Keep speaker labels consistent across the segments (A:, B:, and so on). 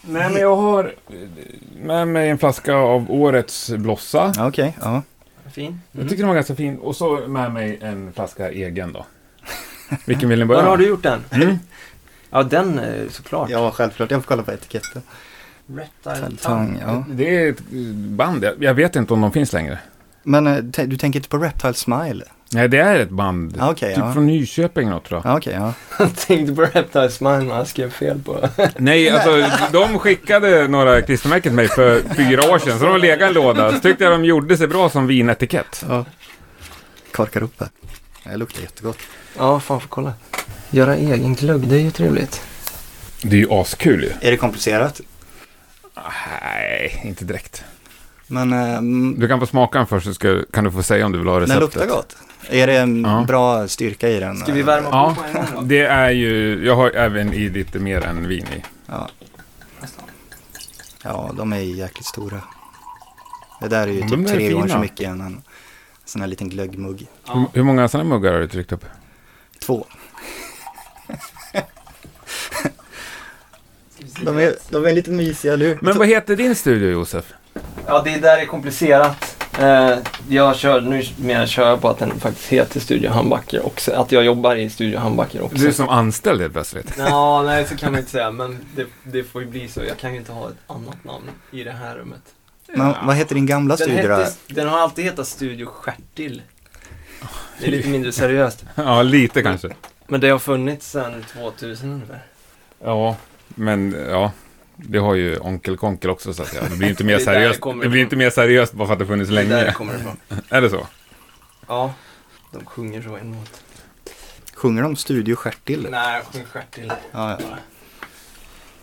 A: Nej, men jag har med mig en flaska av årets blossa.
B: Ja, Okej, ja.
C: Fin. Mm.
A: Jag tycker den var ganska fin. Och så med mig en flaska egen då. Vilken vill ni börja
C: Var har
A: med?
C: du gjort den? Ja, den eh, såklart.
B: Ja, självklart. Jag får kolla på etiketten.
C: Reptile Tongue.
B: Tang, ja.
A: Det är ett band. Jag- Jag vet inte om de finns längre.
B: Men eh, t- du tänker inte på Reptile Smile?
A: Nej, det är ett band.
B: Ja, Okej,
A: typ
B: ja.
A: från Nyköping något tror jag.
B: Ja, okej, ja.
C: Jag tänkte på Reptile Smile men jag skrev fel på
A: Nej, alltså de skickade några klistermärken till mig för fyra år sedan. Så de legat i en låda. Så tyckte jag de gjorde sig bra som vinetikett.
B: ja. Korkar upp här. Det luktar jättegott.
C: Ja, fan får kolla. Göra egen glögg, det är ju trevligt.
A: Det är ju askul ju.
B: Är det komplicerat?
A: Nej, inte direkt.
B: Men eh, mm,
A: Du kan få smaka den först så ska, kan du få säga om du vill ha
B: den
A: receptet.
B: luktar gott. Är det en
A: Ja.
B: bra styrka i den?
C: Ska vi värma
A: Ja.
C: på på en gång då?
A: Det är ju, jag har även i lite mer än vin i.
B: Ja. ja, de är ju jäkligt stora. Det där är ju
A: De
B: typ
A: är
B: tre gånger så
A: fina.
B: mycket än en sån här liten glöggmugg.
A: Hur, hur många sådana muggar har du tryckt upp?
B: Två. De är, de är lite mysiga, eller hur?
C: Alltså-
A: Men vad heter din studio Josef?
C: Ja, det där är komplicerat. Eh, jag kör, nu mer kör jag på att den faktiskt heter Studio Handbacker också. Att jag jobbar i Studio Handbacker också.
A: Du är som anställd helt plötsligt.
C: Ja, nej så kan man inte säga, men det, det får ju bli så. Jag kan ju inte ha ett annat namn i det här rummet.
B: Men vad heter din gamla
C: Den,
B: studio då?
C: hette, den har alltid hetat Studio Stjärtil. Det är lite mindre seriöst.
A: Ja, lite kanske.
C: Men det har funnits sedan 2000 ungefär.
A: Ja, men ja. Det har ju Onkel Konkel också så att säga. Det blir inte mer
C: Det är där det
A: seriöst,
C: kommer
A: det blir
C: ifrån.
A: inte mer seriöst bara för att det funnits
C: Det är där det
A: länge.
C: kommer ifrån.
A: Är det så?
C: Ja, de sjunger så en låt.
B: Sjunger de Studio Stjärtil?
C: Nej, sjung Stjärtil.
B: Ja, ja.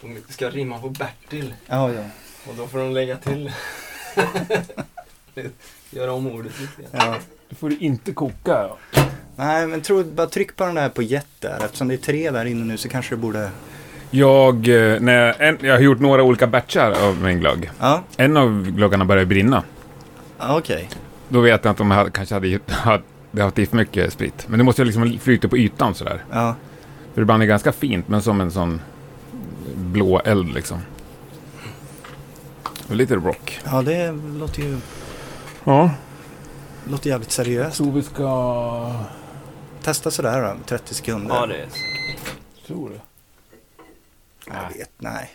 C: De ska rimma på Bertil
B: ja, ja.
C: och då får de lägga till. Göra om ordet lite grann.
B: ja.
A: Du får inte koka.
B: Nej, men tro, bara tryck på den där på jet där. Eftersom det är tre där inne nu så kanske det borde...
A: Jag, eh, när jag, en, jag har gjort några olika batchar av min glögg.
B: Ja,
A: En av glöggarna började brinna.
B: ja okej.
A: Då vet jag att de hade, kanske hade, hade, hade haft i för mycket sprit. Men det måste ju liksom flyta på ytan sådär.
B: Ja.
A: För ibland är det ganska fint, men som en sån blå eld liksom. Och lite rock.
B: ja, det låter ju
A: Ja,
B: låter jävligt seriöst.
A: tror vi ska...
B: Testa sådär då, 30 sekunder.
C: Ja, det är
A: Tror du?
B: Jag vet, nej.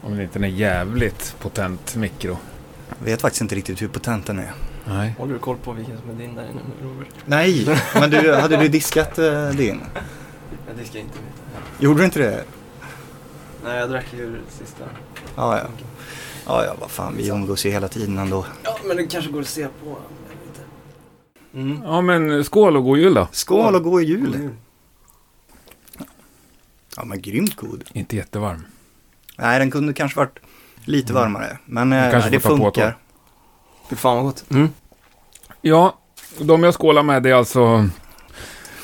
A: Om det inte är en jävligt potent mikro.
B: Jag vet faktiskt inte riktigt hur potent den är.
A: Nej.
C: Håller du koll på vilken som är din där inne nu, Robert?
B: Nej, men du, hade du diskat eh, din?
C: Ja, det ska jag inte veta.
B: Gjorde du inte det?
C: Nej, jag drack ju sista.
B: Ja, ja. Ja, ja, vad fan, vi umgås ju hela tiden ändå.
C: Ja, men det kanske går att se på. Jag vet inte. Mm.
A: Ja, men skål och god jul då.
B: Skål och god jul! Ja, men grymt god.
A: Inte jättevarm.
B: Nej, den kunde kanske varit lite varmare, men eh,
A: Du Mm. kanske
B: det
A: får ta på
B: funkar.
A: tå.
C: Fy fan vad gott. Mm.
A: Ja, de jag skålar med det är alltså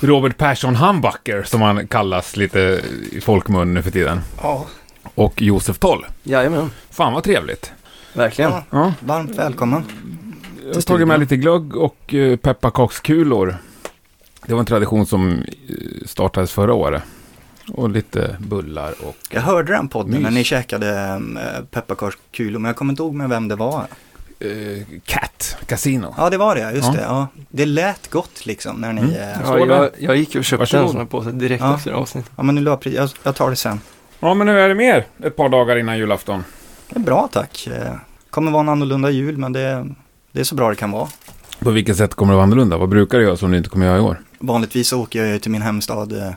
A: Robert Persson Hambacker som han kallas lite i folkmun nu för tiden.
B: Ja,
A: Och Josef Toll.
C: Jajamän,
A: Fan vad trevligt.
C: verkligen.
B: Ja.
A: Ja,
B: varmt välkommen.
A: jag har tagit med lite glögg och eh, pepparkakskulor. Det var en tradition som eh, startades förra året. Och lite bullar och...
B: Jag hörde den podden när
A: Mys.
B: ni käkade eh, pepparkakskulor, men jag kommer inte ihåg med vem det var.
A: Eh, cat, Casino.
B: Ja, det var det, just
A: Ja.
B: det. Ja. Det lät gott liksom när ni...
A: Mm.
B: eh,
C: Ja, jag, jag gick och köpte
A: Varsågod.
C: en sån här påse direkt
B: Ja.
C: efter avsnittet.
B: Ja, men nu la jag pri- jag, jag tar det sen.
A: Ja, men nu är det mer ett par dagar innan julafton.
B: Det är bra tack. Eh, kommer vara en annorlunda jul, men det, det är så bra det kan vara.
A: På vilket sätt kommer det vara annorlunda? Vad brukar du göra som du inte kommer göra i år?
B: Vanligtvis så åker jag ju till min hemstad eh,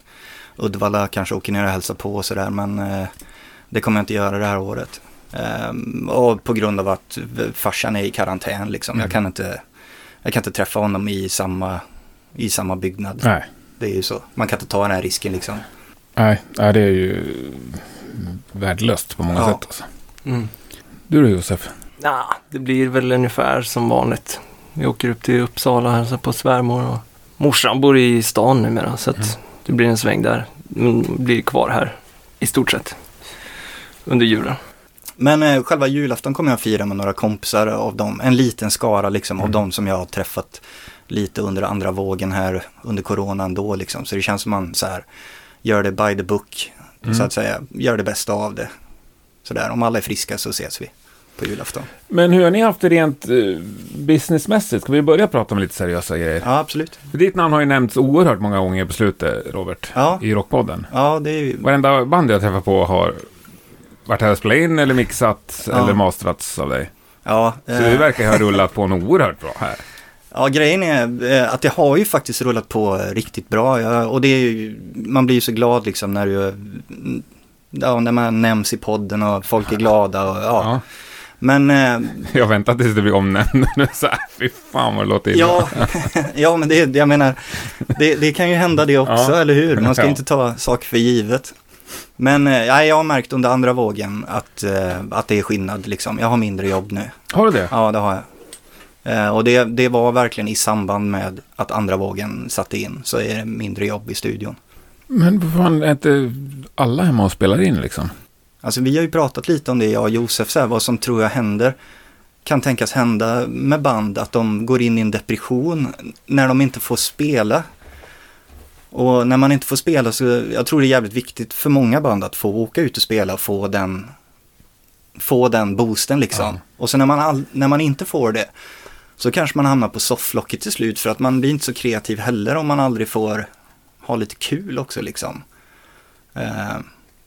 B: Uddevalla, kanske åker ner och hälsar på och sådär, men eh, det kommer jag inte göra det här året. Ehm, och på grund av att v- farsan är i karantän liksom.
A: Mm.
B: Jag, kan inte, jag kan inte träffa honom i samma, i samma byggnad.
A: Nej,
B: Det är ju så. Man kan inte ta den här risken liksom.
A: nej, nej det är ju mm, värdelöst på många
B: Ja.
A: sätt. Alltså.
C: Mm.
A: Du då Josef?
C: Ja, det blir väl ungefär som vanligt. Vi åker upp till Uppsala och hälsar på svärmor och morsan bor i stan numera så att det blir en sväng där. Men blir kvar här i stort sett under julen.
B: Men eh, själva julafton kommer jag fira med några kompisar av dem, en liten skara liksom
A: Mm.
B: av dem som jag har träffat lite under andra vågen här under coronan då liksom. Så det känns som man så här gör det by the book
A: Mm.
B: Så att säga, gör det bästa av det. Sådär, om alla är friska så ses vi på julafton.
A: Men hur har ni haft det rent eh, businessmässigt? Ska vi börja prata om lite seriösa grejer?
B: Ja, absolut.
A: För ditt namn har ju nämnts oerhört många gånger på slutet, Robert,
B: Ja.
A: i Rockpodden.
B: Ja, det är ju...
A: Varenda band jag träffar på har varit här och spelat in eller mixat
B: Ja.
A: eller masterats av dig.
B: Ja,
A: Så du
B: eh,
A: verkar ju ha rullat på något oerhört bra här.
B: Ja, grejen är eh, att det har ju faktiskt rullat på eh, riktigt bra. Ja, Och det är ju, man blir ju så glad liksom när du, mm, ja, när man nämns i podden och folk är glada och ja.
A: Ja.
B: Men, eh,
A: Jag väntar tills du blir omnämnd. Nu så här, fy fan vad det låter illa.
B: ja, ja men det, jag menar, det, det kan ju hända det också,
A: Ja.
B: eller hur? Man ska
A: Ja.
B: inte ta saker för givet. Men eh, ja, jag har märkt under andra vågen att, eh, att det är skillnad liksom. Jag har mindre jobb nu.
A: Har du det?
B: Ja, det har jag. Eh, och det, det var verkligen i samband med att andra vågen satte in så är det mindre jobb i studion.
A: Men vad fan, är inte alla hemma och spelar in liksom?
B: Alltså vi har ju pratat lite om det, jag och Josef, så här, vad som tror jag händer kan tänkas hända med band, att de går in i en depression när de inte får spela. Och när man inte får spela så, jag tror det är jävligt viktigt för många band att få åka ut och spela och få den, få den boosten liksom.
A: Ja.
B: Och sen när man, all, när man inte får det så kanske man hamnar på sofflocket till slut för att man blir inte så kreativ heller om man aldrig får ha lite kul också liksom. Eh,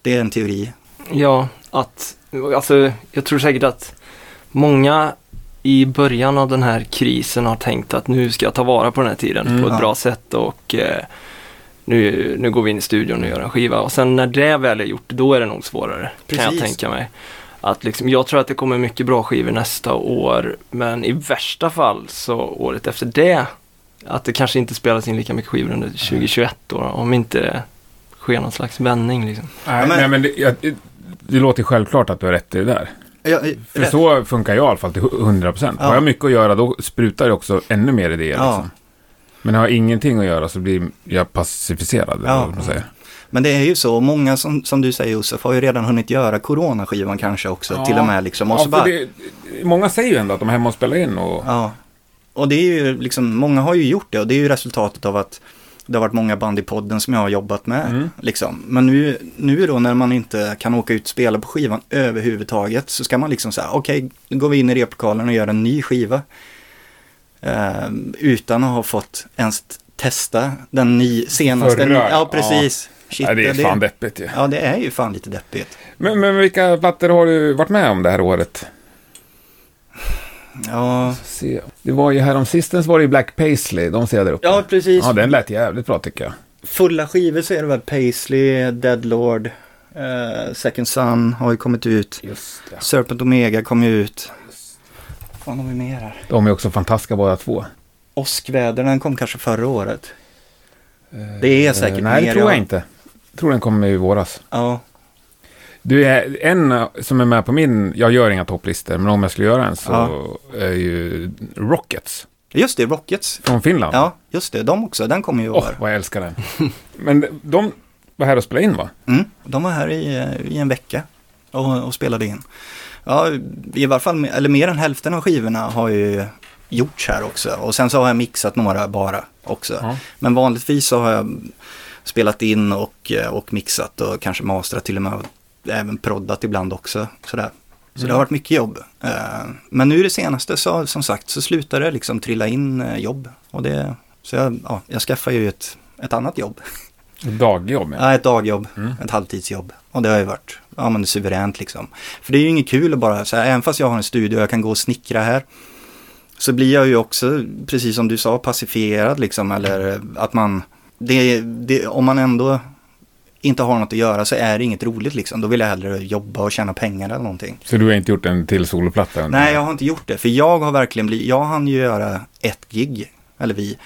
B: det är en teori.
C: Ja, att, alltså jag tror säkert att många i början av den här krisen har tänkt att nu ska jag ta vara på den här tiden
A: Mm,
C: på ett
B: ja.
C: bra sätt och eh, nu, nu går vi in i studion och gör en skiva. Och sen när det väl är gjort, då är det nog svårare, kan
B: Precis.
C: jag tänka mig. Att liksom, jag tror att det kommer mycket bra skivor nästa år, men i värsta fall så året efter det, att det kanske inte spelas in lika mycket skivor under 2021 då, om inte det sker någon slags vändning liksom.
A: Nej,
B: Ja, men-
A: nej, men det, jag, det- det låter ju självklart att du har rätt i det där.
B: Ja, eh,
A: För så funkar jag i alla fall till 100 procent.
B: Ja.
A: Har jag mycket att göra då sprutar jag också ännu mer idéer.
B: Ja.
A: Liksom. Men har jag ingenting att göra så blir jag pacificerad. eller
B: Ja.
A: vad man säger.
B: Men det är ju så, och många som, som du säger Josef har ju redan hunnit göra coronaskivan kanske också
A: Ja.
B: till och med liksom. Och
A: Ja,
B: så
A: för
B: bara,
A: det, många säger ju ändå att de är hemma och spelar in. Och,
B: ja. och det är ju liksom, många har ju gjort det och det är ju resultatet av att det har varit många band i podden som jag har jobbat med.
A: Mm.
B: Liksom. Men nu, nu då när man inte kan åka ut och spela på skivan överhuvudtaget så ska man liksom säga okej, nu går vi in i replokalen och gör en ny skiva. Eh, utan att ha fått ens testa den ny, senaste.
A: Förra,
B: ja, precis. Shit,
A: nej, det är fan deppigt ju.
B: Ja, det är ju fan lite deppigt.
A: Men, men vilka plattor har du varit med om det här året?
B: Ja,
A: Se. Det var ju häromsistens var det ju Black Paisley, de ser jag där uppe.
B: ja precis.
A: ja, den lät jävligt bra tycker jag.
B: Fulla skivor så är det väl Paisley, Deadlord, eh, Second Sun har ju kommit ut.
A: Just det.
B: Serpent Omega kom ju ut. Vad har vi mer här?
A: De är också fantastiska båda två.
B: Åskväder, den kom kanske förra året. Det är säkert
A: Eh, Nej, det
B: mer,
A: tror jag
B: ja.
A: inte. Jag tror den kommer i våras.
B: Ja,
A: Du är en eh, som är med på min, jag gör inga topplistor, men om jag skulle göra en så är ju Rockets
B: just det, Rockets.
A: från Finland.
B: Ja, just det, de också, den kom ju i
A: Åh,
B: år.
A: vad jag älskar den. men de var här och spelade in va?
B: Mm, de var här i, eh, i en vecka och, och spelade in. Ja, i varje fall, eller mer än hälften av skivorna har ju gjorts här också. Och sen så har jag mixat några bara också.
A: Ja.
B: Men vanligtvis så har jag spelat in och, eh, och mixat och kanske mastrat till och med. och Även proddat ibland också. Sådär. Så det har varit mycket jobb. Eh, Men nu det senaste så som sagt så slutade det liksom trilla in eh, jobb. Och det, så jag, ja, jag skaffade ju ett, ett annat jobb.
A: Dagjobb. Ja.
B: Ja, ett dagjobb, ett halvtidsjobb. Och det har ju varit ja, men suveränt liksom. För det är ju inget kul att bara, så här, även fast jag har en studio och jag kan gå och snickra här, så blir jag ju också, precis som du sa, pacifierad liksom. Eller att man, det, det, om man ändå inte har något att göra så är det inget roligt liksom. Då vill jag hellre jobba och tjäna pengar eller någonting.
A: Så du har inte gjort en till soloplatta? än?
B: Nej, jag har inte gjort det. För jag har verkligen blivit, jag hann ju göra ett gig, eller vi,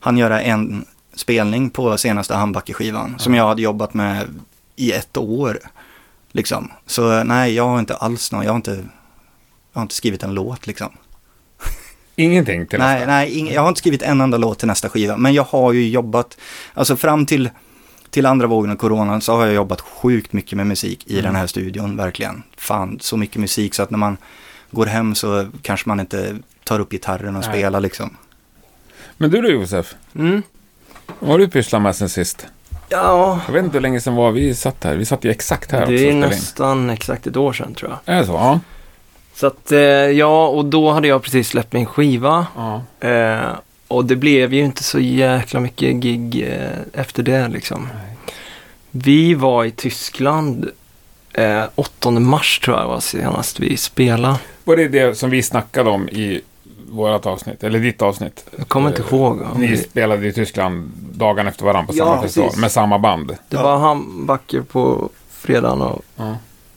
B: hann göra en spelning på senaste Handbacke-skivan som jag hade jobbat med i ett år. Liksom. Så nej, jag har inte alls någon, jag har inte, jag har inte skrivit en låt liksom.
A: Ingenting till
B: Nej,
A: nästa?
B: nej ing- jag har inte skrivit en enda låt till nästa skiva, men jag har ju jobbat, alltså fram till, till andra vågen av coronan så har jag jobbat sjukt mycket med musik i
A: Mm.
B: den här studion, verkligen. Fan, så mycket musik så att när man går hem så kanske man inte tar upp gitarren och
A: Nej.
B: spelar liksom.
A: Men du då Josef,
C: Mm.
A: vad har du pysslat med sen sist?
C: Ja,
A: Jag vet inte hur länge sedan var vi satt här. Vi satt ju exakt här också och
C: det är
A: spelade in.
C: nästan exakt ett år sedan tror jag.
A: Är det så? Ja.
C: Så att, eh, ja, och då hade jag precis släppt min skiva.
A: ja.
C: Eh, och det blev ju inte så jäkla mycket gig eh, efter det liksom.
A: Nej.
C: Vi var i Tyskland eh, 8 mars tror jag var senast vi spelade.
A: Var det det som vi snackade om i vårt avsnitt? Eller ditt avsnitt?
C: Jag kommer inte
A: Eh,
C: ihåg. om
A: Ni
C: vi-
A: spelade i Tyskland dagen efter varandra på
B: Ja,
A: samma festival
B: precis.
A: med samma band.
C: Det
B: Ja.
C: var han Backe på fredagen och
A: Mm.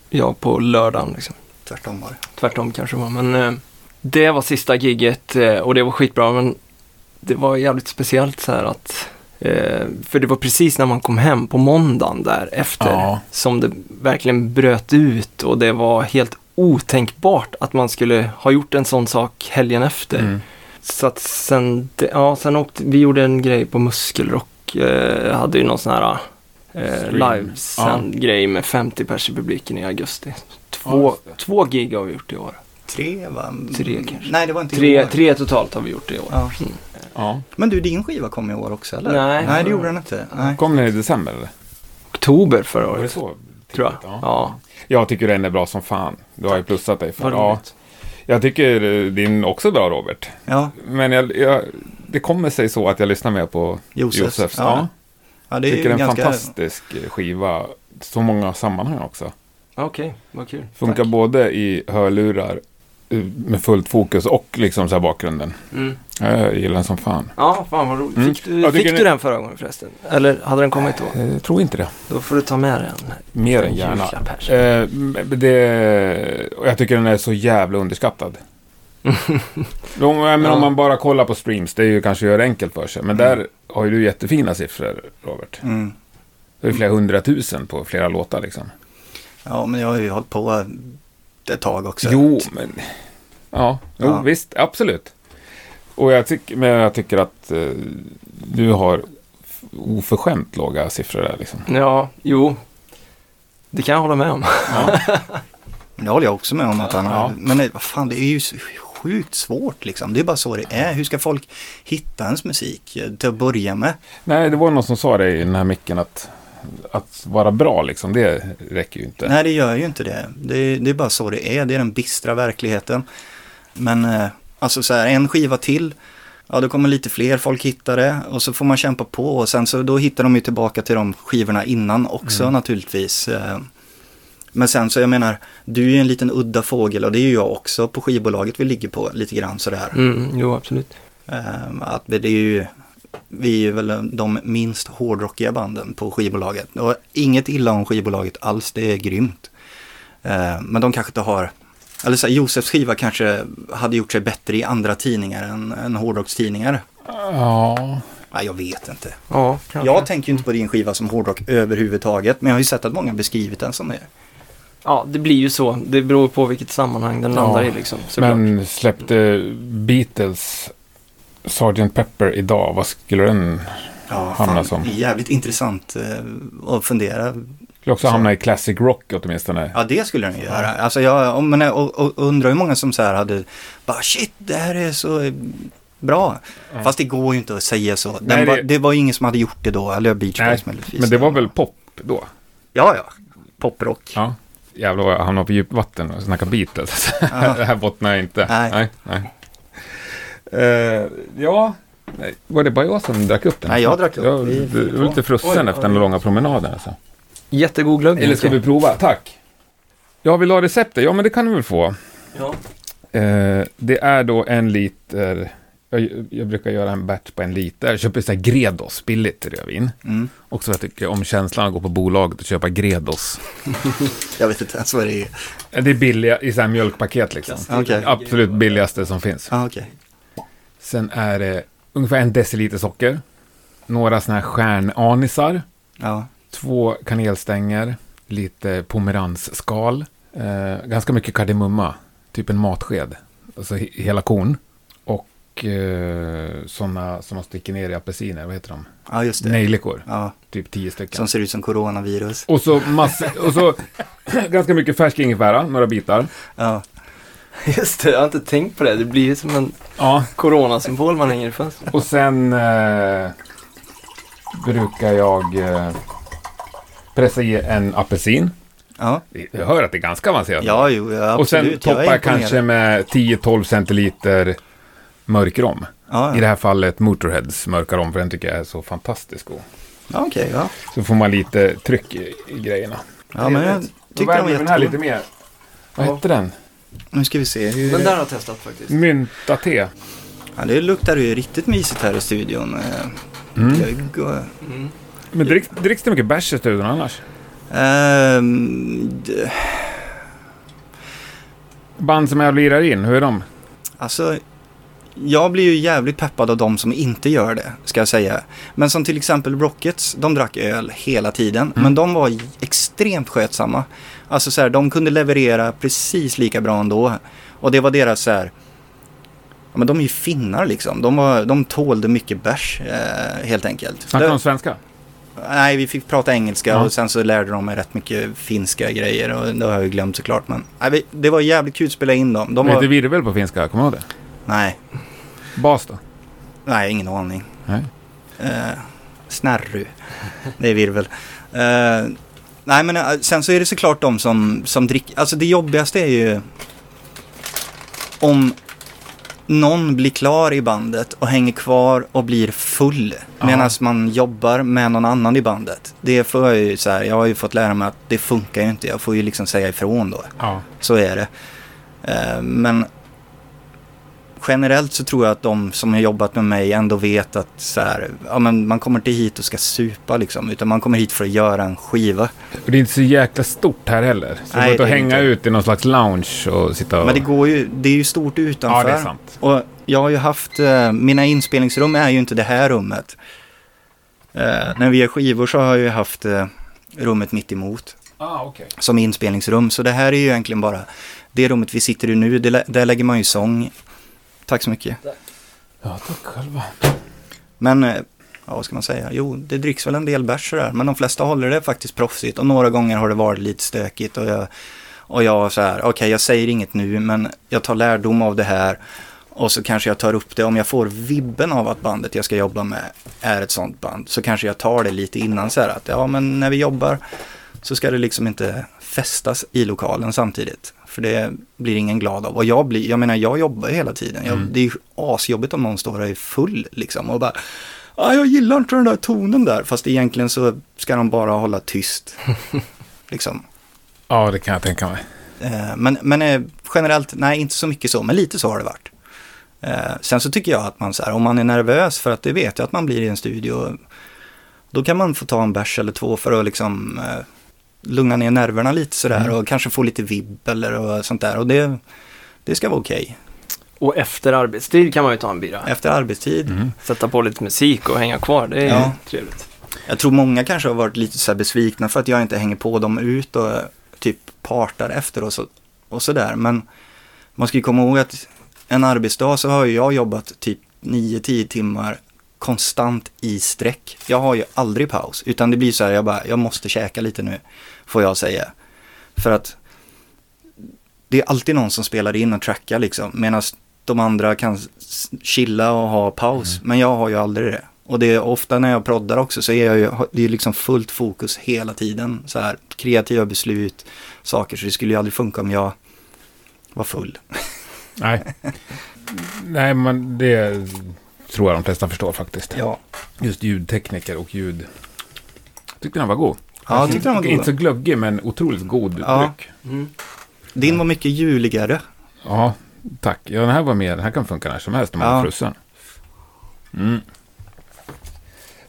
C: jag på lördagen. Liksom.
B: Tvärtom var det.
C: Tvärtom kanske det var, men eh, det var sista giget eh, och det var skitbra. Men det var jävligt speciellt så här att, eh, för det var precis när man kom hem på måndagen där efter
A: Ja.
C: som det verkligen bröt ut och det var helt otänkbart att man skulle ha gjort en sån sak helgen efter.
A: Mm.
C: Så att sen, det- ja, sen åkte, vi gjorde en grej på Muskelrock. Eh, hade ju någon sån här eh,
A: Stream.
C: livesänd grej med 50 pers i publiken i augusti.
A: Ja,
C: Två,
A: just det.
C: två gig har vi gjort i år.
B: Tre va? Mm.
C: Tre kanske.
B: Nej, det var inte i
C: Tre,
B: år.
C: tre totalt har vi gjort i år.
B: Ja.
C: Mm.
A: Ja.
B: Men du, din skiva kom i år också eller?
C: Nej.
B: Nej, det gjorde den inte. Nej.
A: Kom den i december eller?
C: Oktober förra
A: Var det
C: året,
A: så?
C: tror jag.
A: tidigt?
C: Ja.
A: Jag tycker den är bra som fan. Du har ju plussat dig för
C: Vad
A: ja,
C: roligt.
A: Jag tycker eh, din också är bra Robert.
B: Ja,
A: Men jag, jag, det kommer sig så att jag lyssnar mer på
B: Josef.
A: Josefs. Ja.
B: Ja. ja, det
A: Jag
B: är
A: tycker
B: ju
A: det är en
B: ganska...
A: fantastisk skiva. Så många sammanhang också.
C: Okej, vad kul.
A: Funkar
C: Tack.
A: både i hörlurar eh, med fullt fokus och liksom så här bakgrunden.
C: Mm.
A: Ja, Jag gillar den som fan.
C: Ja, fan vad roligt.
A: Mm.
C: Fick, du,
A: Jag tycker
C: fick
A: ni-
C: du den förra gången förresten? Eller hade den kommit då?
A: Eh, Jag tror inte det.
C: Då får du ta med den.
A: Mer än gärna.
C: Julklapp här.
A: Eh, m- det, och jag tycker den är så jävla underskattad. om, men
C: Ja.
A: om man bara kollar på streams, det är ju kanske att göra enkelt för sig. Men där har ju du jättefina siffror, Robert.
B: Mm.
A: Det är flera hundratusen på flera låtar liksom.
B: Ja, men jag har ju hållit på ett tag också.
A: Jo, men... Ja, jo,
B: Ja.
A: visst, absolut. Och jag tycker, men jag tycker att eh, du har f- oförskämt låga siffror där liksom.
C: Ja, jo. Det kan jag hålla med om.
B: Det håller jag också med om att han har.
A: Ja.
B: Men nej, vad fan, det är ju så sjukt svårt liksom. Det är bara så det är. Hur ska folk hitta ens musik eh, till att börja med?
A: Nej, det var någon som sa det i den här micken att, att vara bra liksom, det räcker ju inte.
B: Nej, det gör ju inte det. Det, det är bara så det är. Det är den bistra verkligheten. Men eh, alltså så här, en skiva till. Ja, då kommer lite fler folk hitta det och så får man kämpa på och sen så då hittar de ju tillbaka till de skivorna innan också naturligtvis. Eh, Men sen så jag menar, du är ju en liten udda fågel och det är ju jag också på skivbolaget vi ligger på lite grann sådär.
C: Mm, jo, absolut.
B: Eh, Att vi- det är ju, vi är ju väl de minst hårdrockiga banden på skivbolaget. Och inget illa om skivbolaget alls, det är grymt. Eh, Men de kanske inte har, eller så här, Josefs skiva kanske hade gjort sig bättre i andra tidningar än, än hårdrockstidningar.
A: Ja,
B: Nej, jag vet inte.
C: Ja, kanske.
B: Jag tänker ju inte på din skiva som hårdrock överhuvudtaget, men jag har ju sett att många beskrivit den som det.
C: ja, det blir ju så. Det beror på vilket sammanhang den
A: Ja,
C: landar i liksom. såklart.
A: men släppte Beatles Sgt. Pepper idag, vad skulle den...
B: Ja,
A: Hamnar
B: fan,
A: som.
B: det är jävligt intressant eh, att fundera
A: Skulle också
B: Så.
A: hamna i Classic Rock åtminstone.
B: Ja, det skulle den ju göra. Alltså jag, om, men, jag- och, och, undrar hur många som så här hade bara shit, det här är så eh, bra. Fast det går ju inte att säga så. Den
A: Nej,
B: var,
A: det-
B: det... var ju ingen som hade gjort det då, eller Beach
A: Nej,
B: Boys möjligtvis.
A: men det var väl pop då?
B: Ja, ja. Poprock.
A: Ja. Jävlar vad jag hamnade på djupvatten och snackade Beatles. det här bottnar jag inte.
B: Nej.
A: nej, nej. Eh, ja, nej. var det bara jag som drack upp den?
B: Nej, jag drack upp.
A: Jag,
B: Vi- vi
A: jag var lite frusen
C: Oj,
A: efter den
C: oj.
A: långa promenaden. Alltså.
C: Jättegod glögg.
A: Eller ska vi prova? Tack. Ja, vill du ha receptet? Ja, men det kan du väl få.
C: Ja.
A: Eh, det är då en liter, jag, jag brukar göra en batch på en liter. Jag köper så här Gredos, billigt rödvin.
B: Mm.
A: Också för att jag tycker om känslan att gå på bolaget och köpa Gredos.
B: Jag vet inte ens vad det är.
A: Eh, Det är billiga i så här mjölkpaket liksom.
B: Okej.
A: Absolut billigaste som finns.
B: Ja, okej.
A: Sen är det ungefär en deciliter socker. Några sådana här stjärnanisar.
B: Ja.
A: Två kanelstänger. Lite pomeransskal. Eh, ganska mycket kardemumma. Typ en matsked. Alltså he- hela korn. Och eh, sådana som man sticker ner i apelsiner. Vad heter de?
B: ja, just det.
A: Nejlikor.
B: Ja,
A: Typ tio stycken.
B: som ser ut som coronavirus.
A: Och så, mass- och så ganska mycket färsk ingefära. Några bitar.
B: Ja,
C: Just det, jag har inte tänkt på det. Det blir ju som en
A: Ja,
C: coronasymbol man hänger i fönstret.
A: Och sen eh, brukar jag eh, pressa i en apelsin.
B: Ja,
A: Jag hör att det är ganska avancerat.
B: ja jo, ja, absolut.
A: och sen
B: Jag är
A: toppar jag
B: imponerad.
A: kanske med 10-12 centiliter mörkrom.
B: Ja,
A: I det
B: ja.
A: här fallet Motorheads mörka rom, för den tycker jag är så fantastisk god.
B: ja okej. ja.
A: Så får man lite tryck i, i grejerna.
B: ja, men jag
C: Trevligt.
A: Då
B: tyckte den var
A: värmer vi den här lite
B: jättegod.
A: mer. Vad
C: Ja.
A: hette den?
B: Nu ska vi se. Hur...
C: Den där har jag testat faktiskt.
A: Mynta te.
B: Ja, det luktar ju riktigt mysigt här i studion. Eh,
A: Mm.
B: jag går-
C: Mm.
A: Men dricks, dricks det mycket bärs i studion annars?
B: Ehm, d-
A: Band som jag lirar in, hur är de?
B: alltså, jag blir ju jävligt peppad av de som inte gör det, ska jag säga. Men som till exempel Rockets, de drack öl hela tiden. Men de var extremt skötsamma. Alltså så här, de kunde leverera precis lika bra ändå. Och det var deras så här, ja men de är ju finnar liksom. De, var, de tålde mycket bärs eh, helt enkelt.
A: Snackar
B: Det-
A: de svenska?
B: Nej, vi fick prata engelska
A: Ja.
B: och sen så lärde de mig rätt mycket finska grejer och det har jag ju glömt såklart. Men nej, vi, det var jävligt kul att spela in dem. De
A: De heter
B: var,
A: virvel på finska, kommer du ihåg det?
B: nej,
A: Bas då?
B: nej, ingen aning.
A: Nej.
B: Eh, snärru, det är virvel. Eh, nej, men eh, sen så är det såklart de som, som dricker. Alltså det jobbigaste är ju om någon blir klar i bandet och hänger kvar och blir full
A: Ja.
B: medan man jobbar med någon annan i bandet. Det får jag ju så här, jag har ju fått lära mig att det funkar ju inte. Jag får ju liksom säga ifrån då.
A: Ja.
B: Så är det. Eh, Men generellt så tror jag att de som har jobbat med mig ändå vet att så här, ja, men man kommer inte hit och ska supa liksom. Utan man kommer hit för att göra en skiva.
A: Och det är inte så jäkla stort här heller. Så
B: Nej,
A: det går inte att
B: det är
A: hänga
B: inte.
A: ut i någon slags lounge och sitta och...
B: Men det går ju, det är ju stort utanför.
A: Ja, det är sant.
B: Och jag har ju haft, eh, mina inspelningsrum är ju inte det här rummet. Eh, när vi gör skivor så har jag ju haft eh, rummet mitt emot.
A: Ah, okej.
B: som inspelningsrum. Så det här är ju egentligen bara det rummet vi sitter i nu, det lä- där lägger man ju sång. Tack så mycket.
A: Ja, tack själva.
B: Men, eh, ja vad ska man säga? Jo, det dricks väl en del bärs sådär, men de flesta håller det faktiskt proffsigt. Och några gånger har det varit lite stökigt och jag, och jag så här, okej jag säger inget nu, men jag tar lärdom av det här. Och så kanske jag tar upp det, om jag får vibben av att bandet jag ska jobba med är ett sånt band, så kanske jag tar det lite innan så här att, ja men när vi jobbar så ska det liksom inte festas i lokalen samtidigt. För det blir ingen glad av. Och jag blir, jag menar jag jobbar ju hela tiden. Jag, Det är ju asjobbigt om någon står och är full liksom och bara ah, jag gillar inte den där tonen där. Fast egentligen så ska de bara hålla tyst. liksom.
A: Ja, det kan jag tänka mig.
B: Eh, men men eh, generellt, nej inte så mycket så, men lite så har det varit. Eh, sen så tycker jag att man så här, om man är nervös för att det vet jag att man blir i en studio. Då kan man få ta en bärs eller två för att liksom eh, lugna ner nerverna lite sådär och kanske få lite vibb eller och sånt där. Och det, det ska vara okej.
C: Och efter arbetstid kan man ju ta en bira.
B: Efter arbetstid.
C: Sätta på lite musik och hänga kvar. Det är
B: Ja.
C: trevligt.
B: Jag tror många kanske har varit lite så här besvikna för att jag inte hänger på dem ut och eh, typ partar efter och så och sådär. Men man ska ju komma ihåg att en arbetsdag så har ju jag jobbat typ 9-10 timmar konstant i sträck. Jag har ju aldrig paus, utan det blir så här, jag bara, jag måste käka lite nu, får jag säga. För att det är alltid någon som spelar in och trackar liksom, medan de andra kan s- chilla och ha paus.
A: Mm.
B: Men jag har ju aldrig det. Och det är ofta när jag proddar också så är jag ju, det är ju liksom fullt fokus hela tiden. Så här, kreativa beslut, saker. Så det skulle ju aldrig funka om jag var full.
A: Nej. Nej, men det tror jag de flesta förstår faktiskt.
B: Ja,
A: Just ljudtekniker och ljud. Tyckte den var god.
B: ja jag tyckte den var
A: Inte så
B: god.
A: glöggig, men otroligt god
B: Ja.
A: dryck.
C: Mm.
B: Din var mycket juligare.
A: Ja, tack. Ja, den här var med. Den här kan funka när som helst om man har
B: Ja.
A: frusen. Mm.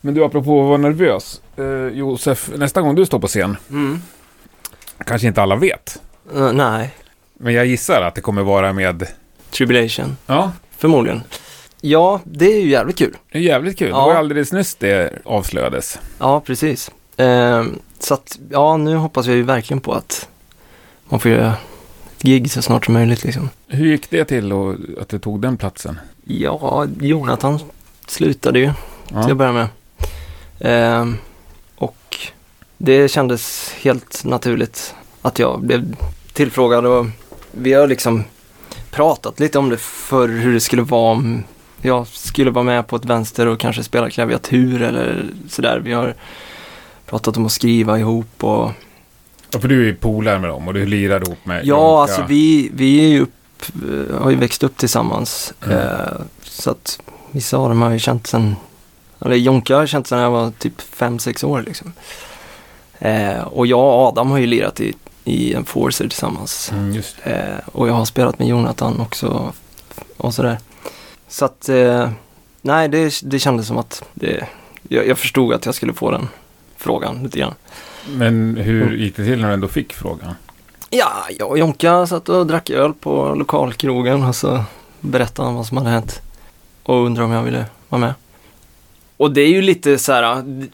A: Men du, apropå att vara nervös. Eh, Josef, nästa gång du står på scen,
C: Mm.
A: kanske inte alla vet,
C: Eh, nej,
A: men jag gissar att det kommer vara med...
C: Tribulation.
A: Ja,
C: Förmodligen. Ja, det är ju jävligt kul.
A: det är jävligt kul.
C: Ja.
A: Det var ju alldeles nyss det avslöjades.
C: Ja, precis. Ehm, så att, ja, nu hoppas jag ju verkligen på att man får göra ett gig så snart som möjligt liksom.
A: Hur gick det till och att du tog den platsen?
C: Ja, Jonathan slutade ju till att
A: Ja.
C: börja med. Ehm, och det kändes helt naturligt att jag blev tillfrågad och vi har liksom pratat lite om det för hur det skulle vara om jag skulle vara med på ett vänster och kanske spela klaviatur eller sådär. Vi har pratat om att skriva ihop och
A: Ja, för du är ju polare med dem och du lirar ihop med Jonka.
C: ja, alltså vi, vi är ju upp, eh, har ju växt upp tillsammans.
A: Mm.
C: Eh, så att vissa av dem har jag ju känt sen, eller Jonka har jag känt sen jag var typ 5-6 år liksom. Eh, och jag och Adam har ju lirat i, i en Forcer tillsammans.
A: Mm, just det.
C: Eh, och jag har spelat med Jonathan också och sådär. Så att, eh, nej det, det kändes som att det, jag, jag förstod att jag skulle få den frågan lite grann.
A: Men
C: Mm.
A: hur gick det till när du ändå fick frågan?
C: Ja, jag och Jonka satt och drack öl på lokalkrogen och så berättade han vad som hade hänt. Och undrade om jag ville vara med. Och det är ju lite så här, d-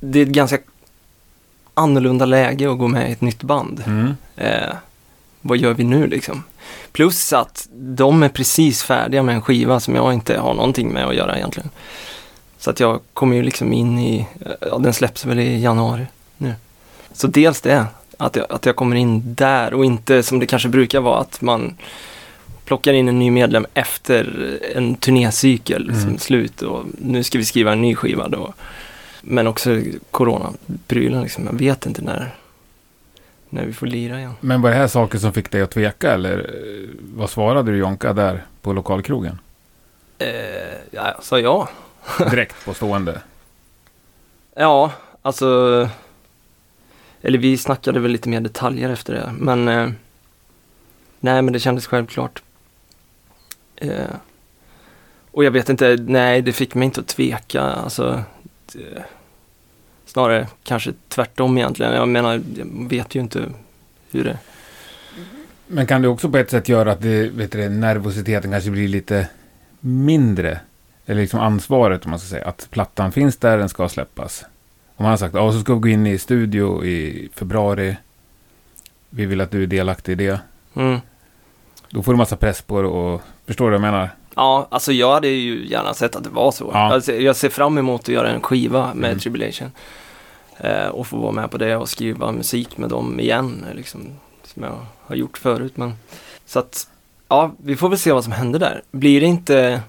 C: det är ett ganska annorlunda läge att gå med i ett nytt band.
A: Mm.
C: Eh, vad gör vi nu liksom? Plus att de är precis färdiga med en skiva som jag inte har någonting med att göra egentligen. Så att jag kommer ju liksom in i, ja den släpps väl i januari nu. Så dels det, att jag, att jag kommer in där och inte som det kanske brukar vara att man plockar in en ny medlem efter en turnécykel som
A: Mm.
C: är slut och nu ska vi skriva en ny skiva då. Men också coronaprylen liksom, jag vet inte när, när vi får lira igen.
A: Men var det här saker som fick dig att tveka eller eh, vad svarade du Jonka där på lokalkrogen?
C: Eh, ja, jag sa ja.
A: Direkt på stående.
C: Ja, alltså... Eller vi snackade väl lite mer detaljer efter det, men... Eh, nej, men det kändes självklart. Eh, och jag vet inte, nej, det fick mig inte att tveka. Alltså, det, snarare kanske tvärtom egentligen. Jag menar, jag vet ju inte hur det...
A: Men kan det också på ett sätt göra att det, vet du, det, nervositeten kanske blir lite mindre? Eller liksom ansvaret om man ska säga. Att plattan finns där, den ska släppas. Om han har sagt att så ska vi gå in i studio i februari. Vi vill att du är delaktig i det.
C: Mm.
A: Då får du massa press på det och förstår du vad jag menar?
C: Ja, alltså jag hade ju gärna sett att det var så.
A: Ja.
C: Alltså, jag ser fram emot att göra en skiva med
A: Mm.
C: Tribulation. Eh, och få vara med på det och skriva musik med dem igen, eh, liksom, som jag har gjort förut. Men... Så att, ja, vi får väl se vad som händer där. Blir det inte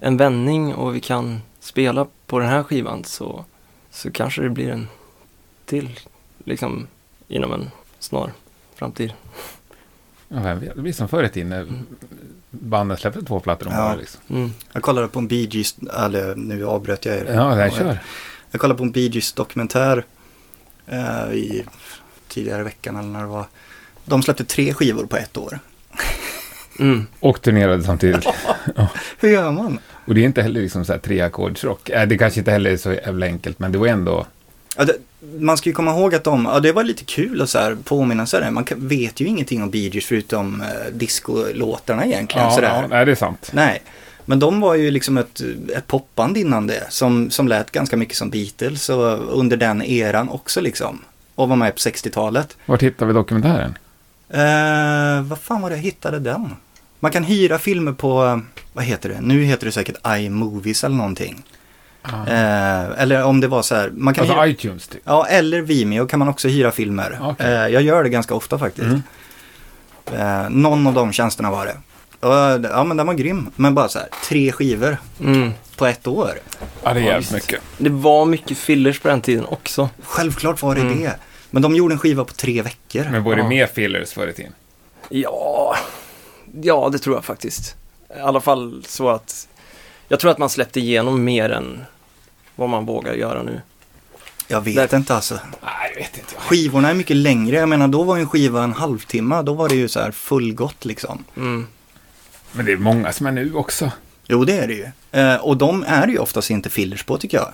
C: en vändning och vi kan spela på den här skivan så, så kanske det blir en till, liksom, inom en snar framtid.
A: Ja, vem vet? Det blir som förr i tiden när banden släppte två plattor om
B: Ja.
A: året. Liksom.
C: Mm.
B: Jag kollade på en Bee Gees, eller nu avbröt jag er.
A: Ja, det här kör.
B: Jag kollade på en Bee Gees dokumentär eh, i tidigare i veckan eller när det var. De släppte tre skivor på ett år.
C: Mm.
A: Och turnerade samtidigt.
B: Hur gör man?
A: Och det är inte heller liksom så här treackordsrock. Äh, det kanske inte heller är så jävla enkelt, men det var ändå...
B: Ja, det, man ska ju komma ihåg att de, ja det var lite kul att så här påminna sig det. Man kan, vet ju ingenting om Bee Gees förutom eh, discolåtarna egentligen.
A: Ja,
B: sådär.
A: ja, nej, det är sant.
B: Nej, men de var ju liksom ett, ett popband innan det som, som lät ganska mycket som Beatles och under den eran också liksom. Och var med på 60-talet.
A: Vart hittar vi dokumentären?
B: Eh, vad fan var det jag hittade den? Man kan hyra filmer på, eh, vad heter det, nu heter det säkert iMovies eller någonting. Eh, eller om det var så här, man kan
A: Alltså
B: hyra,
A: iTunes, typ.
B: ja eller Vimeo kan man också hyra filmer.
A: Okej.
B: Eh, jag gör det ganska ofta faktiskt.
A: Mm.
B: Eh, någon av de tjänsterna var det. Och, ja men den var grym, men bara så här, tre skivor
C: Mm.
B: på ett år.
A: Ja, det är
C: Ja,
A: jävligt
C: visst.
A: mycket.
C: Det var mycket fillers på den tiden också.
B: Självklart var det det. Men de gjorde en skiva på tre veckor.
A: Mm. Men var det
C: Ja.
A: mer fillers förr i tiden?
C: Ja, ja det tror jag faktiskt. I alla fall så att jag tror att man släppte igenom mer än vad man vågar göra nu.
B: Jag vet
C: Där-
B: inte alltså.
A: Nej, det vet inte jag.
B: Skivorna är mycket längre. Jag menar då var ju en skiva en halvtimme. Då var det ju så här fullgott liksom.
C: Mm.
A: Men det är många som är nu också.
B: Jo det är det ju. Eh, och de är det ju oftast inte fillers på tycker jag.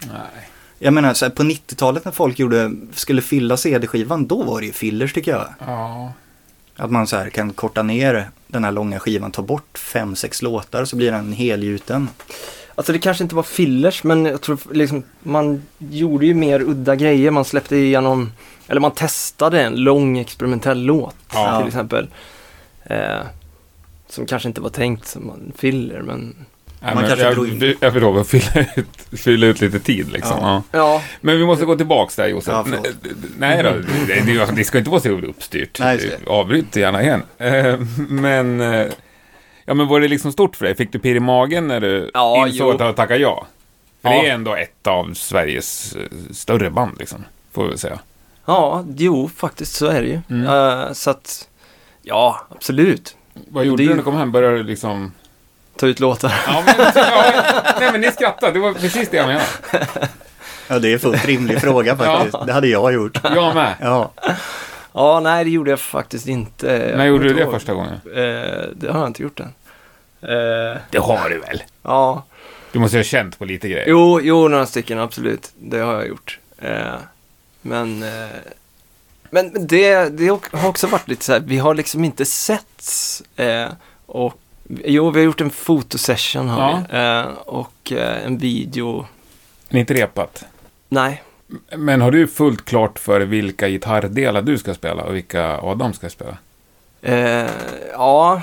A: Nej.
B: Jag menar så här, på 90-talet när folk gjorde, skulle fylla CD-skivan, då var det ju fillers tycker jag.
A: Ja.
B: Att man så här kan korta ner den här långa skivan, ta bort fem, sex låtar så blir den helgjuten.
C: Alltså det kanske inte var fillers men jag tror liksom man gjorde ju mer udda grejer. Man släppte igenom, eller man testade en lång experimentell låt
A: Ja.
C: till exempel. Eh, som kanske inte var tänkt som en filler men
A: Nej,
B: Man
A: men
B: kanske
A: jag,
B: drog in-
A: jag förstår, att fylla ut, fylla ut lite tid liksom.
B: Ja.
A: Ja.
C: ja,
A: Men vi måste gå tillbaks där Josef.
B: Ja,
A: Nej,
B: förlåt.
A: nej då, det, det, det ska inte vara så uppstyrt.
B: Nej, just det.
A: Avbryt gärna igen. Eh, Men eh, Ja, men var det liksom stort för dig? Fick du pirr i magen när du
C: Ja,
A: insåg
C: jo.
A: att du tackade ja? För
C: Ja.
A: det är ändå ett av Sveriges eh, större band, liksom, får vi väl säga.
C: Ja, jo faktiskt så är det ju.
A: Mm.
C: Eh, så att, ja absolut.
A: Vad gjorde
C: Det är
A: du när
C: ju-
A: du kom hem? Började du liksom...
C: Ta ut låtar.
A: Ja, men, ja, nej, men ni skrattade. Det var precis det jag menade.
B: Ja, det är en fullt rimlig fråga faktiskt. Det hade jag gjort.
A: Jag med.
B: Ja,
C: Ja, nej det gjorde jag faktiskt inte. Jag
A: När gjorde du
C: kommer inte
A: det
C: ihåg.
A: första gången?
C: Eh, det har jag inte gjort än. Eh,
A: Det har du väl?
C: ja,
A: Du måste ju ha känt på lite grejer.
C: jo, jo, några stycken absolut. Det har jag gjort. Eh, men eh, men men det, det har också varit lite så här, vi har liksom inte setts. Eh, och, jo, vi har gjort en fotosession har
A: Ja.
C: vi. Eh, och eh, en video.
A: Ni har inte repat.
C: Nej,
A: Men har du fullt klart för vilka gitarrdelar du ska spela och vilka Adam ska spela?
C: eh, ja.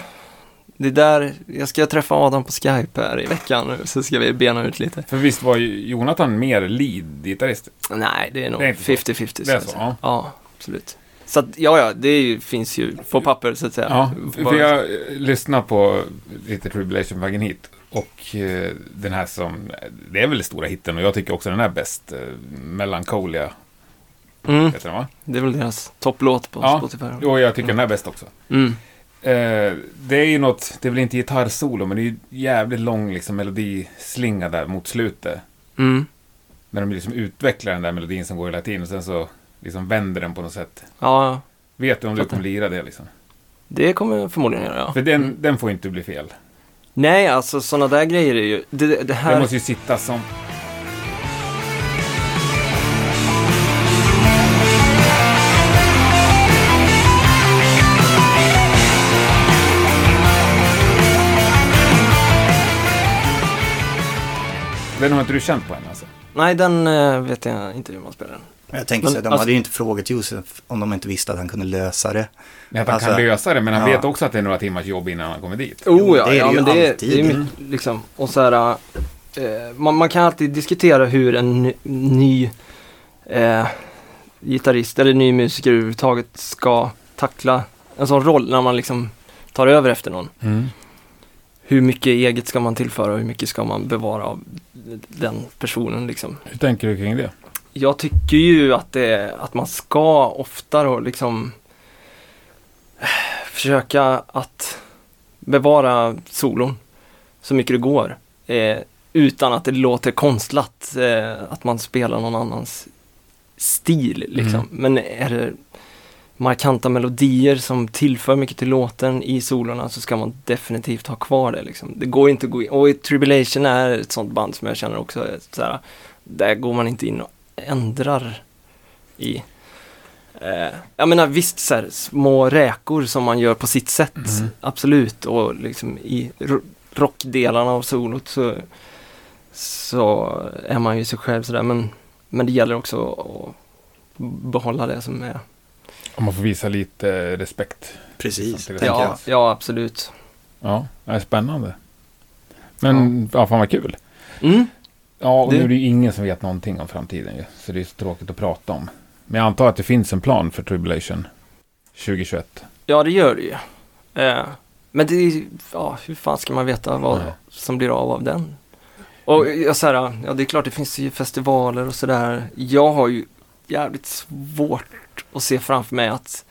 C: Det där, jag ska träffa Adam på Skype här i veckan nu, så ska vi bena ut lite.
A: För visst var ju Jonathan mer lead-gitarrist?
C: Nej, det är nog
A: Det är inte så.
C: 50-50.
A: Det är
C: skulle jag
A: så,
C: säga.
A: ja.
C: ja, absolut. Så att, ja, ja, det är ju, finns ju på papper så att säga.
A: Ja,
C: Bara-
A: för jag eh, lyssnade på lite Tribulation vägen hit. Och eh, den här som, det är väl stora hitten och jag tycker också den är bäst. eh, Melancholia
C: mm,
A: heter den va?
C: det är väl deras topplåt på
A: Ja.
C: Spotify.
A: Och jag tycker den är bäst också.
C: Mm.
A: Eh, det är ju något, det är väl inte gitarrsolo men det är ju jävligt lång liksom melodislinga där mot slutet.
C: Mm.
A: När de liksom utvecklar den där melodin som går i latin och sen så liksom vänder den på något sätt.
C: Ja, ja.
A: Vet du om du
C: Fattar.
A: kommer lira det liksom?
C: det kommer jag förmodligen göra, ja.
A: För den, den får ju inte bli fel.
C: Nej, alltså sådana där grejer är ju... Det, det här...
A: Den måste ju sitta som... Den har inte du känt på än alltså?
C: Nej, den eh, vet jag inte hur man spelar den.
B: jag tänker
C: Men
B: så här, de
C: alltså-
B: hade ju inte frågat Josef om de inte visste att han kunde lösa det.
A: Nej, att han
B: Alltså,
A: kan lösa det, men han
B: ja.
A: vet också att det är några timmars jobb innan han kommer dit.
B: Jo,
C: Oh, ja,
B: det är
C: ja,
B: det ju
C: men det, är-
B: alltid.
C: det är mycket, liksom, och så här, eh, man, man kan alltid diskutera hur en ny, ny eh, gitarrist eller ny musiker överhuvudtaget ska tackla en sån roll när man liksom tar över efter någon.
A: Mm.
C: Hur mycket eget ska man tillföra och hur mycket ska man bevara av den personen liksom.
A: Hur tänker du kring det?
C: Jag tycker ju att, det, att man ska oftare och liksom eh, försöka att bevara solon så mycket det går. Eh, utan att det låter konstlat eh, att man spelar någon annans stil liksom. Men är det markanta melodier som tillför mycket till låten i solorna så ska man definitivt ha kvar det liksom. Det går inte att gå in, och Tribulation är ett sånt band som jag känner också är så här, där går man inte in och ändrar i. Eh, jag menar visst så här, små räkor som man gör på sitt sätt,
A: Mm.
C: absolut. Och liksom i ro- rockdelarna av solot så, så är man ju sig själv sådär. Men, men det gäller också att behålla det som är.
A: Om man får visa lite respekt.
B: Precis,
A: Ja.
B: tänker jag.
C: Ja, ja, absolut.
A: Ja, det är spännande. Men, ja, fan vad kul.
C: Mm.
A: Ja, och
C: Det-
A: nu är det ju ingen som vet någonting om framtiden ju. Så det är så tråkigt att prata om. Men jag antar att det finns en plan för Tribulation 2021.
C: Ja, det gör det ju. Eh, men det är, ja, hur fan ska man veta vad
A: Nej.
C: som blir av av den? Och jag så här, ja det är klart det finns ju festivaler och sådär. Jag har ju jävligt svårt att se framför mig att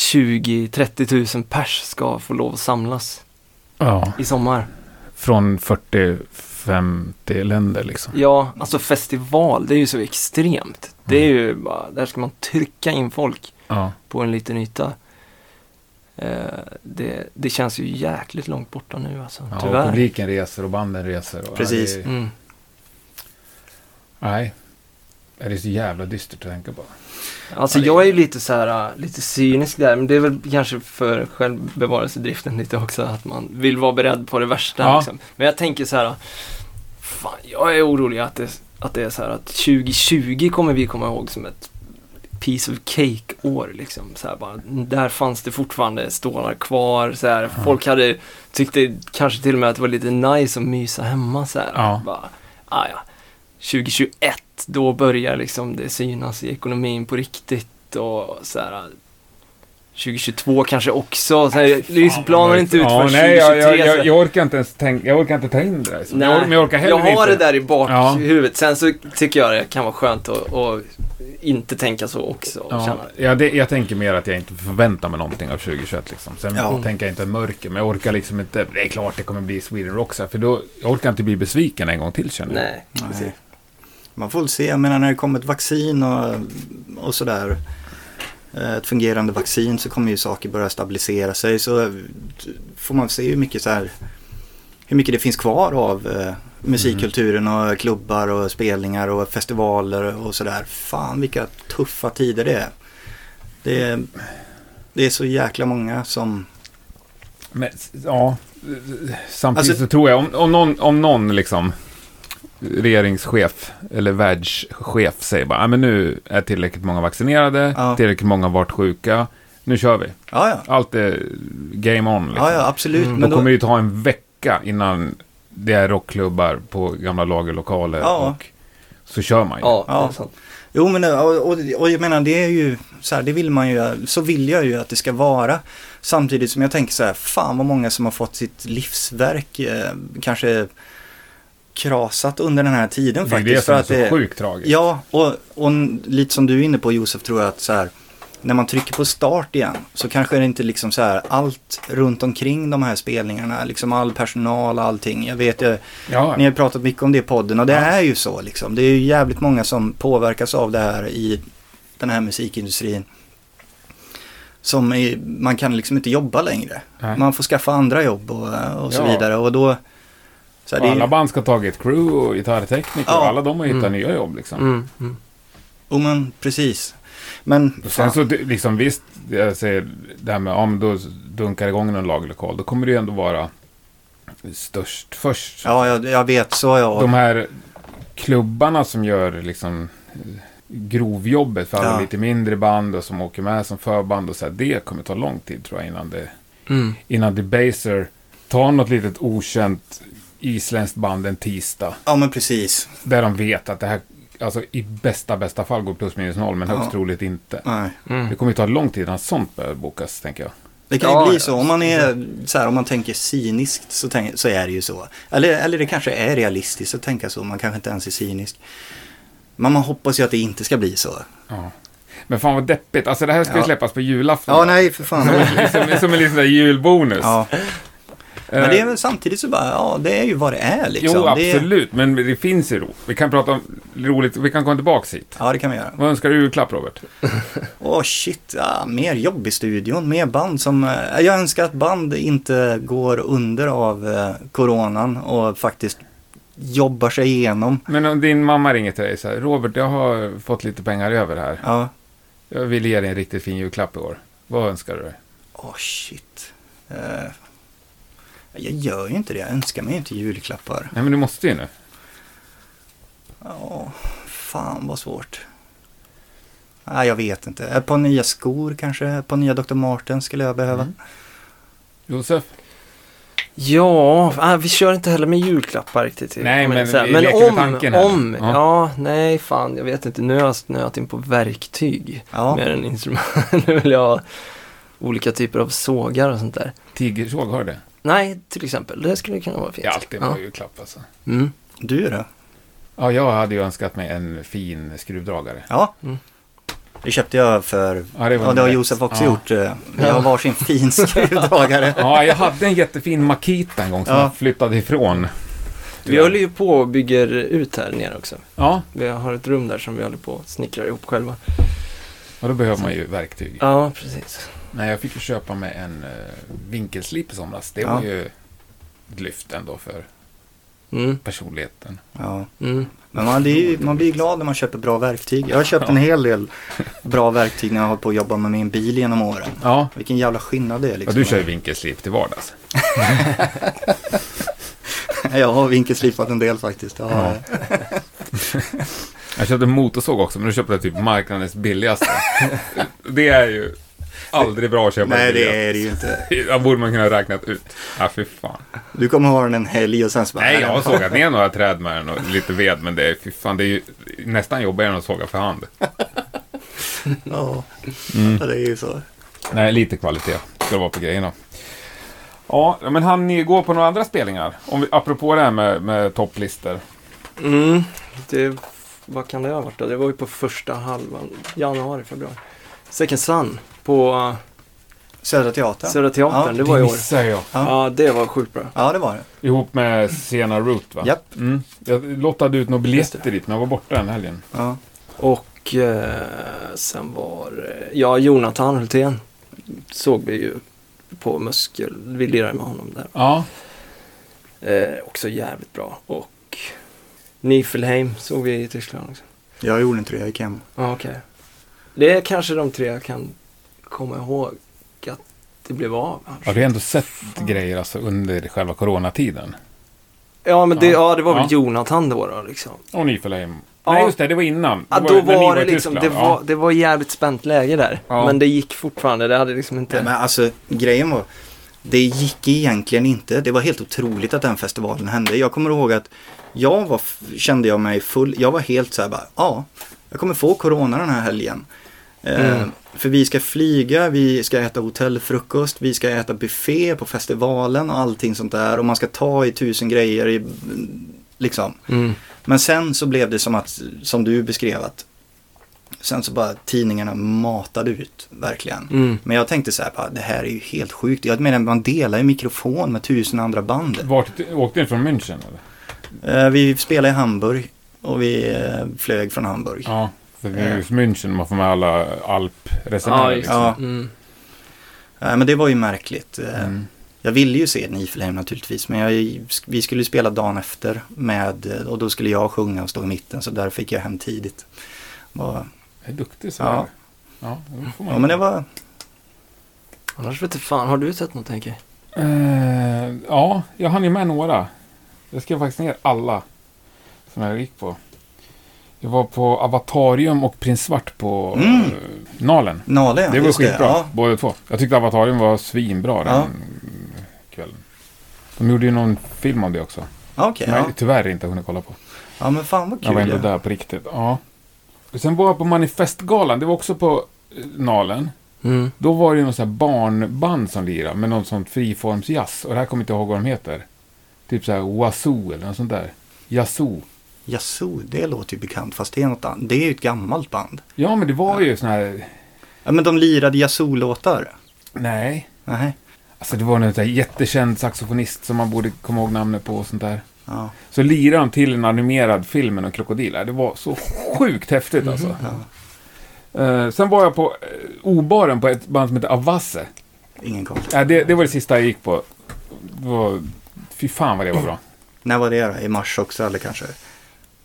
C: 20-30 000 pers ska få lov att samlas
A: Ja.
C: i sommar.
A: Från 40-50 länder liksom.
C: Ja, alltså festival, det är ju så extremt. Det är ju bara, där ska man trycka in folk.
A: Ja.
C: på en liten yta. Eh, det, det känns ju jäkligt långt borta nu alltså,
A: ja och
C: tyvärr.
A: publiken reser och banden reser. Och
B: Precis.
A: Ja, det,
C: Mm.
A: nej. Ja, Det är så jävla dystert att tänka på.
C: Alltså
A: Ja, det-
C: jag är ju lite så här, äh, lite cynisk där, men det är väl kanske för självbevarelsedriften lite också, att man vill vara beredd på det värsta.
A: Ja.
C: Liksom. Men jag tänker så här, fan jag är orolig att det, att det är så här att 2020 kommer vi komma ihåg som ett piece of cake-år liksom. Så här, bara, där fanns det fortfarande stålar kvar, så här, folk hade, tyckte kanske till och med att det var lite nice att mysa hemma så här.
A: Ja.
C: Bara, ah, ja. 2021, då börjar liksom det synas i ekonomin på riktigt och så här. 2022 kanske också. Så
A: Äh,
C: här, liksom planar inte ut för
A: ja,
C: 2023.
A: nej, jag, jag, jag,
C: så-
A: jag orkar inte ens tänka, jag orkar inte ta in det där. liksom. Jag, or- men jag orkar heller
C: jag har
A: inte.
C: det där i
A: Ja.
C: bakhuvudet. Sen så tycker jag det kan vara skönt att, att inte tänka så också. Och
A: Ja,
C: känna.
A: ja, det, jag tänker mer att jag inte förväntar mig någonting av 2021. Liksom. Sen
B: Ja.
A: tänker jag inte mörker, men jag orkar liksom inte. Det är klart det kommer bli Sweden Rock, så här, för då, jag orkar inte bli besviken en gång till känner jag.
C: Nej, precis.
B: Nej. Man får väl se, jag menar när det kommer ett vaccin och, och sådär. eh, Ett fungerande vaccin så kommer ju saker börja stabilisera sig. Så eh, får man se hur mycket, så här, hur mycket det finns kvar av eh, musikkulturen och klubbar och spelningar och festivaler och sådär. Fan vilka tuffa tider det är. Det är, det är så jäkla många som...
A: Men, ja, samtidigt
B: Alltså-
A: så tror jag, om, om någon, om någon liksom, regeringschef eller världschef säger bara, "Ah, men nu är tillräckligt många vaccinerade,
B: Ja.
A: tillräckligt många har varit sjuka, nu kör vi.
B: Ja, ja.
A: Allt är game on. Liksom.
B: Ja, ja, absolut.
C: Mm.
A: Då
B: Men då,
A: kommer det ju ta en vecka innan det är rockklubbar på gamla lagerlokaler
B: Ja.
A: och så kör man ju.
C: Ja, det är
B: Ja.
C: sant.
B: Jo men och, och, och jag menar det är ju så här, det vill man ju, så vill jag ju att det ska vara. Samtidigt som jag tänker så här, fan vad många som har fått sitt livsverk eh, kanske krasat under den här tiden
A: det är
B: faktiskt.
A: det som
B: för
A: är
B: att
A: så sjukt tragiskt.
B: Ja, och, och n- lite som du är inne på Josef tror jag att så här, när man trycker på start igen så kanske det inte liksom så här allt runt omkring de här spelningarna, liksom all personal, allting. Jag vet, jag,
A: Ja,
B: ni har pratat mycket om det i podden och det är ju så liksom. Det är ju jävligt många som påverkas av det här i den här musikindustrin. Som är, man kan liksom inte jobba längre.
A: Nej.
B: Man får skaffa andra jobb och, och så
A: Ja.
B: vidare. Och då... Så här,
A: och
B: det är,
A: alla
B: ju-
A: band ska ha tagit crew och gitarrtekniker och
B: Ja.
A: alla de har hittat
C: Mm.
A: nya jobb liksom.
C: Mm, mm.
B: jo men precis. Men
A: Och Sen
B: fan,
A: så det- liksom visst, jag säger det här med om då dunkar det igång någon lagerlokal, då kommer det ju ändå vara störst först.
B: ja, jag, jag vet så ja.
A: De här klubbarna som gör liksom eh, grovjobbet för alla
B: Ja.
A: lite mindre band och som åker med som förband och så här, det kommer ta lång tid tror jag innan det
C: Mm.
A: innan Debaser tar något litet okänt isländskt band en tisdag.
B: Ja men precis.
A: Där de vet att det här, alltså i bästa, bästa fall går plus minus noll, men högst
B: Ja.
A: troligt inte.
B: Nej.
A: Det
C: Mm.
A: kommer ju ta lång tid innan sånt börjar bokas, tänker jag.
B: Det kan
C: Ja,
B: ju bli
C: ja.
B: så. Om man, är, så här, om man tänker cyniskt så, tänk, så är det ju så. Eller, eller det kanske är realistiskt att tänka så. Man kanske inte ens är cynisk. Men man hoppas ju att det inte ska bli så.
A: Ja. Men fan vad deppigt, alltså det här ska ju
B: Ja.
A: släppas på julafton.
B: Ja, nej för fan.
A: Som, som en liten där julbonus.
B: Ja.
A: Eh,
B: Men det är väl samtidigt så bara, ja det är ju vad det är liksom.
A: Jo,
B: det är,
A: absolut, men det finns ju ro. Vi kan prata om roligt, vi kan komma tillbaka hit.
B: Ja, det kan vi göra.
A: Vad önskar du i julklapp, Robert?
B: Åh shit, ah, mer jobb i studion, mer band som... Eh, jag önskar att band inte går under av eh, coronan och faktiskt jobbar sig igenom.
A: Men om din mamma ringer till dig så här, Robert, jag har fått lite pengar över här.
B: Ja,
A: Jag vill ge dig en riktigt fin julklapp i år. Vad önskar du dig?
B: åh shit. Eh, jag gör ju inte det, jag önskar mig inte julklappar.
A: Nej, men du måste ju nu.
B: Ja, fan vad svårt. Nej, jag vet inte. Ett par nya skor kanske, ett par nya Dr. Martens skulle jag behöva.
A: Mm. Josef?
C: Ja, ah, vi kör inte heller med julklappar riktigt.
A: Nej,
C: jag
A: men
C: säga.
A: vi
C: men
A: leker med
C: om,
A: tanken här.
C: om,
A: Ja.
C: ja. nej fan, jag vet inte. Nu har jag snöat in på verktyg
B: Ja.
C: mer än instrument. nu vill jag ha olika typer av sågar och sånt där.
A: Tigersåg, har du det?
C: Nej, till exempel. Det skulle kunna vara fint.
A: Det är alltid en
C: ja.
A: bra julklapp alltså.
C: mm.
B: Du då?
A: Ja, jag hade ju önskat mig en fin skruvdragare.
B: Ja.
C: Mm.
B: Det köpte jag för,
A: det
B: ja det har
A: nummer
B: Josef
A: ett.
B: också
A: ja.
B: gjort. eh, Vi har varsin fin skruvdragare.
A: Ja, jag hade en jättefin Makita en gång som
B: Ja.
A: jag flyttade ifrån.
C: Vi håller ju på och bygger ut här nere också.
A: Ja,
C: Vi har ett rum där som vi håller på och snickrar ihop själva.
A: och då behöver man ju verktyg.
C: Ja, precis.
A: Nej, jag fick ju köpa mig en eh, vinkelslip i somras. Det
B: Ja.
A: var ju ett lyft ändå för
C: Mm,
A: personligheten.
B: Ja.
C: mm.
B: Men man, det är ju, man blir ju glad när man köper bra verktyg. Jag har köpt en hel del bra verktyg när jag har hållit på att jobba med min bil genom åren.
A: Ja,
B: Vilken jävla skillnad det är
A: och
B: liksom.
A: du kör ju vinkelslip till vardags.
B: Jag har vinkelslipat en del faktiskt. Ja,
A: Ja. Jag köpte en motorsåg också, men då köpte jag typ marknadens billigaste. det är ju aldrig bra att köpa
B: Nej,
A: billigaste.
B: det är det ju inte.
A: Ja, borde man kunna ha räknat ut. Ja, fy fan.
B: Du kommer ha den en helg och sen så bara,
A: Nej, jag har sågat ner några träd med den och lite ved, men det är, fy fan, det är ju nästan jobbigare än att såga för hand.
B: Ja, det är ju så.
A: Nej, lite kvalitet ska det vara på grejerna. Ja, men han ni gå på några andra spelningar? Om vi, apropå det här med, med topplistor.
C: Mm, det, vad kan det ha varit då? Det var ju på första halvan, januari, februari. Second Sun på eh,
B: Södra Teatern.
C: Södra Teatern,
B: Ja,
C: det var i år.
A: missade jag.
B: Ja.
C: Ja, det var sjukt bra.
B: Ja, det var det.
A: Ihop med Sena Root va?
B: Japp.
A: Mm. Jag lottade ut några
C: Just
A: biljetter dit, men jag var borta den helgen.
B: Ja.
C: Och eh, sen var eh, ja, Jonathan Hultén såg vi ju på Muskel. Vi lirade med honom där.
A: Ja,
C: Eh, också jävligt bra. Och Nifelheim såg vi i Tyskland också.
B: Jag gjorde inte det, jag gick hem.
C: Ja, okej. Det är kanske de tre jag kan komma ihåg att det blev av.
A: ja du har ändå sett grejer alltså, under själva coronatiden.
C: Ja, men det,
A: Ja.
C: ja. det var väl
A: Ja.
C: Jonathan då, då liksom.
A: Och Nifelheim.
C: Ja.
A: Nej, just det, det var innan.
C: Ja,
A: ju
C: då
A: när ni
C: var
A: i
C: det liksom, det
A: Tyskland.
C: var, det var jävligt spänt läge där.
A: Ja.
C: Men det gick fortfarande, det hade liksom inte...
B: Nej, men alltså grejen var, det gick egentligen inte. Det var helt otroligt att den festivalen hände. Jag kommer ihåg att jag var, kände jag mig full. Jag var helt så här bara, ja, jag kommer få corona den här helgen. Eh,
C: Mm.
B: För vi ska flyga, vi ska äta hotellfrukost, vi ska äta buffé på festivalen och allting sånt där. Och man ska ta i tusen grejer i, liksom.
C: Mm.
B: Men sen så blev det som att, som du beskrev att, sen så bara tidningarna matade ut verkligen.
C: Mm.
B: Men jag tänkte så här, bara, det här är ju helt sjukt. Jag menar, man delar ju mikrofon med tusen andra band.
A: Vart, åkte ni från München eller?
B: Eh, vi spelade i Hamburg och vi eh, flög från Hamburg. Ja.
A: Ja, för det är ju München man får med alla alpresenärer.
C: Ja, just
A: liksom.
C: det.
B: Ja.
C: Mm.
B: Eh, men det var ju märkligt. Eh,
A: Mm.
B: Jag ville ju se Nifelheim naturligtvis, men jag, vi skulle ju spela dagen efter med, eh, och då skulle jag sjunga och stå i mitten, så där fick jag hem tidigt. Var,
A: Jag är duktig så
B: Ja.
A: här. Ja, det får man
B: ja, men det var,
C: Annars vet jag fan, har du sett något Henke?
A: Eh, ja, jag hann ju med några. Jag skrev faktiskt ner alla som jag gick på. Jag var på Avatarium och Prins Svart på
B: Mm.
A: eh, Nalen.
B: Nale ja,
A: det var
B: just
A: skitbra,
B: Ja,
A: båda två. Jag tyckte Avatarium var svinbra den
B: Ja.
A: kvällen. De gjorde ju någon film om det också.
B: ja okej.
A: Men
B: ja.
A: jag tyvärr inte hunnit kolla på.
B: ja, men fan vad
A: Jag var ändå
B: kul. Ja.
A: där på riktigt. Ja. Sen var jag på Manifestgalan, det var också på eh, Nalen.
C: Mm.
A: Då var det ju någon sån här barnband som lirade med någon sån friformsjazz. Och det här kommer jag inte ihåg vad de heter. Typ så här Wazoo eller något sånt där. Yazoo.
B: Jaså, det låter ju bekant, fast det är något annat. Det är ju ett gammalt band.
A: Ja, men det var ju sån här...
B: Ja, men de lirade Yazoo-låtar.
A: Nej.
B: Nej.
A: Alltså det var någon sån här jättekänd saxofonist som man borde komma ihåg namnet på och sånt där.
B: Ja.
A: Så lirade de till en animerad film med en krokodil. Det var så sjukt häftigt alltså. Eh, sen var jag på eh, Obaren på ett band som heter Avasse.
B: Ingen koll.
A: Ja, det, det var det sista jag gick på. Det var, fy fan vad det var bra.
B: När var det då? I mars också eller kanske?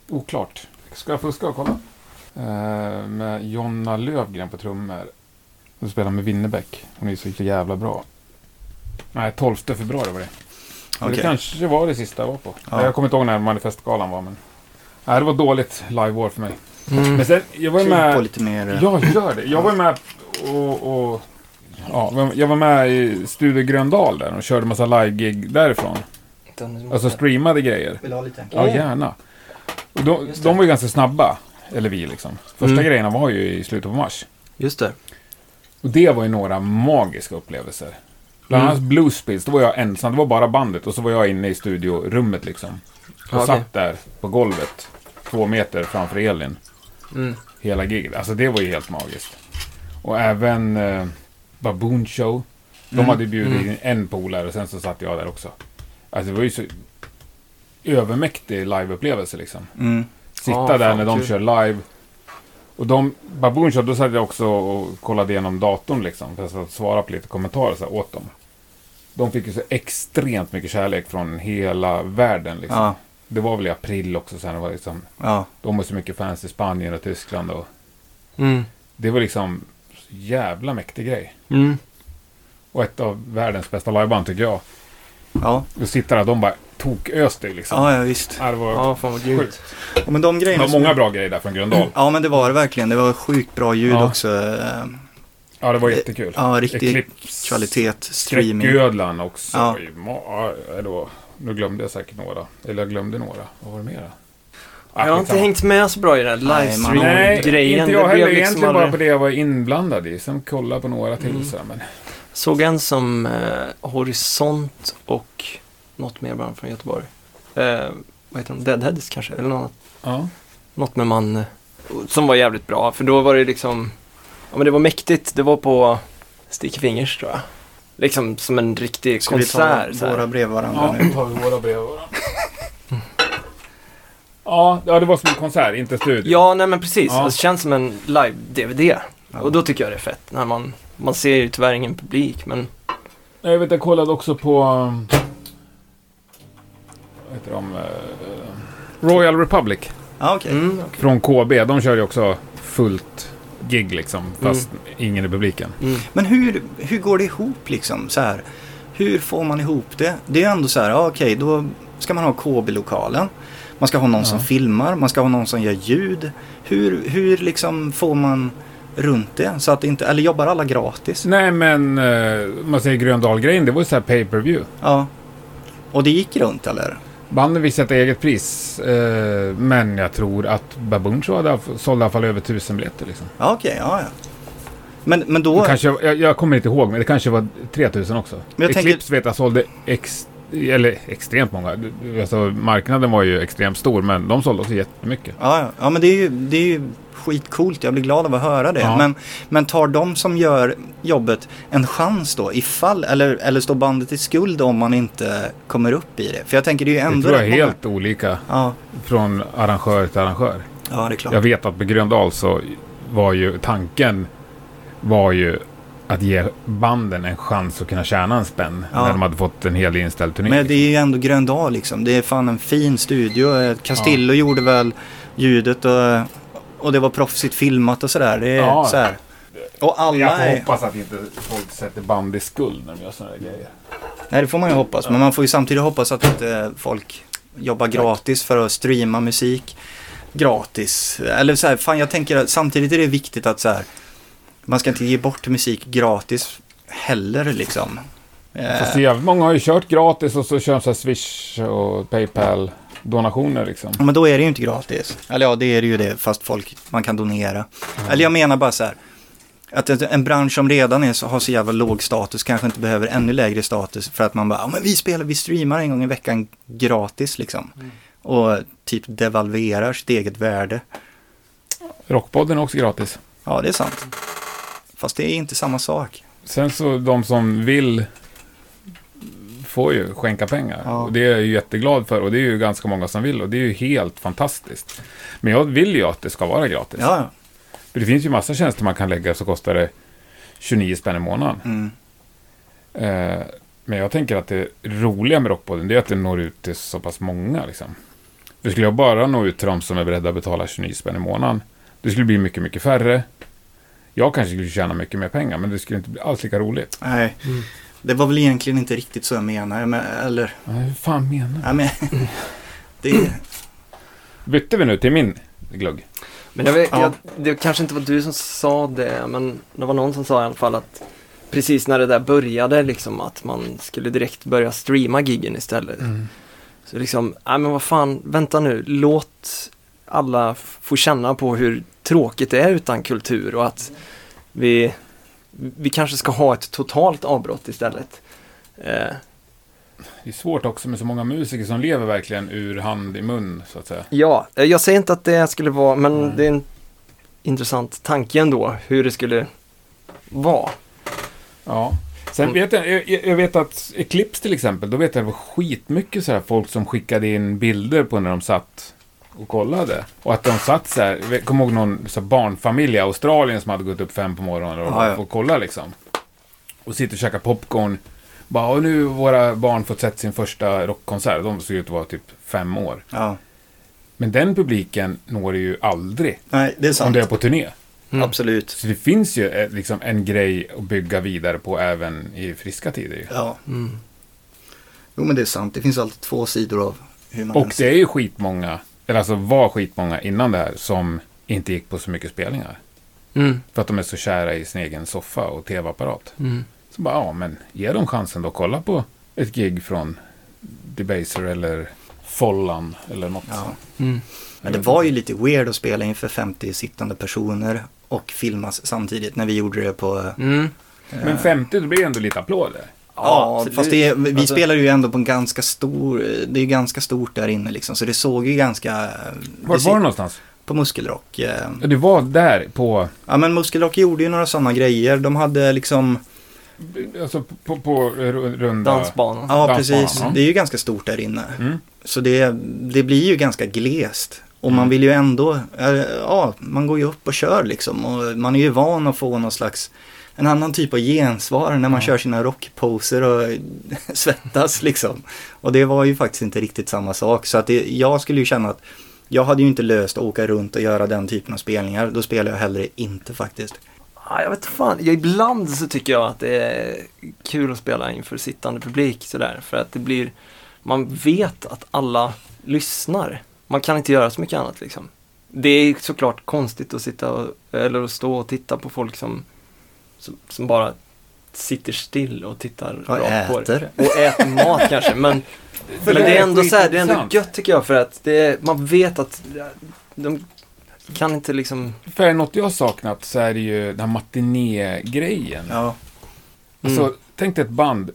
A: Oklart. Ska jag fuska och kolla? Eh, med Jonna Lövgren på trummor. Och spelar med Winnerbäck. Hon är så jävla bra. Nej, 12 februari var det. Men Det
B: Okej.
A: kanske var det sista jag var på.
B: Ja.
A: Jag kommer inte ihåg när manifestgalan var, men... Nej, det var dåligt live-år för mig.
C: Mm.
A: Men sen, jag var ju
B: Kliv på
A: med...
B: lite mer. eh,
A: Jag gör det. Jag var ju med och... och ja, jag var med i Studio Gröndal där och körde massa live-gig därifrån.
C: Mm.
A: Alltså streamade grejer.
B: Vill du ha lite?
A: Ja, gärna. Och de,
C: Just det.
A: de var ju ganska snabba, eller vi liksom. Första
C: Mm.
A: grejerna var ju i slutet på mars.
C: Just det.
A: Och det var ju några magiska upplevelser. Bland
C: Mm.
A: annat Bluespills, då var jag ensam, det var bara bandet och så var jag inne i studiorummet liksom. Och
C: Ja, okej.
A: satt där på golvet, två meter framför Elin,
C: Mm.
A: hela giget. Alltså det var ju helt magiskt. Och även eh, Baboon Show. De
C: Mm.
A: hade bjudit in en polare och sen så satt jag där också. Alltså det var ju så övermäktig liveupplevelse liksom
B: Mm.
A: sitta
C: Ah,
A: där
C: fan,
A: när de
C: kul.
A: kör live. Och de, Baboon Show, då satt jag också och kollade igenom datorn liksom. För att satt och svara på lite kommentarer så här, åt dem. De fick ju så extremt mycket kärlek från hela världen liksom.
B: Ja,
A: Det var väl i april också sen. Det var liksom,
B: ja.
A: de har så mycket fans i Spanien och Tyskland och
C: Mm.
A: det var liksom så jävla mäktig grej.
C: Mm.
A: Och ett av världens bästa liveband tycker jag.
B: Ja,
A: Och sitta där och de bara toköste liksom.
B: ja, ja visst.
A: Ja, Det var,
C: Ja, fan vad grymt.
B: Ja, men de
A: det
B: grejerna.
A: var
B: som-
A: många bra grejer där från Gröndal.
B: Ja, men det var det verkligen. Det var sjukt bra ljud
A: Ja.
B: också. eh,
A: Ja, det var jättekul.
B: Ja, riktig
A: Eclipse-
B: kvalitet. Streaming.
A: Skräcködlan också.
B: Ja.
A: I ma- ja, då, nu glömde jag säkert några. Eller jag glömde några. Vad var det mera? Ah,
C: jag har inte
A: skitsamma.
C: hängt med så bra i den här
B: Nej, man-
A: Nej,
C: livestream-grejen.
A: inte jag
C: Det
A: heller.
C: blev liksom
A: Egentligen bara
C: aldrig-
A: på det jag var inblandad i. Sen kolla på några till
C: Mm.
A: sådär. Men
C: Såg en som eh, Horisont och något mer band från Göteborg. Eh, vad heter de? Deadheads kanske? Eller något,
A: ja.
C: något med man. eh, Som var jävligt bra. För då var det liksom, ja men det var mäktigt. Det var på Sticky Fingers tror jag. Liksom som en riktig
B: Ska
C: konsert.
B: vi
C: så
B: ta
C: här.
B: våra bredvid varandra
A: ja,
B: nu?
A: nu tar vi våra brev varandra. Ja, ja, det var som en konsert, inte studio.
C: Ja, nej men precis.
A: Ja.
C: Alltså, det känns som en live-DVD.
B: Ja.
C: Och då tycker jag det är fett. När man, man ser ju tyvärr ingen publik, men
A: Jag vet, jag kollade också på... um, Vad heter de? eh, Royal Republic
B: Ja, okej.
C: mm,
A: från KB. De kör ju också fullt gig liksom, fast ingen i publiken.
C: mm.
B: Men hur, hur går det ihop liksom? Så här? Hur får man ihop det? Det är ändå så här, ja, okej, då ska man ha KB-lokalen. Man ska ha någon som
A: Ja.
B: filmar, man ska ha någon som gör ljud. Hur, hur liksom får man runt det? Så att det inte, eller jobbar alla gratis?
A: Nej, men eh, om man säger Gröndal-grejen, det var ju så här pay-per-view.
B: Ja. Och det gick runt eller?
A: Banden fick sätta eget pris, eh, men jag tror att Baboon Show hade haft- sålde i alla fall över tusen biljetter. Liksom.
B: Ja, okej, ja, ja. Men, men då...
A: Det Kanske, jag, jag kommer inte ihåg, men det kanske var 3000 också.
B: jag tänker-
A: Eclipse vet jag sålde ex, eller extremt många. Alltså, marknaden var ju extremt stor, men de sålde också jättemycket.
B: Ja, ja. ja men det är, ju, det är ju skitcoolt. Jag blir glad av att höra det.
A: Ja.
B: Men, men tar de som gör jobbet en chans då ifall, eller, eller står bandet i skuld om man inte kommer upp i det? För jag tänker det är ju
A: Det
B: ändå...
A: tror jag är
B: rätt många-
A: helt olika
B: Ja,
A: från arrangör till arrangör.
B: ja, det är klart.
A: Jag vet att på Gröndal så var ju tanken var ju att ge banden en chans att kunna tjäna en spänn
B: Ja.
A: när de hade fått en hel inställd turné. liksom.
B: Men det är ju ändå Gröndal liksom. Det är fan en fin studio. Eh, Castillo gjorde väl ljudet och, och det var proffsigt filmat och sådär. Det är
A: Ja.
B: så här. Och alla
A: Jag får
B: är...
A: hoppas att inte folk sätter band i skuld när de gör sådana där grejer.
B: Nej, det får man ju hoppas. Men man får ju samtidigt hoppas att inte folk jobbar gratis för att streama musik gratis. Eller så här, fan jag tänker att samtidigt är det viktigt att så här, man ska inte ge bort musik gratis heller liksom. Eh,
A: Fast det är jävligt många har ju kört gratis och så kör de så här Swish och Paypal-donationer liksom.
B: men då är det ju inte gratis. Eller ja, det är det ju det, fast folk, man kan donera. Eller jag menar bara så här, att en- en bransch som redan är, så- har så jävla låg status kanske inte behöver ännu lägre status för att man bara, ja men vi spelar, vi streamar en gång i veckan gratis liksom.
A: Mm.
B: Och typ devalverar sitt eget värde.
A: Rockpodden är också gratis.
B: Ja, det är sant. Fast det är inte samma sak.
A: Sen så de som vill får ju skänka pengar.
B: Ja.
A: Och det är jag ju jätteglad för och det är ju ganska många som vill och det är ju helt fantastiskt. Men jag vill ju att det ska vara gratis.
B: Ja, ja.
A: För det finns ju massa tjänster man kan lägga så kostar det 29 spänn i månaden.
B: Mm.
A: Eh, men jag tänker att det roliga med Rockpodden det är att det når ut till så pass många. Liksom. För skulle jag bara nå ut till de som är beredda att betala 29 spänn i månaden, det skulle bli mycket, mycket färre. Jag kanske skulle tjäna mycket mer pengar, men det skulle inte bli alls lika roligt.
B: Nej,
A: Mm.
B: det var väl egentligen inte riktigt så jag menade. Men, eller,
A: Nej, hur fan menar
B: ja, men,
A: Mm.
B: det,
A: du? Bytte vi nu till min glugg?
C: Men jag vet,
B: Ja.
C: jag, det kanske inte var du som sa det, men det var någon som sa i alla fall att precis när det där började, liksom att man skulle direkt börja streama giggen istället.
B: Mm.
C: Så liksom, nej men vad fan, vänta nu, låt alla f- få känna på hur tråkigt det är utan kultur och att vi, vi kanske ska ha ett totalt avbrott istället. Eh,
A: Det är svårt också med så många musiker som lever verkligen ur hand i mun, så att säga.
C: Ja, eh, jag säger inte att det skulle vara, men
A: Nej.
C: det är en intressant tanke ändå hur det skulle vara.
A: Ja. Sen vet jag, jag, jag vet att Eclipse till exempel, då vet jag att det var skitmycket så här folk som skickade in bilder på när de satt och kollade. Och att de satt så här, jag kommer ihåg någon så här barnfamilj i Australien som hade gått upp fem på morgonen och,
B: Ja, ja.
A: och kollat liksom. Och sitter och käkar popcorn. Bara, och nu har våra barn fått sett sin första rockkonsert. De såg ut att vara typ fem år.
B: ja.
A: Men den publiken når det ju aldrig
B: Nej, det är
A: om
B: sant.
A: det är på turné.
C: Mm.
B: Absolut.
A: Så det finns ju eh, liksom en grej att bygga vidare på även i friska tider. Ju.
B: Ja.
C: Mm.
B: Jo men det är sant, det finns alltid två sidor av hur man
A: Och
B: kan se-
A: det är ju skitmånga, eller alltså var skitmånga innan det här, som inte gick på så mycket spelningar.
C: Mm.
A: För att de är så kära i sin egen soffa och tv-apparat.
C: Mm.
A: Så bara, ja men ge dem chansen då, kolla på ett gig från Debaser eller follan eller något.
B: Ja.
C: Mm.
B: Men det var ju lite weird att spela inför 50 sittande personer och filmas samtidigt när vi gjorde det på... eh,
C: Mm.
A: Men 50, då blir det ändå lite applåder.
B: Ja,
C: absolut.
B: fast det, vi
C: Alltså-
B: spelade ju ändå på en ganska stor, det är ganska stort där inne liksom, så det såg ju ganska...
A: Var var det någonstans?
B: På Muskelrock. eh,
A: Ja, det var där på,
B: Ja men Muskelrock gjorde ju några sådana grejer, de hade liksom,
A: alltså på, på, på ru- runda...
C: Dansbanan.
B: ja
A: Dansbanan,
B: precis,
A: ja.
B: det är ju ganska stort där inne.
A: Mm.
B: Så det, det blir ju ganska glest. Och man
A: Mm.
B: vill ju ändå, eh, ja, man går ju upp och kör liksom. Och man är ju van att få någon slags, en annan typ av gensvar när man
A: Ja.
B: kör sina rockposer och svettas liksom. Och det var ju faktiskt inte riktigt samma sak. Så att det, jag skulle ju känna att jag hade ju inte löst att åka runt och göra den typen av spelningar. Då spelar jag hellre inte faktiskt.
C: Ja, jag vet fan. Ja, ibland så tycker jag att det är kul att spela inför sittande publik sådär. För att det blir, man vet att alla lyssnar. Man kan inte göra så mycket annat liksom. Det är såklart konstigt att sitta och, eller att stå och titta på folk som, som, som bara sitter still och tittar
B: Och
C: rakt på det.
B: äter.
C: Och äter mat kanske. Men,
A: För
C: men det är ändå så här, det är ändå
A: skitintressant.
C: gött tycker jag för att det är, man vet att de kan inte liksom
A: För är det något jag har saknat så är det ju den här matinégrejen.
C: Mm.
B: Ja,
A: Alltså, tänk dig ett band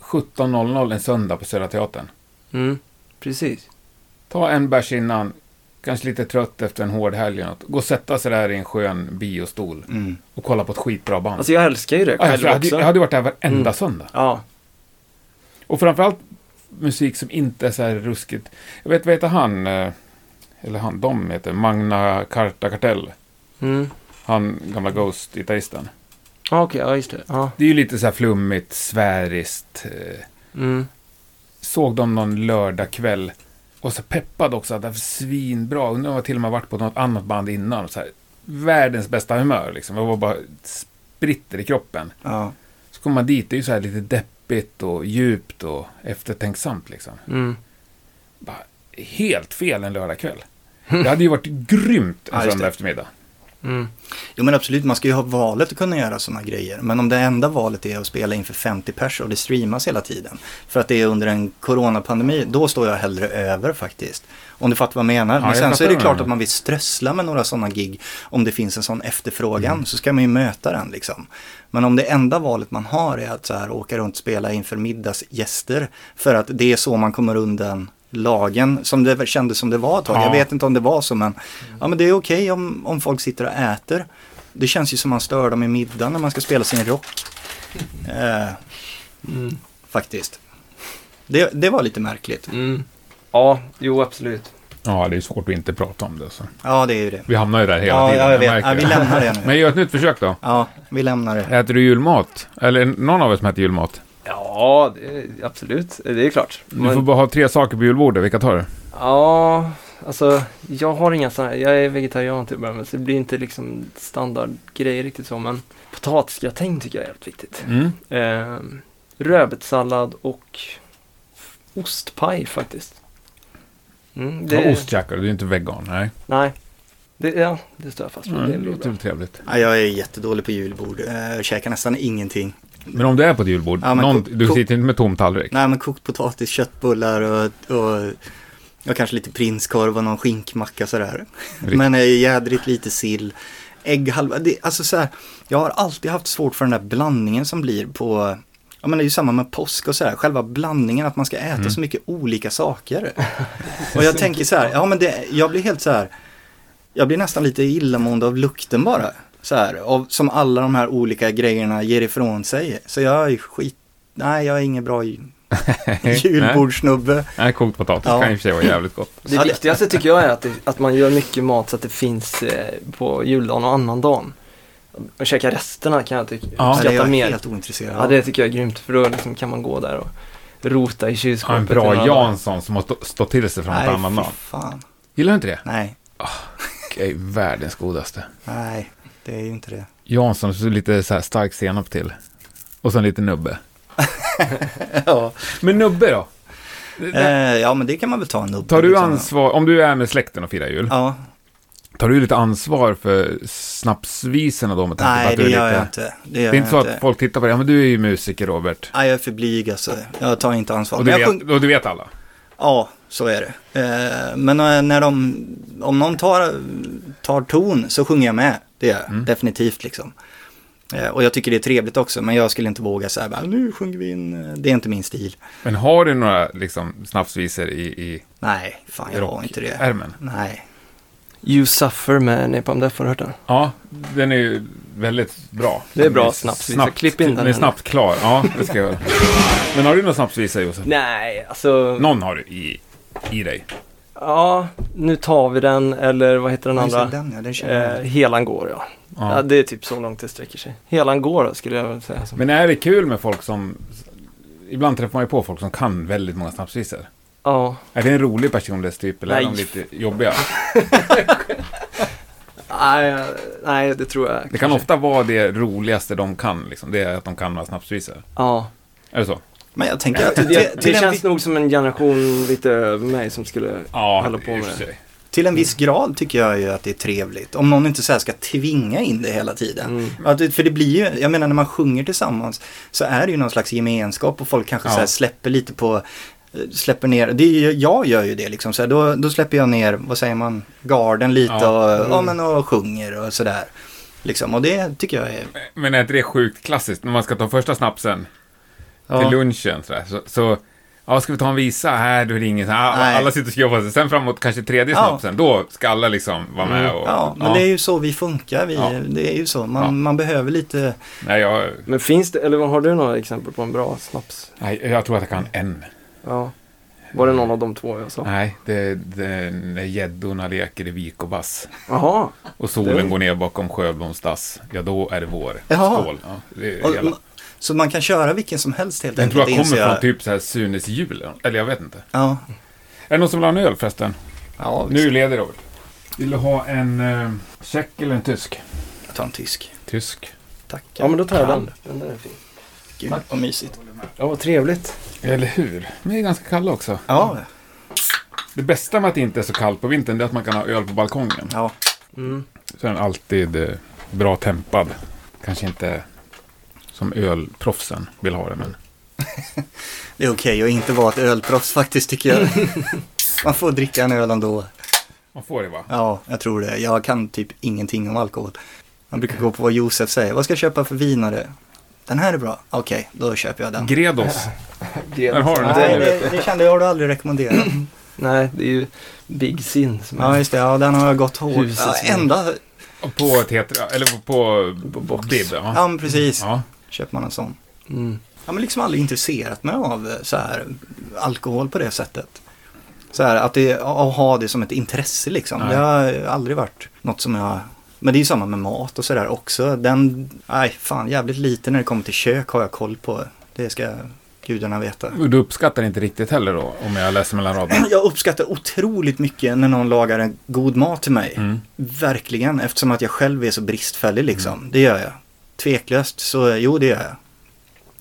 A: 17.00 en söndag på Södra Teatern.
C: Mm, precis.
A: Ta en bärs innan, kanske lite trött efter en hård helg eller något. Gå och sätta sig där i en skön biostol
B: mm.
A: och kolla på ett skitbra band.
C: Alltså jag älskar ju det
A: Ja, jag,
C: själv
A: tror jag, hade,
C: också.
A: jag hade varit där varenda
C: Mm.
A: söndag.
C: Ja,
A: Och framförallt musik som inte är så här ruskigt. Jag vet, vad heter han? eh, Eller han, de heter Magna Carta Kartell.
C: mm.
A: Han gamla Ghost-gitarristen.
C: Ja, okej, ja just det. Ja.
A: Det är ju lite så här flummigt, sfäriskt. eh,
C: Mm.
A: Såg dem någon lördagkväll. Och så peppad också, att det var svinbra. Undrar om jag till och med varit på något annat band innan. Så här, världens bästa humör liksom. Jag var bara spritter i kroppen.
B: ja.
A: Så kommer man dit, det är ju så här lite deppigt och djupt och eftertänksamt liksom.
C: Mm.
A: Bara, helt fel en lördagkväll. Det hade ju varit grymt en
B: Ja, just
A: söndag
B: det.
A: eftermiddag.
C: Mm.
B: Jo men absolut, man ska ju ha valet att kunna göra sådana grejer. Men om det enda valet är att spela inför 50 pers och det streamas hela tiden. För att det är under en coronapandemi, då står jag hellre över faktiskt. Om du fattar vad jag menar.
A: Ja,
B: men
A: jag
B: sen så
A: fattar
B: är det
A: vad du
B: klart
A: menar.
B: att man vill strössla med några sådana gig. Om det finns en sån efterfrågan så ska man ju möta den liksom. Men om det enda valet man har är att så här, åka runt och spela inför middagsgäster. För att det är så man kommer undan lagen som det kändes som det var ett tag. Jag
A: Ja.
B: vet inte om det var så men, ja, men det är okej om, om folk sitter och äter. Det känns ju som man stör dem i middagen när man ska spela sin rock. Eh,
C: Mm.
B: faktiskt. Det, det var lite märkligt.
C: Mm. Ja, jo absolut.
A: Ja, det är svårt att inte prata om det. Så.
B: Ja, det är ju det.
A: Vi hamnar ju där hela
B: Ja,
A: tiden.
B: ja, jag vet.
A: märker
B: Ja, vi
A: det.
B: lämnar det nu.
A: Men gör ett nytt försök då.
B: Ja, vi lämnar det.
A: Äter du julmat? Eller någon av er som äter julmat?
C: Ja, det, absolut. Det är klart.
A: Du får
C: Men,
A: bara ha tre saker på julbordet. Vilka tar du?
C: ja, alltså jag har inga sådana här. Jag är vegetarian till att börja med så det blir inte liksom standardgrejer riktigt så men potatisgratäng tycker jag är jävligt viktigt.
A: Mm.
C: Ehm, rödbetssallad och ostpaj faktiskt. Mm,
A: Det... Ost käkar du, du är inte vegan. Nej,
C: Nej, det, ja, det står jag fast vid.
A: mm,
C: det
A: det
C: blir
A: låter
C: bra.
A: väl trevligt.
B: Ja, jag är jättedålig på julbord. Eh, käkar nästan ingenting.
A: Men om du är på ett julbord,
B: Ja, men
A: någon,
B: ko-
A: du
B: ko-
A: sitter inte med tom tallrik?
B: Nej, men kokt potatis, köttbullar och, och, och kanske lite prinskorv och någon skinkmacka sådär.
A: Riktigt.
B: Men eh, jädrigt lite sill. Ägghalva, det, alltså så här, jag har alltid haft svårt för den där blandningen som blir på, ja men det är ju samma med påsk och sådär, själva blandningen att man ska äta
A: Mm.
B: så mycket olika saker. Och jag tänker så här, ja men det, jag blir helt så här, jag blir nästan lite illamående av lukten bara. Så här, av, som alla de här olika grejerna ger ifrån sig. Så jag är skit, nej jag är ingen bra ju- julbordsnubbe.
A: Nej, kokt potatis
B: Ja.
A: kan i och för sig vara jävligt gott.
C: Det viktigaste tycker jag är att, det, att man gör mycket mat så att det finns eh, på juldagen och annandagen. Och käka resterna kan jag tycka,
A: Ja,
B: det är
C: uppskatta
B: jag
C: mer.
B: helt ointresserad
C: Ja,
B: av.
C: det tycker jag är grymt för då liksom kan man gå där och rota i
A: Ja,
C: kylskåpet.
A: en
C: i
A: bra
C: några dagar.
A: Jansson som har stå, stått till sig från
B: Nej,
A: ett annan
B: fy
A: dag.
B: fan.
A: Gillar du inte det?
B: Nej,
A: Okej, världens godaste.
B: nej, det är ju inte det.
A: Jansson, så lite så här stark senap till. Och sen lite nubbe.
B: ja.
A: Men nubbe då?
B: Eh, ja, men det kan man väl ta en nubbe.
A: Tar du
B: liksom.
A: ansvar, om du är med släkten och firar jul,
B: Ja,
A: tar du lite ansvar för snapsvisorna då med tanke på
B: nej
A: att du
B: det
A: är
B: gör jag
A: lite...
B: inte. Det gör
A: Det är inte så
B: jag inte.
A: att folk tittar på dig, ja men du är ju musiker Robert.
B: Nej, jag är för blyg alltså. Jag tar inte ansvar.
A: Och du
B: Men jag sjung-
A: vet, och du vet alla.
B: Ja, så är det. Eh, men eh, när de, om någon tar, tar ton så sjunger jag med. Det gör jag
A: Mm.
B: definitivt liksom. Eh, och jag tycker det är trevligt också, men jag skulle inte våga säga bara, nu sjunger vi in, eh, det är inte min stil.
A: Men har du några liksom, snapsvisor i, i
B: Nej, fan jag har inte det.
A: rockärmen?
B: Nej.
C: You Suffer med Napalm Death, har du hört den?
A: Ja, den är ju väldigt bra.
C: Det är bra
A: Den
C: snapsvisa.
A: snabbt-
C: Klipp in den
A: Den är
C: här.
A: snabbt klar. Ja, det ska jag göra. Men har du någon snapsvisa, Josef?
C: Nej, alltså...
A: Någon har du i, i dig.
C: Ja, nu tar vi den, eller vad heter den
B: Ja, just
C: andra?
B: det, Den, ja, den känner jag.
C: Eh, Helan går, ja. ja.
A: Ja.
C: Det är typ så långt det sträcker sig. Helan går, skulle jag väl säga. Som.
A: Men är det kul med folk som... Ibland träffar man ju på folk som kan väldigt många snapsvisor.
C: Ja.
A: Är det en rolig personlighetstyp eller är de
C: Nej.
A: lite jobbiga?
C: Nej, eh, nej, det tror jag.
A: Det kan
C: kanske.
A: ofta vara det roligaste de kan, liksom. det är att de kan några snapsvisor.
C: Ja.
A: Är det så?
B: Men jag tänker att
C: Det,
B: till,
C: det,
B: till, en,
C: känns
B: vi-
C: nog som en generation lite över mig som skulle...
A: Ja,
C: Håller på
A: i och
C: med
A: för sig.
B: till en viss grad tycker jag ju att det är trevligt. Om någon inte så här ska tvinga in det hela tiden.
C: Mm.
B: Ja, det, för det blir ju, jag menar när man sjunger tillsammans så är det ju någon slags gemenskap och folk kanske
A: Ja.
B: så här släpper lite på, eh, släpper ner, det är ju, jag gör ju det liksom, så här, då, då släpper jag ner, vad säger man, garden lite
A: Ja.
B: och, ja,
C: Mm.
B: men, och sjunger och sådär. Liksom, och det tycker jag är,
A: Men är inte det sjukt klassiskt? När man ska ta första snapsen till
B: ja,
A: lunchen sådär, så, så ja, ska vi ta en visa? Här, du ringer. Så, här,
B: Nej.
A: alla sitter och skruvar på sig. Sen framåt kanske tredje
B: Ja. Mm.
A: snapsen, då ska alla liksom vara med. Och,
B: ja men det är ju så vi funkar, vi,
A: Ja.
B: det är ju så, man,
A: Ja.
B: man behöver lite,
A: Nej, jag,
C: Men finns det, eller vad- har du några exempel på en bra snaps?
A: nej, jag tror att jag kan en.
C: Ja. Var det någon av de två jag sa?
A: Nej, det, det när gäddorna leker i vik och vass.
C: Jaha.
A: Och solen
B: Det-
A: går ner bakom Sjöbons dass. Ja, då är det vår.
B: Jaha.
A: Skål. Ja, det är
B: och,
A: hela.
B: så man kan köra vilken som helst helt
A: Den tror jag
B: inser
A: kommer från typ så här Sunes jul. Eller jag vet inte.
B: Ja,
A: Är det någon som vill ha en öl förresten?
B: ja
A: Nu leder Robert. Vill du ha en eh, tjeck eller en tysk?
B: jag tar en tysk.
A: Tysk.
B: Tack.
C: Ja, men då tar jag
B: Kall.
C: den. Den där är fin.
B: Gud, vad mysigt.
C: Ja, vad trevligt.
A: Eller hur? Men det är ganska kalla också.
B: Ja,
A: Det bästa med att det inte är så kallt på vintern det är att man kan ha öl på balkongen.
B: ja.
C: Mm.
A: Så är den alltid eh, bra tempad. Kanske inte som ölproffsen vill ha det, men...
B: Det är okej att inte vara ett ölproffs faktiskt tycker jag. Man får dricka en öl ändå.
A: Man får det va?
B: Ja, jag tror det. Jag kan typ ingenting om alkohol. Man brukar gå på vad Josef säger. Vad ska jag köpa för vinare? Den här är bra. Okej, då köper jag den.
A: Gredos. Där har du den.
B: Nej,
C: Nej,
B: det, det kände jag. Har du aldrig rekommenderat?
C: nej, det är ju Big Sin som
B: Ja,
C: är
B: just det. Ja, den har jag gått hårt.
C: Huset
B: Ja,
C: som-
B: enda...
A: Och På Tetra, eller på, på,
C: på box.
A: Bib. Ja.
B: Ja, men precis.
A: ja.
B: Köper man en sån.
C: Mm.
B: Ja, men liksom aldrig intresserat mig av eh, så här alkohol på det sättet. Så här att, det, att ha det som ett intresse liksom.
A: Nej.
B: Det har aldrig varit något som jag... Men det är ju samma med mat och sådär också. Den, nej fan jävligt lite när det kommer till kök har jag koll på. Det ska gudarna veta.
A: Och Du uppskattar inte riktigt heller då, om jag läser mellan raderna?
B: Jag uppskattar otroligt mycket när någon lagar en god mat till mig.
A: Mm.
B: Verkligen, eftersom att jag själv är så bristfällig liksom. Det gör jag. Tveklöst, så jo det gör jag.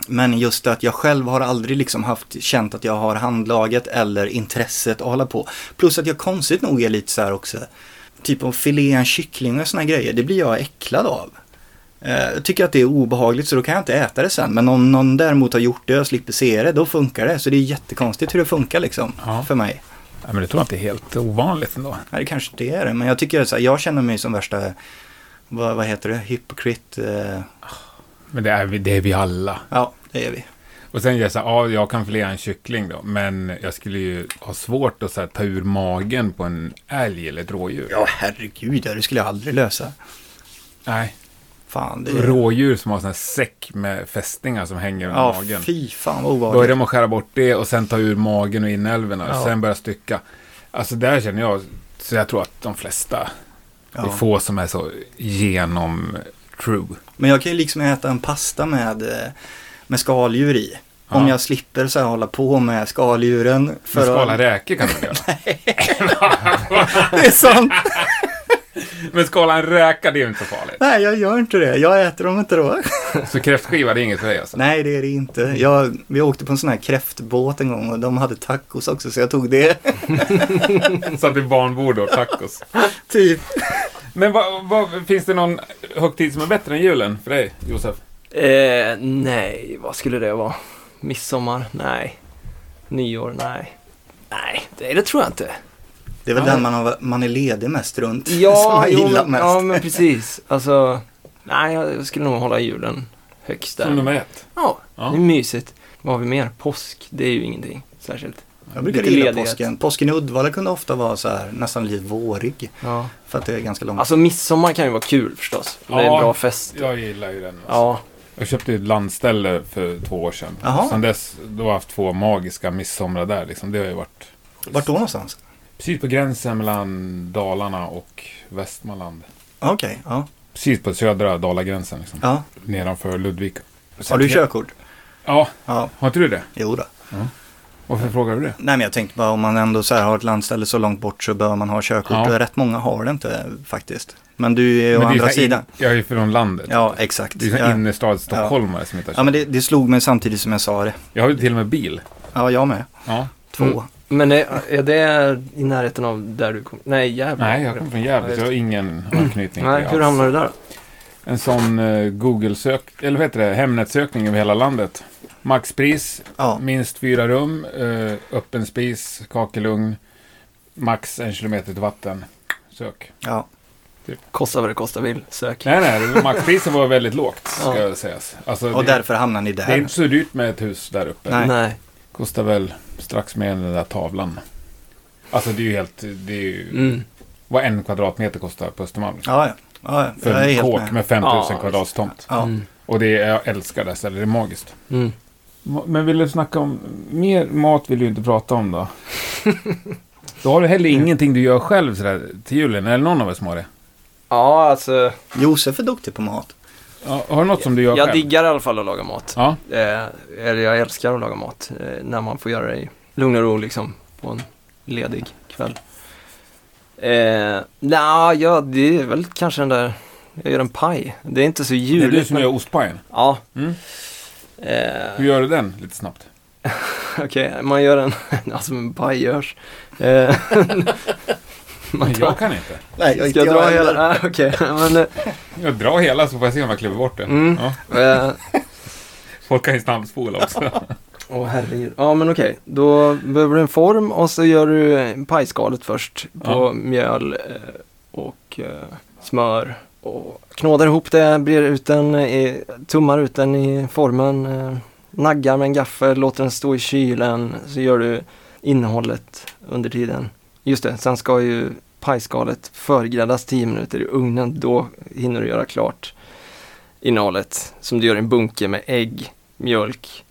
B: Men just att jag själv har aldrig liksom haft, känt att jag har handlaget eller intresset att hålla på. Plus att jag konstigt nog är lite så här också, typ om filé, en kyckling och såna grejer, det blir jag äcklad av. Eh, Jag tycker att det är obehagligt så då kan jag inte äta det sen. Men om någon däremot har gjort det och jag slipper se det, då funkar det. Så det är jättekonstigt hur det funkar liksom,
A: Ja.
B: för mig.
A: Ja, men det tror jag inte är helt ovanligt ändå.
B: Ja, det kanske det är det. Men jag tycker så här, jag känner mig som värsta, vad, vad heter det, hypokrit. Eh,
A: Men det är vi, det är vi alla.
B: ja, det är vi.
A: Och sen gör jag så här, ja, jag kan filea en kyckling då, men jag skulle ju ha svårt att så här, ta ur magen på en älg eller ett rådjur.
B: Ja, herregud, ja, det skulle jag aldrig lösa.
A: Nej,
B: Fan, det är...
A: rådjur som har sån här säck med fästingar som hänger under
B: Ja,
A: magen.
B: fy fan vad
A: Börjar
B: obehagligt.
A: de att skära bort det och sen ta ur magen och inälvorna och
B: Ja.
A: sen börja stycka. Alltså där känner jag, så jag tror att de flesta, det är
B: Ja.
A: få som är så genom true.
B: Men jag kan ju liksom äta en pasta med, eh, med skaldjur i.
A: Ja.
B: Om jag slipper så här hålla på med skaldjuren. För
A: Men skala
B: att...
A: räkor kan man göra.
B: Det är sant!
A: Men skala en räka, det är ju inte så farligt.
B: Nej, jag gör inte det. Jag äter dem inte då.
A: Så kräftskiva, det är inget för dig alltså.
B: Nej, det är det inte. Jag, vi åkte på en sån här kräftbåt en gång och de hade tacos också så jag tog det.
A: Satt vid barnbord och tacos.
B: typ.
A: Men vad, vad, finns det någon högtid som är bättre än julen för dig, Josef?
C: Eh, nej, vad skulle det vara? Midsommar? Nej. Nyår? Nej. Nej, det, det tror jag inte.
B: Det är väl
C: Ja.
B: den man, har, man är ledig mest runt. som
C: Ja,
B: man
C: jo,
B: gillar
C: men,
B: mest.
C: ja men precis. Alltså, nej, jag skulle nog hålla julen högst där.
A: Som nummer ett.
C: Ja,
A: Ja.
C: det är mysigt. Vad har vi mer? Påsk, det är ju ingenting särskilt.
B: Jag brukar
C: Lite
B: gilla
C: ledighet.
B: påsken. Påsken i Uddevalla kunde ofta vara så här nästan lite vårig.
C: Ja.
B: För att det är ganska långt.
C: Alltså midsommar kan ju vara kul förstås. Det är
A: Ja.
C: en bra fest.
A: Jag gillar ju den. alltså.
C: Ja,
A: Jag köpte ett landställe för två år sedan.
B: Jaha.
A: Sedan dess då har jag haft två magiska midsomrar där. Liksom. Det har ju varit
B: Vart då någonstans?
A: precis på gränsen mellan Dalarna och Västmanland.
B: Okej, ja.
A: Precis på södra Dalagränsen. Liksom.
B: ja.
A: Nedanför Ludvika.
B: Har du körkort?
A: Ja,
B: Ja,
A: har inte du det?
B: jo då.
A: Varför frågar du det?
B: Nej men jag tänkte bara om man ändå så här har ett landställe så långt bort så bör man ha körkort.
A: Ja.
B: Och rätt många har det inte faktiskt. Men du är å
A: Men det är
B: andra
A: så här in-
B: sidan.
A: Jag är ju från landet.
B: Ja, exakt.
A: Det är sån
B: Ja.
A: innerstads-stockholmare som inte har
B: Ja men det, det slog mig samtidigt som jag sa det.
A: Jag har ju till och med bil.
B: Ja, jag med.
A: Ja.
B: Två.
C: Mm. men är, är det i närheten av där du kom? Nej, Gävle.
A: Nej, jag kommer från
C: Ja,
A: Gävle
C: just
A: så jag har ingen anknytning till
C: Nej,
A: det
C: hur
A: alls.
C: hamnade du där då?
A: En sån eh, Google-sök, eller vad heter det, Hemnetsökning över hela landet. Maxpris,
B: Ja,
A: minst fyra rum, eh, öppen spis, kakelugn, max en kilometer till vatten. Sök.
B: ja.
C: Kosta vad det kosta vill, sök.
A: Nej, nej, maxpriset var väldigt lågt ska
C: Ja.
A: jag sägas. Alltså,
B: Och
A: det,
B: därför hamnar ni
A: det är
B: där.
A: inte så dyrt med ett hus där uppe.
B: Nej.
C: Nej.
A: Kostar väl strax mer än den där tavlan. Alltså det är ju helt, det är ju
C: Mm.
A: vad en kvadratmeter kostar på Östermalm.
B: Ja, ja. ja, ja.
A: För
B: Jag är
A: en
B: helt
A: kåk
B: med.
A: med 5000
C: Ja,
A: kvadrats tomt.
B: Ja.
C: Mm.
A: Och det är, jag älskar det här stället, det är magiskt.
C: Mm.
A: Men vill du snacka om, mer mat vill du inte prata om då. Då har du heller ingenting du gör själv sådär till julen, eller någon av er som har det.
C: Ja, alltså.
B: Josef är duktig på mat.
A: Ja, har du något som du gör
C: Jag
A: själv?
C: diggar i alla fall att laga mat.
A: Ja,
C: Eh, eller jag älskar att laga mat. Eh, när man får göra det i lugn och ro liksom. På en ledig kväll. Eh, Nja, ja, det är väl kanske den där. Jag gör en paj. Det är inte så
A: det är
C: juligt.
A: du som
C: men-
A: gör ostpajen.
C: Ja.
A: Mm. Hur
C: Eh,
A: gör du den lite snabbt?
C: Okej, man gör en, alltså en paj görs. Eh, man
A: Men
C: tar,
A: jag kan inte.
B: Nej, jag,
C: ska jag dra
B: heller.
C: hela? Ah, Okej, men eh,
A: Jag drar hela så får jag se om jag kliver bort det.
C: Mm.
A: Ja,
C: eh,
A: folk kan ju snabbspola också.
C: Åh herregud. Ja men okej, då behöver du en form och så gör du eh, pajskalet först på
A: Ja.
C: mjöl eh, och eh, smör. Och knådar ihop det, brer ut den, eh, tummar ut den i formen, eh, naggar med en gaffel, låter den stå i kylen, så gör du innehållet under tiden. Just det, sen ska ju pajskalet förgräddas 10 minuter i ugnen, då hinner du göra klart innehållet som du gör i en bunke med ägg, mjölk,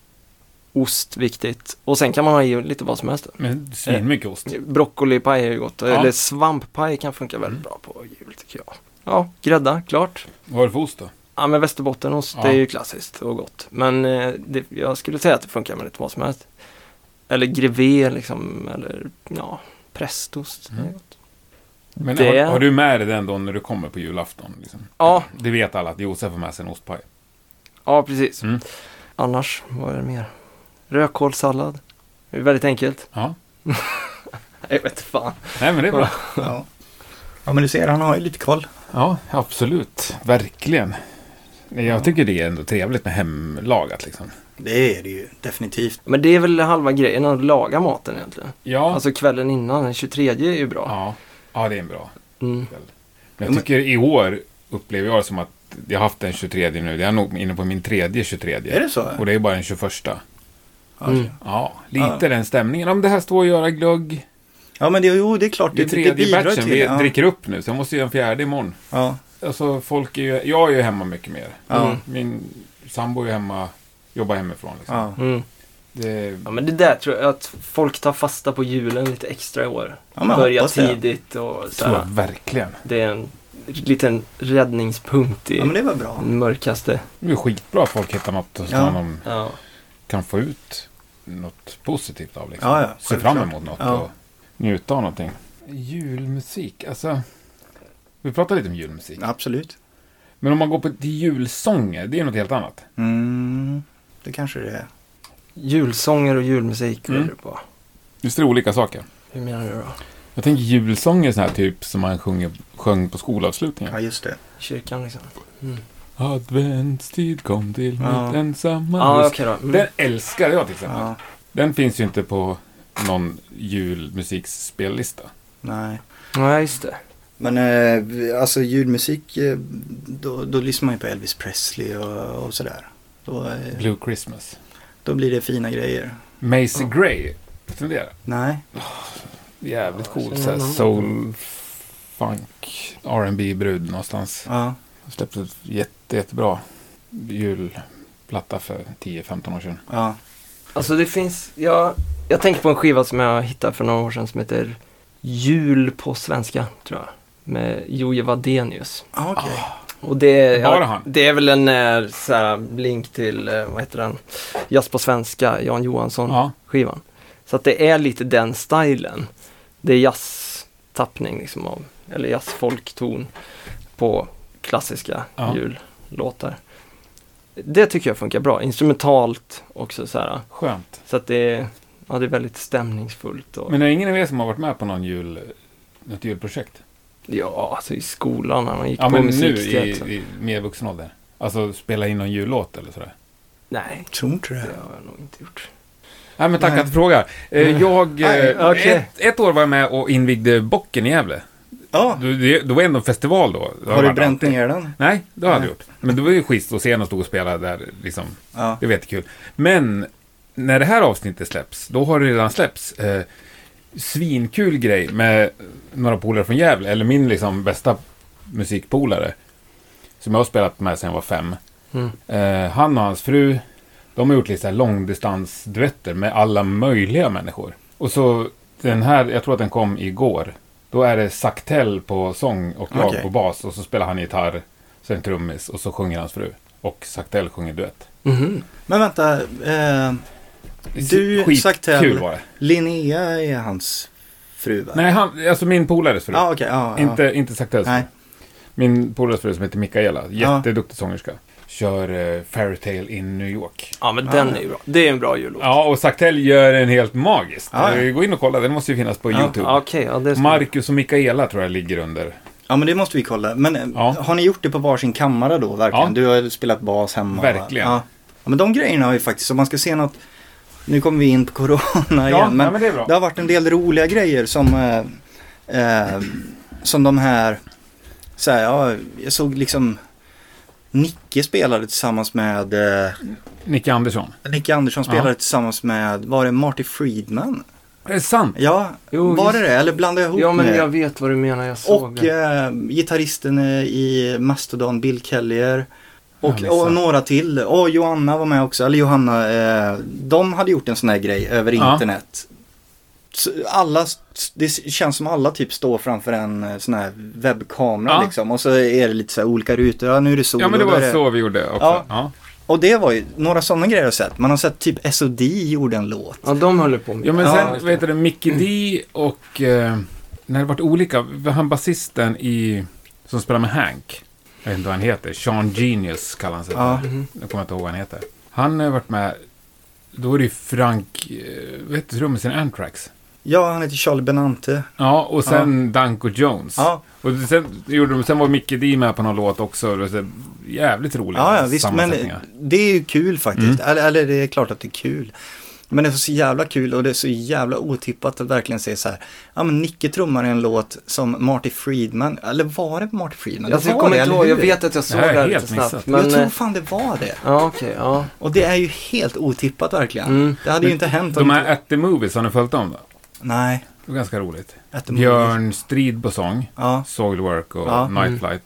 C: ost, viktigt. Och sen kan man ha i lite vad som helst.
A: Men svinmycket ost.
C: Broccolipaj är ju gott, eller svamppaj kan funka väldigt
A: Mm.
C: bra på jul tycker jag. Ja, grädda, klart.
A: Vad har du för ost då?
C: Ja men västerbottenost,
A: Ja.
C: det är ju klassiskt och gott. Men eh, det, jag skulle säga att det funkar med lite vad som helst. Eller grevé liksom, eller ja, prästost. det är
A: Mm.
C: gott.
A: Men
C: Det-
A: har, har du med dig den då när du kommer på julafton? Liksom?
C: Ja,
A: Det vet alla att Josef har med sig en ostpaj.
C: ja precis.
A: Mm.
C: Annars, vad är det mer? Rödkålssallad. Det är väldigt enkelt.
A: Ja.
C: Jag vet fan.
A: Nej, men det är bra.
B: Ja. ja, men du ser, han har ju lite koll.
A: Ja, absolut. Verkligen. Nej, Jag
B: Ja.
A: tycker det är ändå trevligt med hemlagat liksom.
B: Det är det ju definitivt.
C: Men det är väl halva grejen att laga maten egentligen.
A: Ja.
C: Alltså kvällen innan, den 23 är ju bra.
A: ja. ja, det är en bra.
C: Mm.
A: Men
B: Ja, men-
A: jag tycker i år upplever jag det som att jag har haft den 23 nu. Jag är nog inne på min tredje 23.
B: Är det så?
A: Och det är bara den 21.
C: Mm.
A: Ja, lite
B: Ja.
A: den stämningen. Om det här står att göra glögg.
B: Ja, men det, jo, det är klart.
A: Det
B: Det,
A: är
B: det, det
A: tredje
B: bidrar
A: batchen
B: till
A: vi
B: det. Ja.
A: dricker upp nu, så jag måste göra en fjärde imorgon.
B: Ja.
A: Alltså folk är ju, jag är ju hemma mycket mer.
B: Ja.
C: Mm.
A: Min sambo är hemma, jobbar hemifrån liksom.
B: Ja.
C: Mm.
A: Det,
C: Ja men det där tror jag att folk tar fasta på julen lite extra i år.
B: Ja, men
C: Börja
B: hoppas det.
C: tidigt och så
A: tror jag
C: här.
A: verkligen.
C: Det är en liten räddningspunkt i
B: ja, men det var bra.
C: den mörkaste.
A: Det är skitbra att folk hittar något som
B: Ja.
A: de
C: Ja.
A: kan få ut något positivt av. Liksom.
B: Ja, ja,
A: Se
B: självklart.
A: fram emot något
B: Ja.
A: och njuta av någonting. Julmusik, alltså. Vi pratar lite om julmusik.
B: Absolut.
A: Men om man går på till julsånger, det är något helt annat.
B: Mm. Det kanske det är.
C: Julsånger och julmusik
A: Mm.
C: mm. du på.
A: Visst är det olika saker?
C: Hur menar du då?
A: Jag tänker julsånger är sån här typ som man sjunger, sjöng på
B: Ja,
A: skolavslutningar.
B: just det.
C: Kyrkan liksom? Mm.
A: Adventstid kom till
B: Ja.
A: mitt ensamma
C: Ja
A: hus.
C: okej då. Mm.
A: Den älskar jag till exempel.
B: Ja.
A: Den finns ju inte på någon julmusikspellista.
B: Nej.
C: Nej, just det.
B: Men eh, alltså ljudmusik, eh, då, då lyssnar man ju på Elvis Presley och, och sådär. Då, eh,
A: Blue Christmas.
B: då blir det fina grejer.
A: Macy Gray. Fundera.
B: Nej,
A: Jävligt cool.
C: känner
A: Såhär
C: någon.
A: soul, funk, R&B brud någonstans.
B: ja.
A: Släppte ett jätte, jättebra julplatta för 10-15 år sedan.
B: ja.
C: Alltså det finns, jag, jag tänker på en skiva som jag hittade för några år sedan som heter Jul på svenska, tror jag. Med Jojje Wadenius.
B: Ah, okej.
C: Och det är,
A: Var det
C: ja,
A: han?
C: det är väl en eh, så här, link till, eh, vad heter den, Jazz på svenska, Jan
A: Ja.
C: Johansson-skivan. Så att det är lite den stilen. Det är jazztappning liksom av, eller jazzfolkton på klassiska
A: Ja.
C: jullåtar. Det tycker jag funkar bra, instrumentalt också så här.
A: Skönt.
C: Så att det är, ja, det är väldigt stämningsfullt. Och,
A: Men är det ingen av er som har varit med på någon jul, något julprojekt?
C: ja, alltså i skolan när man gick
A: Ja,
C: på
A: men nu i,
C: musiksteg. så-
A: i mer vuxen ålder. Alltså spela in någon jullåt eller sådär.
C: Nej,
B: Tror inte
C: det
B: det.
C: har jag nog inte gjort.
A: Nej, men tack
B: Nej.
A: att du frågar. Eh, Jag, eh,
C: Nej, okej.
A: ett, ett år var jag med och invigde Bocken i Gävle.
B: Ja,
A: Då- Det, det var ändå en festival då. Det
B: har du
A: varit
B: bränt
A: alltid.
B: ner den?
A: Nej, det har jag
B: Nej.
A: aldrig gjort. Men det var ju schysst att se när stod och spelade där. Liksom.
B: Ja.
A: Det var jättekul. Men när det här avsnittet släpps, då har det redan släppts. Eh, svinkul grej med några polare från Gävle, eller min liksom bästa musikpolare. Som jag har spelat med sedan jag var fem.
C: Mm.
A: Eh, han och hans fru, de har gjort lite så här långdistansduetter med alla möjliga människor. Och så den här, jag tror att den kom igår. Då är det Saktell på sång och jag
B: Okej.
A: på bas. Och så spelar han gitarr, sen trummis och så sjunger hans fru. Och Saktell sjunger duett.
C: Mhm.
B: Men vänta, eh, Du,
A: Skitkul
B: Saktell.
A: var det.
B: Linnea är hans fru va?
A: Nej, han, alltså min polares fru.
B: Ja, okej. ja, ja.
A: Inte, inte Saktells fru.
B: Nej.
A: Min polares fru som heter Mikaela.
B: Ja.
A: Jätteduktig sångerska. Kör eh, Fairytale in New York.
C: Ja, men
B: Ja.
C: den är ju bra. Det är en bra jullåt.
A: Ja, och Saktell gör en helt magisk.
B: Ja, ja.
A: Eh, Gå in och kolla, den måste ju finnas på
B: Ja.
A: YouTube.
C: Ja, Okej, ja det ska
A: Marcus och Mikaela tror jag ligger under.
B: Ja, men det måste vi kolla. Men eh,
A: Ja.
B: har ni gjort det på varsin kammare då, verkligen?
A: Ja.
B: Du har spelat bas hemma. va?
A: Verkligen.
B: Ja. ja, men de grejerna har ju faktiskt, om man ska se något, nu kommer vi in på corona
A: ja,
B: igen, men
A: nej, men det är bra.
B: det har varit en del roliga grejer som, eh, eh, som de här, så här, ja, jag såg liksom Nicke spelade tillsammans med, eh,
A: Nicke Andersson.
B: Nicke Andersson spelade
A: Ja.
B: tillsammans med, var det Marty Friedman?
A: Är det sant?
B: Ja,
C: Jo,
B: var
C: just-
B: det det? Eller blandade jag ihop
C: Ja, men
B: med-
C: jag vet vad du menar. Jag såg
B: Och
C: det.
B: eh, gitarristen eh, i Mastodon, Bill Kellyer.
A: Ja,
B: Och,
A: missa.
B: och några till. Och Johanna var med också. Eller Johanna, eh, de hade gjort en sån här grej över
A: Ja.
B: internet. Så Alla, det känns som alla typ står framför en eh, sån här webbkamera
A: Ja.
B: liksom. Och så är det lite så här olika rutor. Ja, nu är det sol.
A: Ja, men det
B: och då är
A: var så vi gjorde också.
B: Ja.
A: Ja.
B: Och det var ju, några sådana grejer har jag sett. Man har sett typ SOD gjorde en låt.
C: Ja, de håller på med
A: Ja, men
B: Ja,
A: sen,
C: just
A: vad heter det, Mickey D och... Eh, när det varit olika, han basisten i... Som spelar med Hank. Jag vet inte vad han heter. Sean Genius kallar han sig.
B: Ja.
A: för. Jag kommer inte ihåg vad han heter. Han har varit med... Då är det ju Frank... eh, Vad heter trummisen? Anthrax.
B: Ja, han heter Charlie Benante.
A: Ja, och sen Danko Jones.
B: Ja,
A: Och sen, gjorde de, sen var Mickey D med på någon låt också. Det var så jävligt roliga
B: Ja, ja visst. Men
A: sammansättningar. Mm.
B: det är ju kul faktiskt. Eller, eller det är klart att det är kul. Men det är så jävla kul och det är så jävla otippat att verkligen se så här. Ja men Nicke trummar i en låt som Marty Friedman, eller var det Marty Friedman?
C: Alltså,
B: det
C: jag
B: var
C: kommer
B: det,
C: inte
B: eller
C: ihåg. Jag
B: hur?
C: vet att jag såg
A: Det
C: det
A: här är
C: här
A: helt
C: lite snabbt.
A: missat.
C: Men,
B: jag tror
C: eh,
B: fan det var det.
C: ja, okej. ja.
B: Och det är ju helt otippat verkligen.
C: Mm.
B: Det hade ju inte hänt om...
A: De här At the Movies, har ni följt dem då?
B: Nej.
A: Det var ganska roligt.
B: At the Movies.
A: Björn Strid på sång,
B: Ja.
A: Soilwork och
B: Ja.
A: Night
C: Mm.
A: Flight.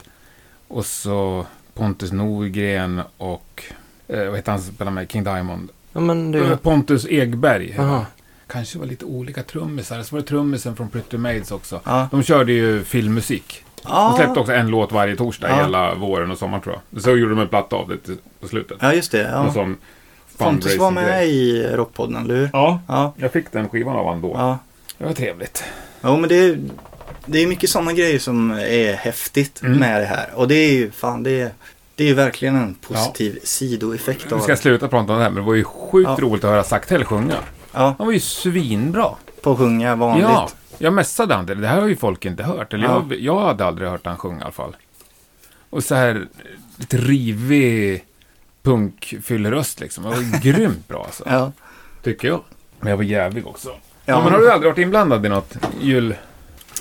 A: Och så Pontus Norgren och, eh, vad heter han som spelar med King Diamond?
C: ja, men
A: Eh,
C: du.
A: Pontus Egberg.
C: Jaha.
A: Kanske var lite olika trummisar. Så var det trummisen från Pretty Maids också.
B: Ja.
A: De körde ju filmmusik. De
B: Ja.
A: släppte också en låt varje torsdag
B: Ja.
A: hela våren och sommaren tror jag. Så gjorde de en platta av det till- på slutet.
B: ja, just det.
A: Någon
B: Ja.
A: sån
B: Pontus var med
A: fundraising-grej.
B: i Rockpodden, eller hur?
A: Ja,
B: Ja.
A: jag fick den skivan av honom då.
B: ja.
A: Det var trevligt.
B: Ja men det är, det är mycket sådana grejer som är häftigt
A: Mm.
B: med det här. Och det är ju fan, det är, det är ju verkligen en positiv sidoeffekt
A: Nu
B: av
A: ska jag sluta prata om det här, men det var ju sjukt
B: Ja.
A: roligt att höra Saktell sjunga.
B: ja,
A: Han var ju svinbra.
B: på att sjunga vanligt.
A: Ja, jag messade han. Det Det här har ju folk inte hört. Eller
B: Ja.
A: jag, jag hade aldrig hört han sjunga i alla fall. Och så här eh, lite rivig punkfylleröst liksom. Det var ju grymt bra alltså.
B: Ja.
A: Tycker jag. Men jag var jävlig också. Ja, men har du aldrig varit inblandad i något jul...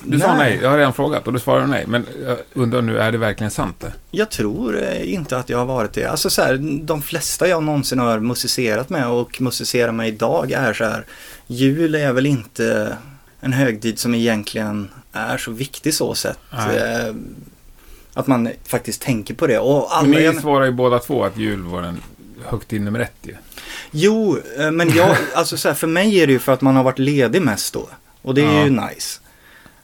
A: Du sa nej, jag har redan frågat och du svarade nej. Men jag undrar nu, är det verkligen sant det?
B: Jag tror eh, inte att jag har varit det. Alltså så här, de flesta jag någonsin har musicerat med och musicerar med idag är så här. Jul är väl inte en högtid som egentligen är så viktig så sett.
A: Nej.
B: Eh, Att man faktiskt tänker på det. Och alla,
A: Men ni
B: jag-
A: svarar ju båda två att jul var den högtid nummer ett ju.
B: Jo, eh, men jag, alltså så här, för mig är det ju för att man har varit ledig mest då. Och det är ju nice.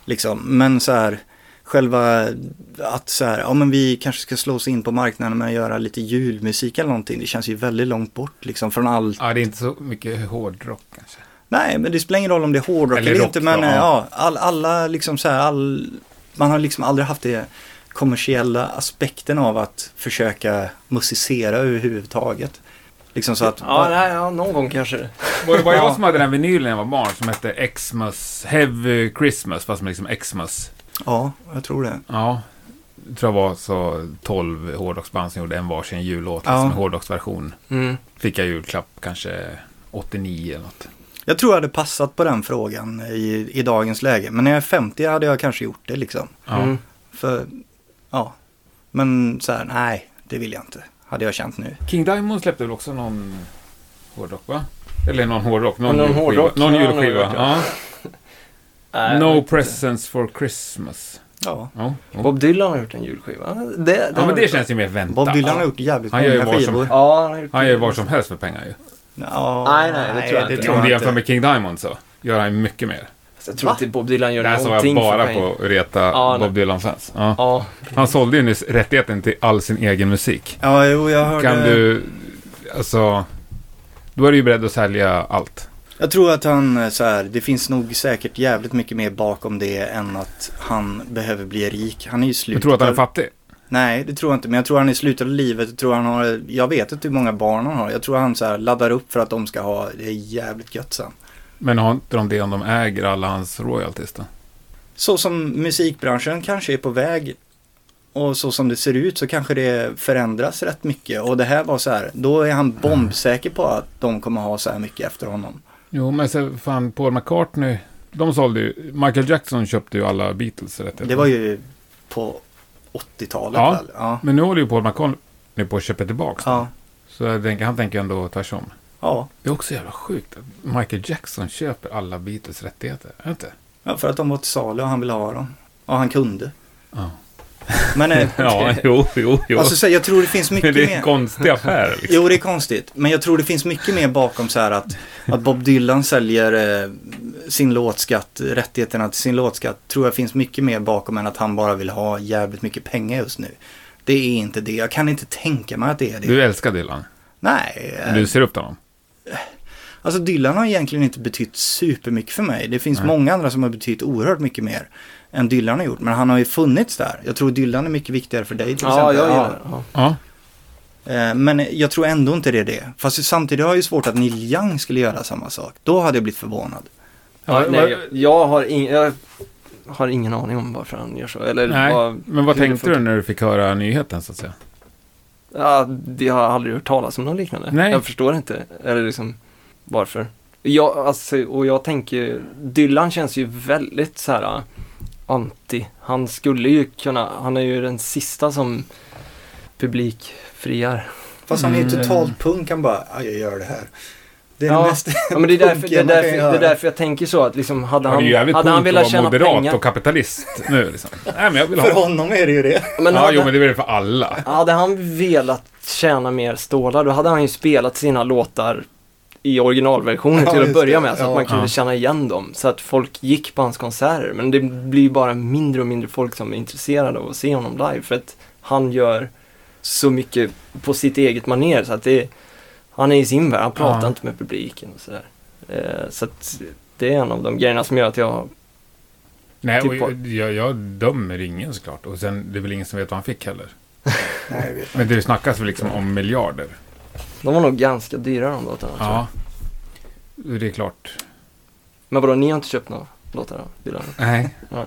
B: Liksom. Men så här, själva att så här, ja men vi kanske ska slå oss in på marknaden med att göra lite julmusik eller någonting. Det känns ju väldigt långt bort liksom från allt.
A: Ja, det är inte så mycket hårdrock kanske.
B: Nej, men det spelar ingen roll om det är hårdrock
A: Eller
B: eller,
A: rock
B: inte. Men
A: då,
B: eh,
A: ja.
B: ja, all, alla liksom så här, all, man har liksom aldrig haft det kommersiella aspekten av att försöka musicera överhuvudtaget. Liksom så att,
C: Ja, nej, ja, någon gång kanske det.
A: Var det bara jag
B: Ja.
A: som hade den vinylen när jag var barn som hette Xmas, Heavy Christmas, fast med liksom Xmas.
B: ja, jag tror det.
A: Ja, det tror jag var så 12 hårdrocksband som gjorde en varsin jullåt,
B: Ja.
A: liksom en hårdrocksversion.
C: Mm.
A: Fick jag julklapp kanske 89 eller något.
B: Jag tror jag hade passat på den frågan i, i dagens läge. Men när jag är 50 hade jag kanske gjort det liksom.
A: Ja.
C: Mm.
B: För, ja. Men så här, nej, det vill jag inte. Hade jag känt nu.
A: King Diamond släppte väl också någon hårdrock, va? Eller någon hårdrock, någon,
C: Någon
A: julskiva.
C: hårdrock,
A: Någon
C: ja,
A: julskiva.
C: någon
A: Ja.
C: Nej, jag
A: No
C: vet inte.
A: presents for Christmas.
B: Ja.
A: Ja, ja.
C: Bob Dylan har gjort en julskiva. Det, det
A: ja
C: har
A: men det
C: jag-
A: känns ju mer väntat.
B: Bob Dylan har gjort jävligt
A: Han gör ju
B: många
A: vad som-
B: skivor.
C: Ja, han har gjort
A: Han gör ju vad som helst för pengar ju.
B: Ja,
C: Nej, nej, det tror jag inte.
A: Om du jämför
B: inte.
A: med King Diamond så gör han ju mycket mer.
C: Jag tror inte Bob Dylan gör
A: Det här sa jag
C: någonting
A: bara
C: för pengar.
A: på att reta
C: Ja, nej.
A: Bob Dylan-fans. Ja.
C: Ja,
A: Han sålde ju nyss rättigheten till all sin egen musik.
B: Ja, jo, jag hörde.
A: Kan du, alltså, då är du ju beredd att sälja allt.
B: Jag tror att han eh, så här, det finns nog säkert jävligt mycket mer bakom det än att han behöver bli rik. Han är ju slut.
A: Du tror att han är fattig?
B: Nej, det tror jag inte. Men jag tror han i slutet av livet, jag tror han har, jag vet inte hur många barn han har. Jag tror han så här laddar upp för att de ska ha, det är jävligt gött sen.
A: Men har inte de det om de äger alla hans royalties då?
B: Så som musikbranschen kanske är på väg och så som det ser ut så kanske det förändras rätt mycket. Och det här var så här, då är han bombsäker på att de kommer ha så här mycket efter honom.
A: Jo, men så fan Paul McCartney, de sålde ju, Michael Jackson köpte ju alla Beatles rättigheter.
B: Det var ju på 80-talet
A: Ja.
B: väl? Ja.
A: Men nu håller ju Paul McCartney på att köpa tillbaka dem.
B: Ja.
A: Så jag tänker, han tänker ändå tvärsom.
B: ja.
A: Det är också jävla sjukt att Michael Jackson köper alla Beatles rättigheter. Är det inte?
B: Ja, för att de var till salu och han ville ha dem. Ja, han kunde.
A: Ja.
B: Men eh,
A: Ja, jo, jo, jo.
B: alltså, så här, jag tror det finns mycket
A: Men det är en
B: mer.
A: konstig affär. Liksom.
B: Jo, det är konstigt. Men jag tror det finns mycket mer bakom så här att, att Bob Dylan säljer eh, sin låtskatt, rättigheterna till sin låtskatt, tror jag finns mycket mer bakom än att han bara vill ha jävligt mycket pengar just nu. Det är inte det. Jag kan inte tänka mig att det är det.
A: Du älskar Dylan.
B: Nej. eh,
A: Du ser upp till honom.
B: Alltså Dylan har egentligen inte betytt supermycket för mig. Det finns många andra som har betytt oerhört mycket mer än Dylan har gjort. Men han har ju funnits där. Jag tror Dylan är mycket viktigare för dig till
C: ja
B: exempel.
C: jag gör det. Ja.
A: Ja.
B: Eh, Men jag tror ändå inte det är det. Fast samtidigt har jag ju svårt att Neil Young skulle göra samma sak. Då hade jag blivit förvånad.
C: Ja,
A: Ja,
C: nej,
A: vad-
C: jag, jag, har ing, jag har ingen aning om varför han gör så. Eller
A: Nej,
C: vad,
A: men vad
C: hur det
A: tänkte
C: funkar.
A: du när du fick höra nyheten så att säga?
C: Ja, det har jag aldrig hört talas om något liknande.
A: Nej.
C: Jag förstår inte, eller liksom varför. Jag, alltså, och jag tänker, Dylan känns ju väldigt så här äh, anti. Han skulle ju kunna, han är ju den sista som publikfriar.
B: Fast han är ju
A: Mm.
B: totalt punk. Han bara, "Ja, jag gör det här. Det är
C: Ja,
B: det mest
C: Ja, men det är därför, det
B: punkiga
C: är
B: man kan
C: därför,
B: göra.
C: det är därför jag tänker så att liksom
A: det
C: hade
A: är ju
C: han,
A: jävligt
C: hade han
A: coolt
C: velat
A: att vara
C: tjäna
A: moderat
C: pengar.
A: och kapitalist nu liksom. Nej, men jag vill
B: För
A: ha...
B: honom är det ju det.
C: Men
A: Ja,
C: hade-
A: jo, men det är väl för alla.
C: Hade han velat tjäna mer stålar då hade han ju spelat sina låtar i originalversionen
B: Ja,
C: till att
B: just
C: börja
B: det.
C: med så att
B: Ja.
C: man kunde
A: Ja.
C: känna igen dem. Så att folk gick på hans konserter. Men det blir ju bara mindre och mindre folk som är intresserade av att se honom live. För att han gör så mycket på sitt eget manér så att det Han är i sin värld, han pratar
A: Ja.
C: inte med publiken och sådär. Eh, så att det är en av de grejerna som gör att jag
A: Nej, och
C: Typ
A: jag, jag, jag dömer ingen såklart. Och sen, det är väl ingen som vet vad han fick heller.
B: Nej, jag vet inte.
A: Men det snackas väl liksom om miljarder.
C: De var nog ganska dyra de låtarna tror jag.
A: Ja. Det är klart.
C: Men vadå, ni har inte köpt några låtar av Dylan?
A: Nej.
C: Ja.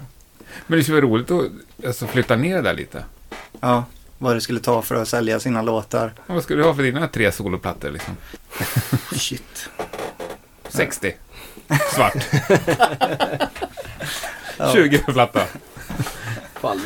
A: Men det skulle vara roligt att alltså, flytta ner där lite.
B: Ja, vad det skulle ta för att sälja sina låtar.
A: Ja, Vad ska du ha för dina tre soloplattor liksom?
B: Shit.
A: 60? svart.
B: Ja.
A: 20 för platta.
C: Fallet.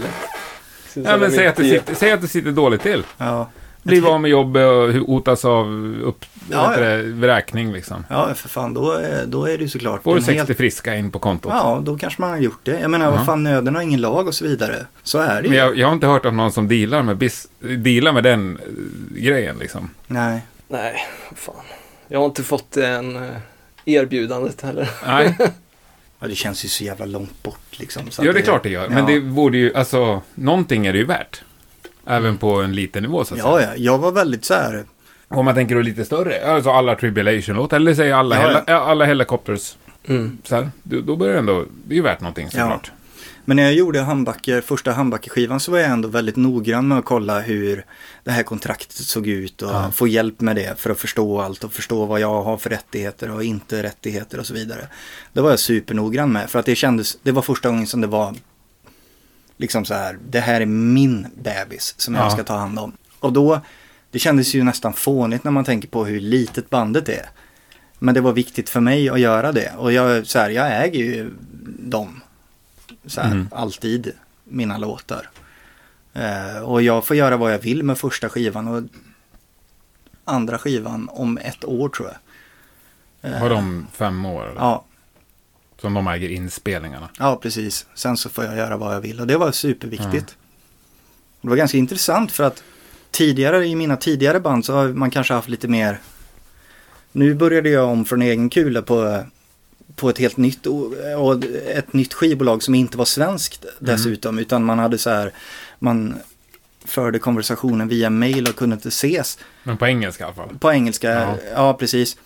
A: Ja, men säg, att det sitter, säg att det sitter dåligt till.
B: Ja,
A: Blir av med jobbet och hu- hotas av upp,
B: Ja,
A: vad heter
B: ja.
A: det, vräkning. Liksom.
B: ja för fan, då, är- då är det ju såklart
A: Får du
B: en
A: 60
B: helt-
A: friska in på kontot.
B: Ja, då kanske man har gjort det. Jag menar,
A: Ja.
B: vad fan, nöden har ingen lag och så vidare. Så är det
A: Men
B: ju.
A: jag, jag har inte hört om någon som dealar med, bis, dealar med den eh, grejen. Liksom.
B: Nej.
C: Nej, fan. Jag har inte fått en eh, erbjudandet heller.
A: Nej,
B: Ja, det känns ju så jävla långt bort liksom. Så
A: ja,
B: att
A: det är klart det gör. Men
B: Ja.
A: det borde ju, alltså, någonting är det ju värt. Även på en liten nivå så att säga.
B: Ja, ja, jag var väldigt så här.
A: Om man tänker då lite större, alltså alla Tribulation-låtar, eller säg alla,
B: Ja, ja.
A: hela, alla Helicopters,
C: Mm.
A: så här, då, då börjar det ändå, det är ju värt någonting såklart.
B: Men när jag gjorde handbacker, första handbackerskivan så var jag ändå väldigt noggrann med att kolla hur det här kontraktet såg ut och
A: Ja.
B: få hjälp med det för att förstå allt och förstå vad jag har för rättigheter och inte rättigheter och så vidare. Det var jag supernoggrann med för att det kändes, det var första gången som det var liksom så här, det här är min bebis som
A: Ja.
B: jag ska ta hand om. Och då, det kändes ju nästan fånigt när man tänker på hur litet bandet är. Men det var viktigt för mig att göra det och jag, så här, jag äger ju dem. Så här,
A: Mm.
B: alltid, mina låtar. Eh, och jag får göra vad jag vill med första skivan och andra skivan om ett år tror jag. Eh,
A: Har de fem år, eller?
B: Ja,
A: som de äger inspelningarna.
B: Ja, precis. Sen så får jag göra vad jag vill och det var superviktigt. Det var ganska intressant för att tidigare i mina tidigare band så har man kanske haft lite mer. Nu började jag om från egen kula på, på ett helt nytt o- och ett nytt skivbolag som inte var svenskt dessutom utan man hade så här man förde konversationen via mail och kunde inte ses.
A: Men på engelska i alla fall.
B: På engelska,
A: Ja.
B: ja, precis.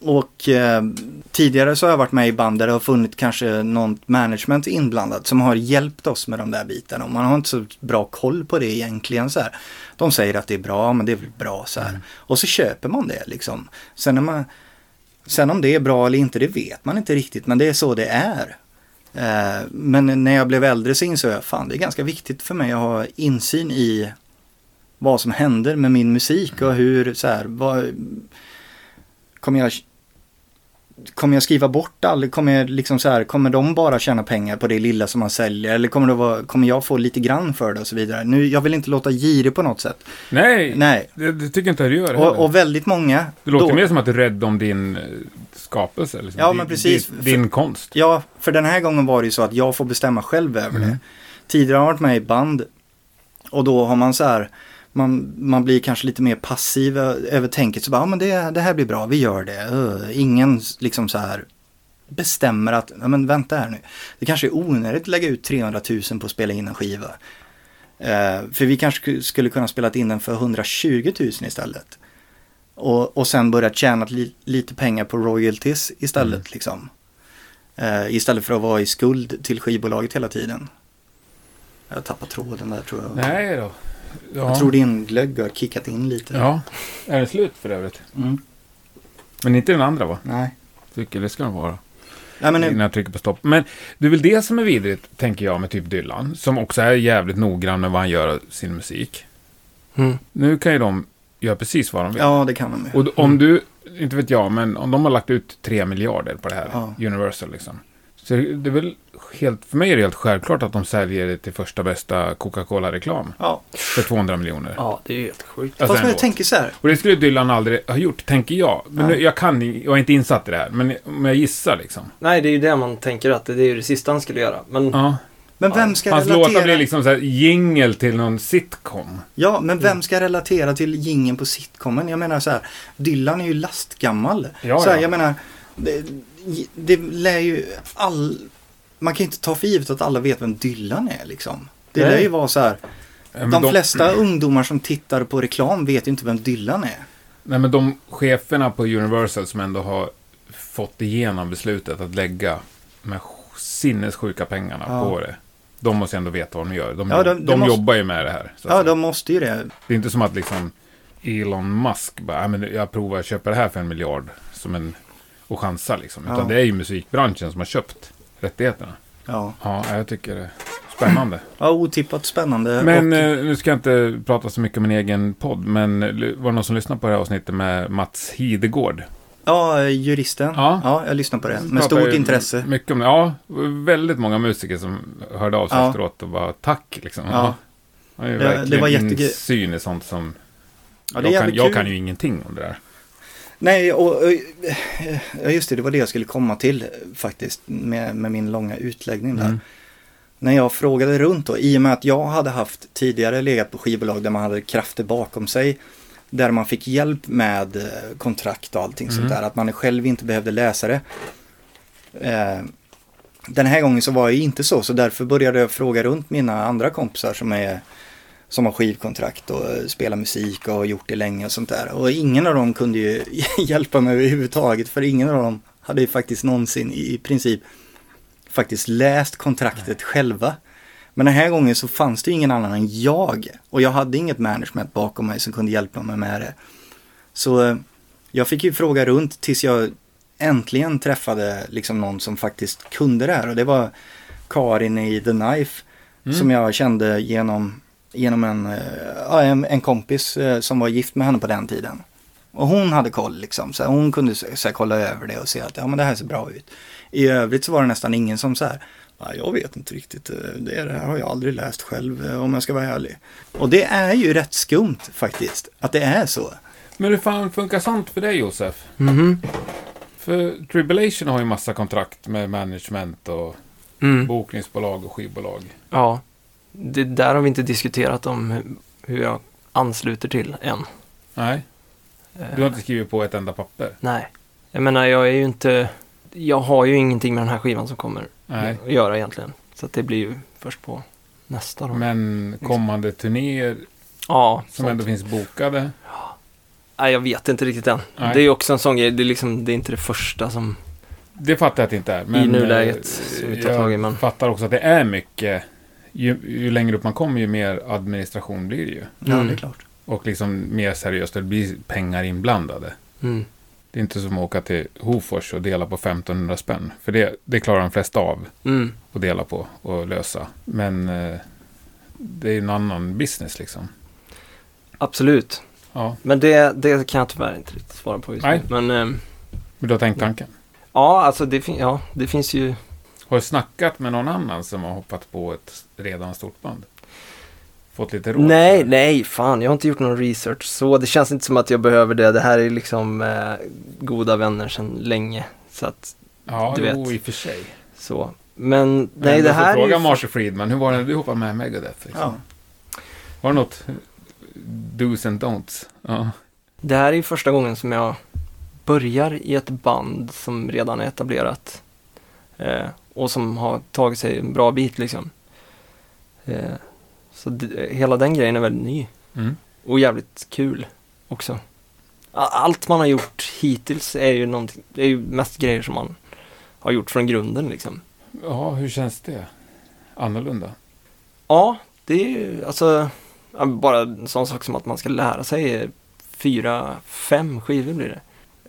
B: Och eh, tidigare så har jag varit med i band där det har funnits kanske något management inblandat som har hjälpt oss med de där bitarna. Och man har inte så bra koll på det egentligen så här. De säger att det är bra, men det är väl bra så här. Och så köper man det liksom. Sen, när man, sen om det är bra eller inte, det vet man inte riktigt, men det är så det är. Eh, men när jag blev äldre så insåg jag, fan det är ganska viktigt för mig att ha insyn i vad som händer med min musik och hur så här, vad, kommer jag Kommer jag skriva bort all, kommer, jag liksom så här, kommer de bara tjäna pengar på det lilla som man säljer? Eller kommer, det vara, kommer jag få lite grann för det och så vidare? Nu, jag vill inte låta girig på något sätt.
A: Nej,
B: Nej,
A: Det, det tycker inte jag du gör
B: och,
A: heller.
B: och väldigt många...
A: Mm. Det låter
B: då-
A: mer som att du är rädd om din eh, skapelse. Liksom.
B: Ja,
A: Din-
B: men precis.
A: Din, din konst.
B: Ja, för den här gången var det ju så att jag får bestämma själv över
A: Mm.
B: det. Tidigare har jag varit med i band och då har man så här, man, man blir kanske lite mer passiv ö- över tänket. Så bara, ja men det, det här blir bra, vi gör det. Ö, Ingen s- liksom så här bestämmer att, ja men vänta här nu. Det kanske är onödigt att lägga ut 300 000 på att spela in en skiva. Eh, för vi kanske sku- skulle kunna spela in den för 120 000 istället. Och, och sen börja tjäna li, lite pengar på royalties istället liksom. Eh, istället för att vara i skuld till skivbolaget hela tiden. Jag tappar tråden där tror jag.
A: Nej då. Ja.
B: Jag tror din glögg har kickat in lite.
A: ja. Är den slut för övrigt?
B: Mm.
A: Men inte den andra va?
B: Nej.
A: Tycker det ska den vara.
B: Nej men nu,
A: Innan jag trycker på stopp. Men det är väl det som är vidrigt, tänker jag, med typ Dylan. Som också är jävligt noggrann med vad han gör av sin musik.
C: Mm.
A: Nu kan ju de göra precis vad de vill.
B: ja det kan man ju.
A: Och d- om du, inte vet jag, men om de har lagt ut 3 miljarder på det här,
B: Ja.
A: Universal liksom. Så det är väl helt, för mig är det helt självklart att de säljer det till första bästa Coca-Cola-reklam.
B: Ja.
A: För 200 miljoner.
C: Ja, det är ju helt sjukt.
A: Alltså
B: Fast
A: en
B: men jag
A: låt.
B: tänker så här.
A: Och det skulle Dylan aldrig ha gjort, tänker jag. Men nu, jag kan i- jag är inte insatt i det här, men om jag gissar liksom.
C: Nej, det är ju det man tänker att det det är ju det sista han skulle göra. Men
A: Ja.
B: Men vem ska
A: Hans låtar
B: relatera?
A: blir liksom så här jingel till någon sitcom.
B: Ja, men
A: Mm.
B: vem ska relatera till gingen på sitcomen? Jag menar så här, Dylan är ju lastgammal.
A: Ja,
B: så här,
A: ja.
B: Jag menar, det, det lär ju all... Man kan ju inte ta för givet att alla vet vem Dylan är liksom. Det
C: Nej.
B: lär ju vara så här,
A: Men
B: de flesta ungdomar som tittar på reklam vet ju inte vem Dylan är.
A: Nej, men de cheferna på Universal som ändå har fått igenom beslutet att lägga de här sinnessjuka pengarna
B: Ja.
A: på det. De måste ändå veta vad de gör. De,
B: Ja,
A: jobb-
B: de-
A: de,
B: de måste-
A: jobbar ju med det här. Så att
B: Ja,
A: säga.
B: de måste ju det.
A: Det är inte som att liksom Elon Musk bara, "Nej, men jag provar att köpa det här för en miljard som en, och chansar liksom. Utan
B: Ja.
A: det är ju musikbranschen som har köpt rättigheterna.
B: Ja,
A: Ja, jag tycker det är spännande.
B: ja otippat spännande.
A: Men
B: och,
A: eh, nu ska jag inte eh, prata så mycket om min egen podd, men l- var det någon som lyssnade på det här avsnittet med Mats Hidegård?
B: Ja, juristen.
A: Ja.
B: Ja, jag lyssnar på det.
A: Vi
B: Med
A: pratar
B: stort
A: ju
B: intresse.
A: Mycket om det. Ja, väldigt många musiker som hörde av sig
B: Ja.
A: efteråt och bara tack liksom.
B: Ja.
A: Det, är
B: det
A: verkligen
B: var jättege-
A: insyn i sånt som...
B: Ja, det
A: jag, kan,
B: är jävligt
A: jag
B: kul.
A: kan ju ingenting om det där.
B: Nej, och, och ja, just det, det var det jag skulle komma till eh, faktiskt med, med min långa utläggning där.
A: Mm.
B: När jag frågade runt då, i och med att jag hade haft tidigare legat på skivbolag där man hade krafter bakom sig, där man fick hjälp med eh, kontrakt och allting
A: Mm.
B: sånt där, att man själv inte behövde läsa det. Eh, den här gången så var jag inte så, så därför började jag fråga runt mina andra kompisar som är som har skivkontrakt och eh, spelar musik och har gjort det länge och sånt där. Och ingen av dem kunde ju hjälpa mig överhuvudtaget för ingen av dem hade ju faktiskt någonsin i i princip faktiskt läst kontraktet själva. Men den här gången så fanns det ju ingen annan än jag och jag hade inget management bakom mig som kunde hjälpa mig med det. Så eh, jag fick ju fråga runt tills jag äntligen träffade liksom någon som faktiskt kunde det här och det var Karin i The Knife
A: Mm.
B: som jag kände genom, genom en, eh, ja, en, en kompis eh, som var gift med henne på den tiden. Och hon hade koll liksom, så här, hon kunde så så här, kolla över det och se att ja, men det här ser bra ut. I övrigt så var det nästan ingen som så här, "Nej, jag vet inte riktigt, eh, det, är, det här har jag aldrig läst själv eh, om jag ska vara ärlig. Och det är ju rätt skumt faktiskt, att det är så.
A: Men hur fan funkar sånt för dig Josef?
C: Mhm.
A: Mm-hmm. För Tribulation har ju massa kontrakt med management och
C: Mm.
A: bokningsbolag och skivbolag.
C: Ja, det där har vi inte diskuterat om hu- hur jag ansluter till än.
A: Nej,
C: Eh,
A: du har inte skrivit på ett enda papper.
C: Nej, jag menar jag är ju inte, jag har ju ingenting med den här skivan som kommer
A: Nej,
C: att göra egentligen. Så att det blir ju först på nästa då.
A: men kommande turnéer
C: ja,
A: som
C: sånt.
A: ändå finns bokade.
C: Nej, jag vet inte riktigt än.
A: Nej.
C: Det är ju också en sån grej, det är liksom, det är inte det första som,
A: Det fattar jag att det inte är. Men
C: I nuläget
A: eh,
C: så vi tar tag i, men-
A: Jag fattar också att det är mycket. Ju, ju längre upp man kommer ju mer administration blir det ju.
B: Ja,
C: Mm.
B: det är klart.
A: Och liksom mer seriöst, det blir pengar inblandade.
C: mm,
A: Det är inte som att åka till Hofors och dela på 1500 spänn. För det, det klarar de flesta av
C: mm,
A: att dela på och lösa. Men eh, det är en annan business liksom.
C: absolut.
A: Ja,
C: Men det, det kan jag tyvärr inte riktigt svara på just
A: Nej.
C: nu. Men ehm,
A: men du har tänkt tanken.
C: ja, alltså det, fin- ja, det finns ju,
A: Har du snackat med någon annan som har hoppat på ett redan stort band? Fått lite råd?
C: nej, nej, fan, jag har inte gjort någon research så. Det känns inte som att jag behöver det. Det här är liksom eh, goda vänner sedan länge. Så att
A: Ja,
C: du
A: jo,
C: vet.
A: i och för sig.
C: Så, men
A: Men
C: nej
A: du
C: det
A: får
C: här är
A: Fråga
C: ju...
A: Marshall Friedman, hur var det när du hoppade med Megadeth? Liksom?
B: Ja.
A: Var det något do's and don'ts? Ja.
C: Det här är ju första gången som jag börjar i ett band som redan är etablerat. Eh, och som har tagit sig en bra bit liksom. Eh, så det, hela den grejen är väldigt ny.
A: Mm.
C: Och jävligt kul också. A- Allt man har gjort hittills är ju, någonting- det är ju mest grejer som man har gjort från grunden liksom.
A: ja, hur känns det? Annorlunda?
C: Ja, det är ju alltså ja, bara en sån sak som att man ska lära sig eh, fyra, fem skivor blir det.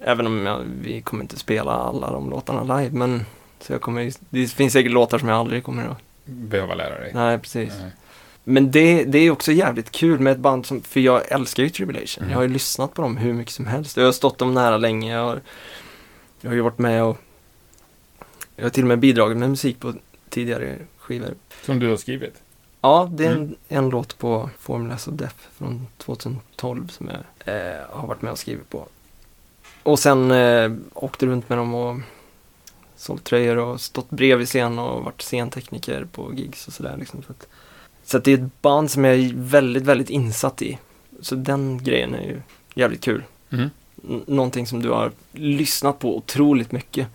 C: Även om jag, vi kommer inte spela alla de låtarna live, men så jag kommer, ju- det finns säkert låtar som jag aldrig kommer att...
A: Behöva lära dig?
C: Nej, precis.
A: Nej.
C: Men det, det är också jävligt kul med ett band som, för jag älskar ju Tribulation.
A: Mm.
C: Jag har ju lyssnat på dem hur mycket som helst. Jag har stått dem nära länge. Jag har, jag har ju varit med och... Jag har till och med bidragit med musik på tidigare skivor.
A: Som du har skrivit?
C: Ja, det är en, en låt på Formulas of Death från 2012 som jag eh, har varit med och skrivit på. Och sen eh, åkte runt med dem och sålt tröjor och stått bredvid scen och varit scentekniker på gigs och sådär. Liksom, så att, så att det är ett band som jag är väldigt, väldigt insatt i. Så den grejen är ju jävligt kul.
A: Mm.
C: N- någonting som du har lyssnat på otroligt mycket.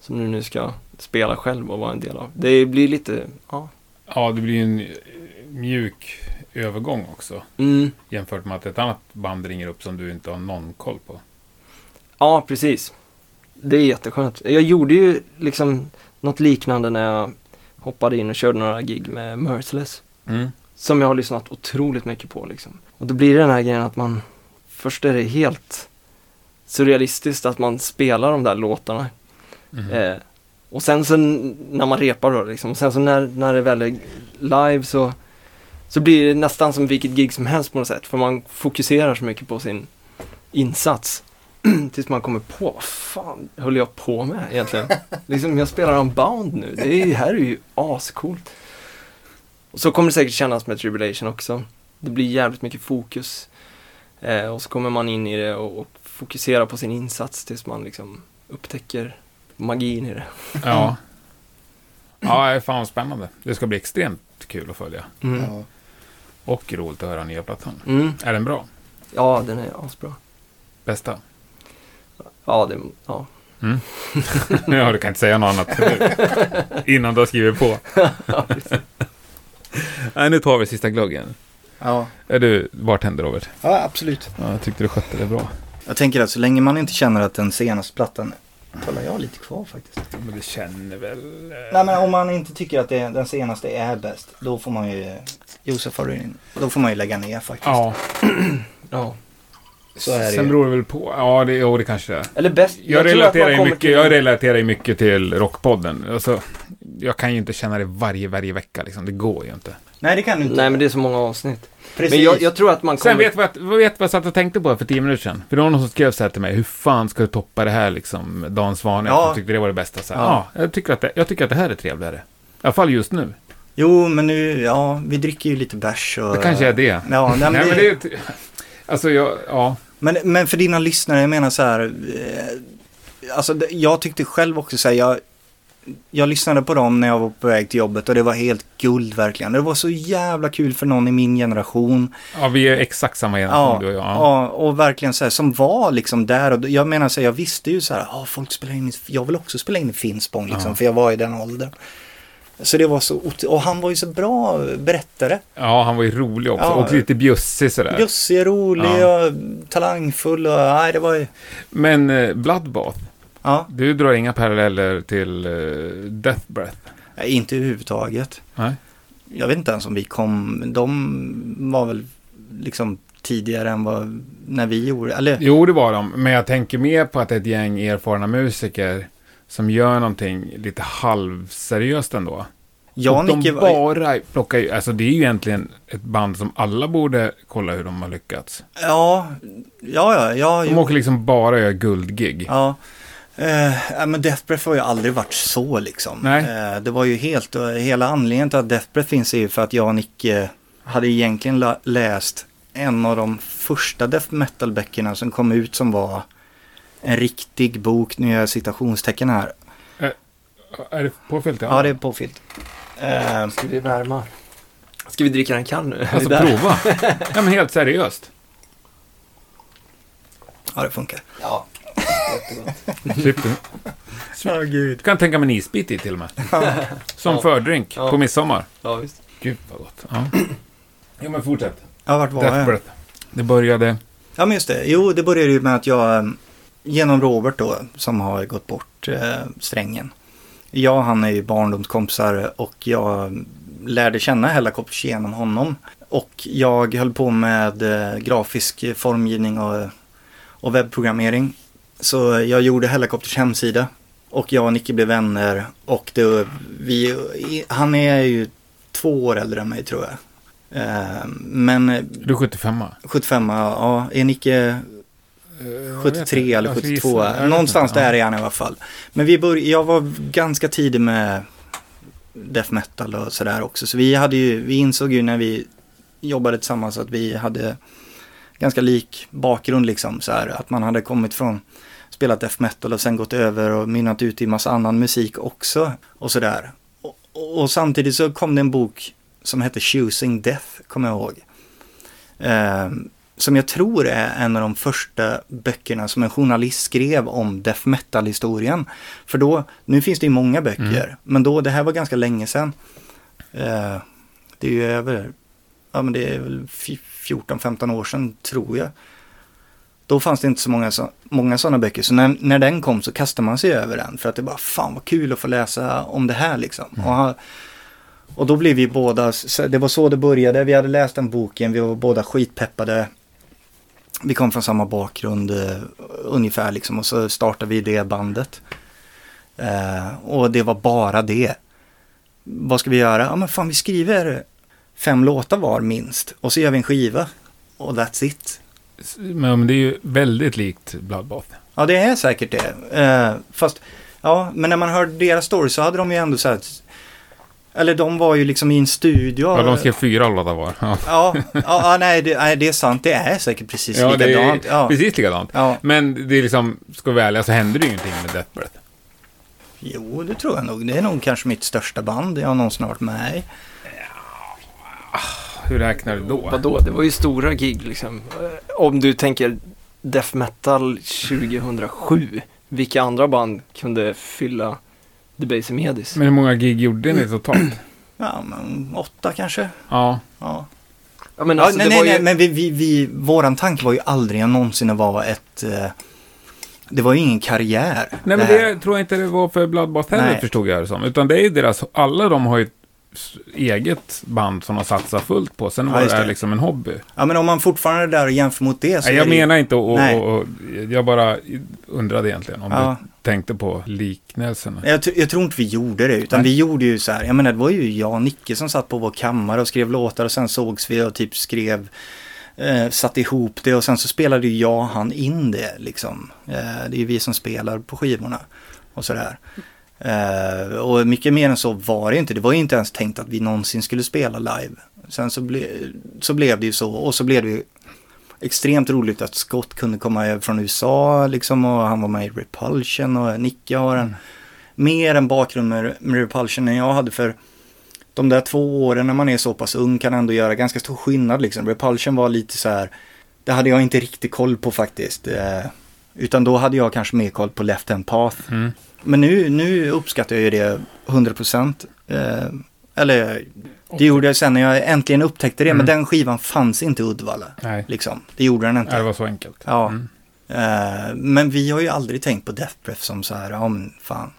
C: Som du nu ska spela själv och vara en del av. Det blir lite, ja.
A: Ja, det blir ju en eh, mjuk övergång också.
C: Mm.
A: Jämfört med att ett annat band ringer upp som du inte har någon koll på.
C: Ja, precis. Det är jätteskönt. Jag gjorde ju liksom något liknande när jag hoppade in och körde några gig med Merciless.
A: Mm.
C: Som jag har lyssnat otroligt mycket på liksom. Och då blir det den här grejen att man, först är det helt surrealistiskt att man spelar de där låtarna.
A: Mhm.
C: Eh, och sen så n- när man repar då liksom, och sen så när, när det väl är live så, så blir det nästan som vilket gig som helst på något sätt. För man fokuserar så mycket på sin insats. tills man kommer på, vad fan höll jag på med egentligen? liksom, jag spelar Unbound nu, det är, här är ju ascoolt. Och så kommer det säkert kännas med Tribulation också. Det blir jävligt mycket fokus. Eh, och så kommer man in i det och, och fokuserar på sin insats tills man liksom upptäcker magin i det.
A: Ja. Ja, det är fan spännande. Det ska bli extremt kul att följa.
C: Mm.
D: Ja.
A: Och roligt att höra nya plattan.
C: Mm.
A: Är den bra?
C: Ja, den är asbra.
A: Bästa?
C: Ja, det, ja.
A: Ja, du kan inte säga något annat innan du har skrivit på. Nej, nu tar vi sista gluggen.
D: Ja.
A: Är du bartender, Robert?
D: ja, absolut.
A: Ja, jag tyckte du skötte det bra.
B: Jag tänker att så länge man inte känner att den senaste plattan... Kollar jag har lite kvar faktiskt.
A: Men du känner väl... eh.
B: Nej men om man inte tycker att det, den senaste är bäst, då får man ju... Josef har du in. Då får man ju lägga ner faktiskt.
A: Ja,
C: ja.
B: Så är det
A: sen
B: ju.
A: beror det väl på. Ja, det, jo, det kanske det är.
C: Eller bäst,
A: Jag,
C: tror att man
A: relaterar ju
C: kommer
A: mycket,
C: till-
A: jag relaterar ju mycket till Rockpodden. Alltså, jag kan ju inte känna det varje, varje vecka liksom. Det går ju inte.
B: Nej det kan du inte.
C: Nej, men det är så många avsnitt.
B: Precis.
C: Men jag, jag tror att man kommer...
A: Sen vet vad, jag- vet vad jag satt och tänkte på för tio minuter sedan. För det var någon som skrev så här till mig, hur fan ska du toppa det här liksom? Dan Svane,
B: Ja.
A: jag tyckte det var det bästa. Så här, ja.
B: Ja.
A: jag, tycker att det, jag tycker att det här är trevligare. I alla fall just nu.
B: Jo men nu, ja vi dricker ju lite bärs och...
A: Det kanske är det.
B: Ja, nej, men,
A: Nej, men
B: det...
A: det är... ett- Alltså, jag, ja.
B: Men, men för dina lyssnare, jag menar så här, eh, alltså det- jag tyckte själv också så här, jag, jag lyssnade på dem när jag var på väg till jobbet och det var helt guld verkligen. Det var så jävla kul för någon i min generation.
A: ja, vi är exakt samma generation,
B: Ja,
A: du och jag. Ja.
B: ja, och verkligen så här, som var liksom där och jag menar så här, jag visste ju så här, ah, folk spelar in, i- jag vill också spela in i Finspång liksom,
A: Ja.
B: för jag var i den åldern. Så det var så, ot- och han var ju så bra berättare.
A: ja, han var ju rolig också.
B: Ja.
A: Och lite bjussig sådär.
B: Bjussig, rolig
A: Ja.
B: och talangfull och, nej det var ju,
A: Men eh, Bloodbath,
B: ja,
A: du drar inga paralleller till eh, Death Breath?
B: nej, inte överhuvudtaget.
A: Nej.
B: jag vet inte ens om vi kom, de var väl liksom tidigare än vad, när vi gjorde, eller
A: Jo, det var de. Men jag tänker mer på att det är ett gäng erfarna musiker som gör någonting lite halvseriöst ändå.
B: jag och
A: och de
B: Nicke var,
A: bara plockar ju, alltså det är ju egentligen ett band som alla borde kolla hur de har lyckats.
B: ja, ja, ja, ja,
A: De
B: jo,
A: åker liksom bara och gör guldgig.
B: ja. Eh, ja, men Death Breath har ju aldrig varit så liksom.
A: Nej.
B: Eh, det var ju helt, och hela anledningen till att Death Breath finns är ju för att jag och Nicke hade egentligen la- läst en av de första death metal-böckerna som kom ut som var en riktig bok, nu gör jag citationstecken här.
A: Är det påfyllt?
B: Ja, det är påfyllt. Eh,
C: Ska vi värma? Ska vi dricka en kall nu?
A: Alltså
C: Det där.
A: prova. ja, men helt seriöst.
B: ja, det funkar.
C: Ja.
A: Typ, du
B: Ja, gud.
A: kan tänka mig en isbit i till och med. Som
C: Ja.
A: fördrink
C: Ja.
A: på midsommar.
C: ja, visst.
A: Gud vad gott. Ja. Jo, men fortsätt.
B: Ja, vart var
A: Death
B: jag?
A: Breath. Det började...
B: Ja, men just det. Jo, det började ju med att jag, eh, genom Robert då, som har gått bort, eh, strängen. Jag och han är ju barndomskompisar och jag lärde känna Hellacopters genom honom. Och jag höll på med eh, grafisk formgivning och, och webbprogrammering. Så jag gjorde Hellacopters hemsida och jag och Nicky blev vänner. Och det, vi, han är ju två år äldre än mig tror jag. Eh, Men
A: Du är 75
B: 75, ja. Är Nicke
A: Eh,
B: 73 eller 72? Någonstans där är han i alla fall. Men vi bör, jag var ganska tidig med death metal och sådär också. Så vi, hade ju, vi insåg ju när vi jobbade tillsammans att vi hade ganska lik bakgrund liksom. Så här, att man hade kommit från spelat death metal och sen gått över och mynnat ut i massa annan musik också och sådär. Och, och samtidigt så kom det en bok som hette Choosing Death, kommer jag ihåg. Ehm, som jag tror är en av de första böckerna som en journalist skrev om death metal-historien. För då, nu finns det ju många böcker, men då, det här var ganska länge sedan. Eh, det är ju över, ja men det är väl fj- 14-15 år sedan tror jag. Då fanns det inte så många, så, många sådana böcker, så när, när den kom så kastade man sig över den. För att det bara, fan vad kul att få läsa om det här liksom. Och, ha- och då blev vi båda, så- det var så det började, vi hade läst den boken, vi var båda skitpeppade. Vi kom från samma bakgrund eh, ungefär liksom och så startade vi det bandet. Eh, och det var bara det. Vad ska vi göra? Ja men fan vi skriver fem låtar var minst och så gör vi en skiva. Och that's it.
A: Men det är ju väldigt likt Bloodbath.
B: Ja, det är säkert det. Eh, fast, ja, men när man hörde deras story så hade de ju ändå så här... Eller de var ju liksom i en studio.
A: Ja, de skrev fyra låtar var. Ja,
B: Ja, ja, ja nej, det, nej, det är sant. Det är säkert precis
A: ja det
B: likadant.
A: är
B: Ja,
A: precis likadant.
B: ja.
A: Men det är liksom, ska vi vara ärliga så händer det ju ingenting med Death Breath.
B: Jo, det tror jag nog. Det är nog kanske mitt största band jag någonsin har varit med i.
A: Hur räknar du då?
C: Vadå, det var ju stora gig liksom. Eh, Om du tänker death metal 2007, vilka andra band kunde fylla Debaser Medis?
A: Men hur många gig gjorde ni totalt?
B: Ja, men åtta kanske.
A: Ja,
B: Ja.
C: Ja, men
B: Ja,
C: alltså,
B: nej,
C: det
B: nej,
C: var ju...
B: nej, men vi, vi, vi, våran tanke var ju aldrig någonsin att vara ett... Eh, det var ju ingen karriär.
A: Nej, men
B: här.
A: det tror jag inte det var för Bloodbath heller,
B: Nej.
A: förstod jag det som. Utan det är ju deras, alla de har ju ett s- eget band som de satsar fullt på. Sen
B: Ja,
A: var det
B: just
A: här
B: det.
A: liksom en hobby.
B: Ja, men om man fortfarande är där och jämför mot det så
A: Nej,
B: är
A: jag
B: Alltså, det ju-
A: menar inte och,
B: Nej.
A: och, och jag bara undrade egentligen om
B: Ja.
A: du tänkte på liknelserna.
B: Jag, tr- jag tror inte vi gjorde det, utan
A: Nej.
B: vi gjorde ju så här, jag menar det var ju jag och Nicke som satt på vår kammare och skrev låtar och sen sågs vi och typ skrev, eh, satte ihop det och sen så spelade ju jag och han in det liksom. Eh, det är ju vi som spelar på skivorna och sådär. Eh, och mycket mer än så var det inte, det var ju inte ens tänkt att vi någonsin skulle spela live. Sen så, ble, så blev det ju så och så blev det ju extremt roligt att Scott kunde komma över från USA liksom och han var med i Repulsion och Nicke har en mer en bakgrund med, med Repulsion än jag hade för de där två åren när man är så pass ung kan ändå göra ganska stor skillnad liksom. Repulsion var lite så här, det hade jag inte riktigt koll på faktiskt. Eh, utan då hade jag kanske mer koll på Left Hand Path.
A: Mm.
B: Men nu, nu uppskattar jag ju det 100 procent. Eh, eller det gjorde jag sen när jag äntligen upptäckte det.
A: Mm.
B: Men den skivan fanns inte i Uddevalla.
A: Nej,
B: Liksom. Det gjorde den inte.
A: det var så enkelt.
B: Ja.
A: Mm.
B: Eh, men vi har ju aldrig tänkt på Death Breath som så här, ja men fan.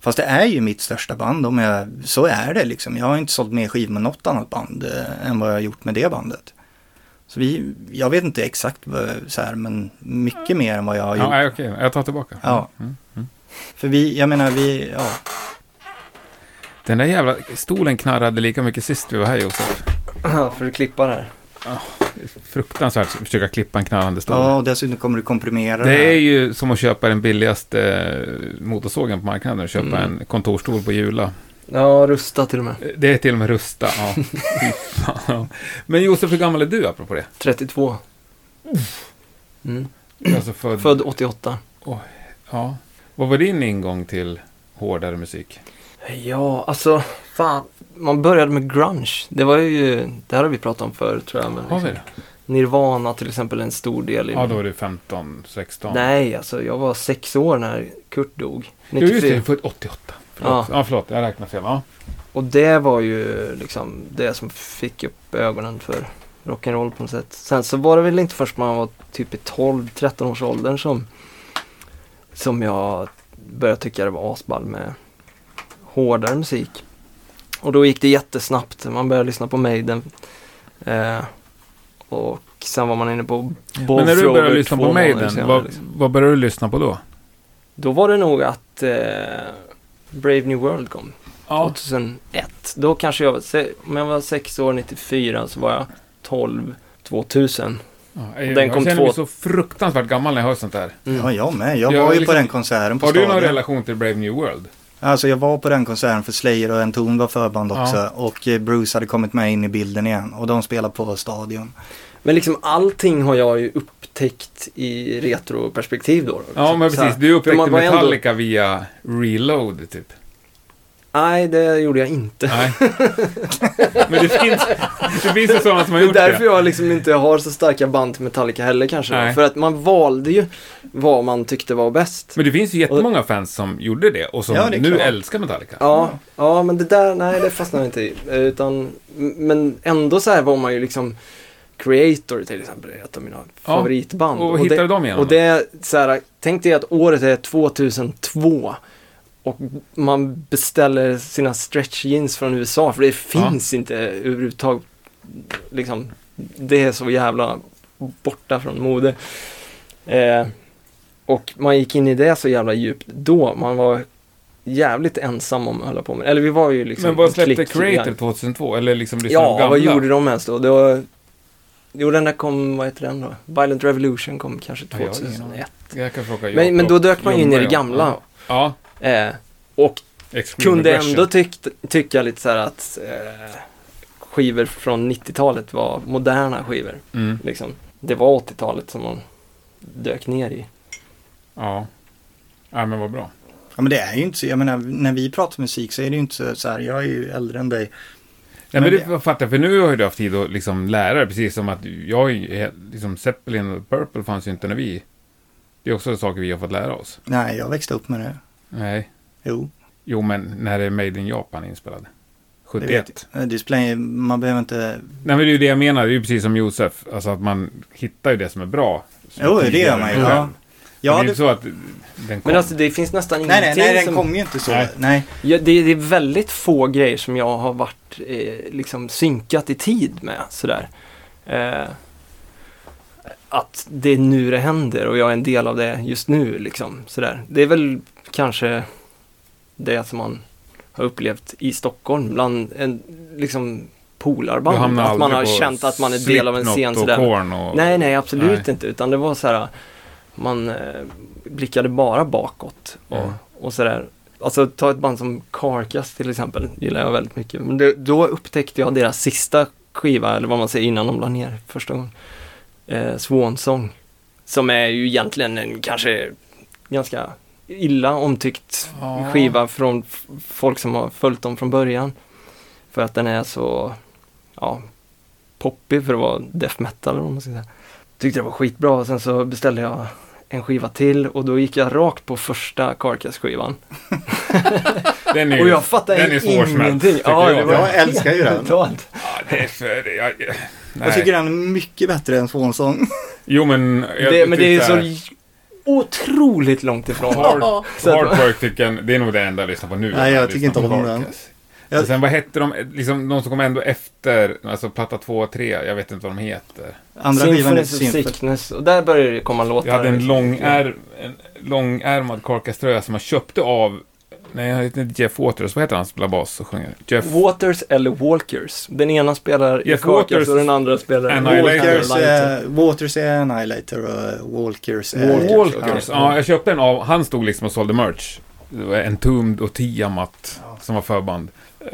B: Fast det är ju mitt största band, om jag, så är det liksom. Jag har inte sålt mer skivor med något annat band eh, än vad jag har gjort med det bandet. Så vi, jag vet inte exakt vad- så här, men mycket mer än vad jag har
A: Ja,
B: gjort.
A: nej, okej, jag tar tillbaka.
B: Ja.
A: Mm.
B: För vi, jag menar vi, ja.
A: Den där jävla stolen knarrade lika mycket sist vi var här Josef.
C: Ja, för att klippa det här.
A: Fruktansvärt att försöka klippa en knarrande stol.
B: ja och dessutom kommer du komprimera det,
A: Det är
B: här.
A: ju som att köpa den billigaste eh, motorsågen på marknaden. Köpa
C: Mm.
A: en kontorsstol på Jula.
C: Ja, rusta till och med.
A: Det är till och med rusta. Ja. Fy fan, ja. Men Josef, hur gammal är du apropå det?
C: 32. Mm.
A: Du är Alltså född...
C: Född 88.
A: Ja. Vad var din ingång till hårdare musik?
C: Ja, alltså fan. Man började med grunge. Det var ju, det här har vi pratat om förr tror jag. Men
A: Har vi
C: liksom,
A: det?
C: Nirvana till exempel är en stor del i
A: Ja,
C: min-
A: då var du 15, 16.
C: Nej, alltså jag var sex år när Kurt dog.
A: Jo, just det. Du är
C: 94.
A: född 88. Förlåt. Ja. förlåt. Jag räknar fel. Ja.
C: Och det var ju liksom det som fick upp ögonen för rock'n'roll på något sätt. Sen så var det väl inte först man var typ i 12-13 års åldern som, som jag började tycka det var asball med hårdare musik. Och då gick det jättesnabbt. Man började lyssna på Maiden. Eh, och sen var man inne på Bob
A: Men när du började
C: Froger
A: lyssna
C: två
A: på
C: månader
A: Maiden,
C: senare,
A: vad,
C: liksom.
A: vad började du lyssna på då?
C: Då var det nog att eh, Brave New World kom. 2001. Då kanske jag var, se- om jag var 6 år 94 så var jag 12 2000.
A: Ja,
C: Den
A: jag
C: kom
A: känner
C: två-
A: mig så fruktansvärt gammal när jag hör sånt där.
B: Ja, jag med. Jag
A: Jag
B: var
A: är
B: ju
A: liksom-
B: på den konserten på
A: Har du någon
B: Stadion.
A: relation till Brave New World?
B: Alltså jag var på den konserten för Slayer och Entombed var förband också.
A: Ja.
B: Och eh, Bruce hade kommit med in i bilden igen. Och de spelade på Stadion.
C: Men liksom allting har jag ju upptäckt i retroperspektiv då. liksom.
A: Ja, men
C: Så här.
A: precis. Du upptäckte
C: man var ändå-
A: Metallica via Reload, typ.
C: Nej, det gjorde jag inte.
A: Nej. Men det finns, det finns ju sådana som har
C: Det är
A: gjort
C: därför
A: det.
C: jag liksom inte har så starka band till Metallica heller kanske.
A: Nej.
C: Då. För att man valde ju vad man tyckte var bäst.
A: Men det finns ju jättemånga fans som gjorde det och som
B: Ja, det är
A: nu
B: klart.
A: älskar Metallica.
C: Ja, ja, men det där, nej det fastnar jag inte i. Eh, Utan, m- men ändå så här var man ju liksom Creator till exempel, är ett av mina favoritband.
A: Och,
C: Och det-
A: hittade dem igenom
C: Och det är så här, tänk dig att året är 2002 och man beställer sina stretch jeans från USA för det finns inte överhuvudtaget. Liksom, det är så jävla borta från mode. Eh, och man gick in i det så jävla djupt då. Man var jävligt ensam om att hålla på med Eller vi var ju liksom
A: Men vad
C: en
A: släppte
C: klick
A: Creator
C: igen.
A: 2002? Eller liksom det som
C: Ja,
A: gamla?
C: vad gjorde de ens då? Det var Jo, den där kom, vad heter den då? Violent Revolution kom kanske
A: Ja, jag har ingen aning.
C: 2001.
A: Jag kan fråga
C: Men, men då
A: Jakob
C: dök man ju in i det
A: Lundberg om-
C: gamla.
A: Ja,
C: Eh, och
A: Extreme
C: kunde
A: Aggression.
C: ändå tyckt, tycka lite så här att eh, skivor från 90-talet var moderna skivor.
A: Mm.
C: Liksom. Det var 80-talet som man dök ner i.
A: Ja. ja, men vad bra.
B: Ja, men det är ju inte så, jag menar när vi pratar musik så är det ju inte så, så här, jag är ju äldre än dig.
A: Nej, men
B: Men
A: det
B: det-
A: jag fattar jag, för nu har ju du haft tid att liksom lära dig, precis som att jag är ju helt- liksom Zeppelin och Purple fanns ju inte när vi... Det är också saker vi har fått lära oss.
B: Nej, jag växte upp med det.
A: Nej.
B: Jo,
A: Jo, men när det är Made in Japan inspelad.
B: det vet
A: 71.
B: jag. Eh, Display, man behöver inte,
A: Nej, men det är ju det jag menar. Det är ju precis som Josef. Alltså att man hittar ju det som är bra. som
B: jo det
A: tidigare
B: gör man ju.
A: än själv.
B: Ja.
A: Men det
B: Ja,
A: är ju
B: det,
A: så att den kom.
C: Men alltså det finns nästan
B: nej,
C: ingenting
B: nej, nej, den
C: som...
B: kommer ju inte så.
A: Nej.
B: Nej.
C: Ja, det, det är väldigt få grejer som jag har varit eh, liksom synkat i tid med sådär. Eh, att det är nu det händer och jag är en del av det just nu liksom. Sådär. Det är väl kanske det som man har upplevt i Stockholm bland en liksom
A: Du
C: polarband.
A: hamnar
C: Att man
A: aldrig
C: har
A: på
C: känt att man är del av en scen
A: Slipknot och
C: sådär.
A: Korn och...
C: Nej, nej, absolut
A: Nej.
C: inte. Utan det var så här, man eh, blickade bara bakåt och,
A: Mm.
C: och så där. Alltså ta ett band som Carcass till exempel, gillar jag väldigt mycket. Men det, då upptäckte jag deras sista skiva, eller vad man säger, innan de la ner första gången. Eh, Swansong. Som är ju egentligen en kanske ganska illa omtyckt
A: Ja.
C: skiva från f- folk som har följt dem från början. För att den är så, ja, poppig för att vara death metal eller vad man ska säga. Tyckte det var skitbra och sen så beställde jag en skiva till och då gick jag rakt på första Carcass-skivan.
A: Den är ju...
C: Och jag fattade
A: den är svårsmält,
C: ingenting.
A: tycker
C: Ja,
A: jag.
C: det var
B: Jag älskar ju den.
C: Totalt.
A: Ja, det är för... Jag, jag,
B: Jag tycker den är mycket bättre än Swansong.
A: Jo, men... jag typ
C: Det, men det är
A: tyckte-
C: så otroligt långt ifrån.
A: Hard,
C: Så att-
A: Hardwork tycker jag, det är nog det enda jag lyssnar på nu.
B: Nej, jag tycker
A: lyssnar
B: inte
A: på
B: om den.
A: Carcass.
B: Jag-
A: Och sen vad hette de, liksom de som kom ändå efter, alltså platta 2 och 3, jag vet inte vad de heter.
B: Andra skivan är
C: Symphonies of
B: Symphony.
C: Sickness. Och där började det komma låtar.
A: Jag hade en,
C: liksom.
A: lång en långärmad Carcass-tröja som jag köpte av, nej jag heter inte Jeff Waters, vad heter han som spelar bas och sjunger? Jeff
C: Waters eller Walkers. Den ena spelar i
A: Jeff
C: Carcass
A: Waters
C: och den andra spelar i
A: Annihilator.
B: Walkers,
C: Annihilator.
B: är, Waters är Annihilator och eh, Walkers är...
A: Walkers.
B: Ja.
A: Ja, jag köpte en av, han stod liksom och sålde merch. Det var Entombed och Tiamat som var förband.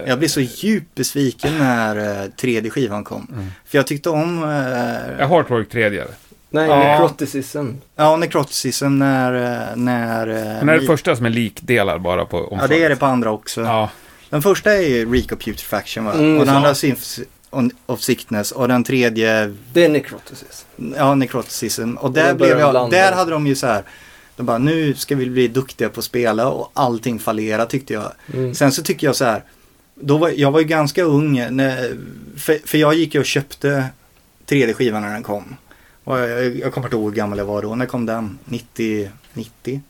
B: Jag blev så djupt besviken när eh, tredje skivan kom.
C: Mm.
B: För jag tyckte om... eh,
A: Jag Hardwork tredje.
C: Nej,
B: Ja.
C: Necroticism.
B: Ja, Necroticism när... eh, när, eh,
A: Den är det
B: vi-
A: första som är likdelar bara på
B: Ja,
A: omslaget.
B: det är det på andra också.
A: Ja,
B: Den första är ju Rico Putrefaction va?
C: Mm,
B: och den
C: ja.
B: andra är Symphs on- of Sickness och den tredje,
C: Det är Necroticism.
B: ja, Necroticism. Och
C: Och
B: där,
C: då börjar
B: blev
C: de
B: jag,
C: blanda.
B: där hade de ju så här, de bara nu ska vi bli duktiga på att spela och allting fallerar tyckte jag. Sen så tycker jag så här, då var, jag var ju ganska ung, när, för, för jag gick ju och köpte tredje skivan när den kom. Och jag, jag, jag kommer inte ihåg hur gammal jag var då, när kom den? 90, 91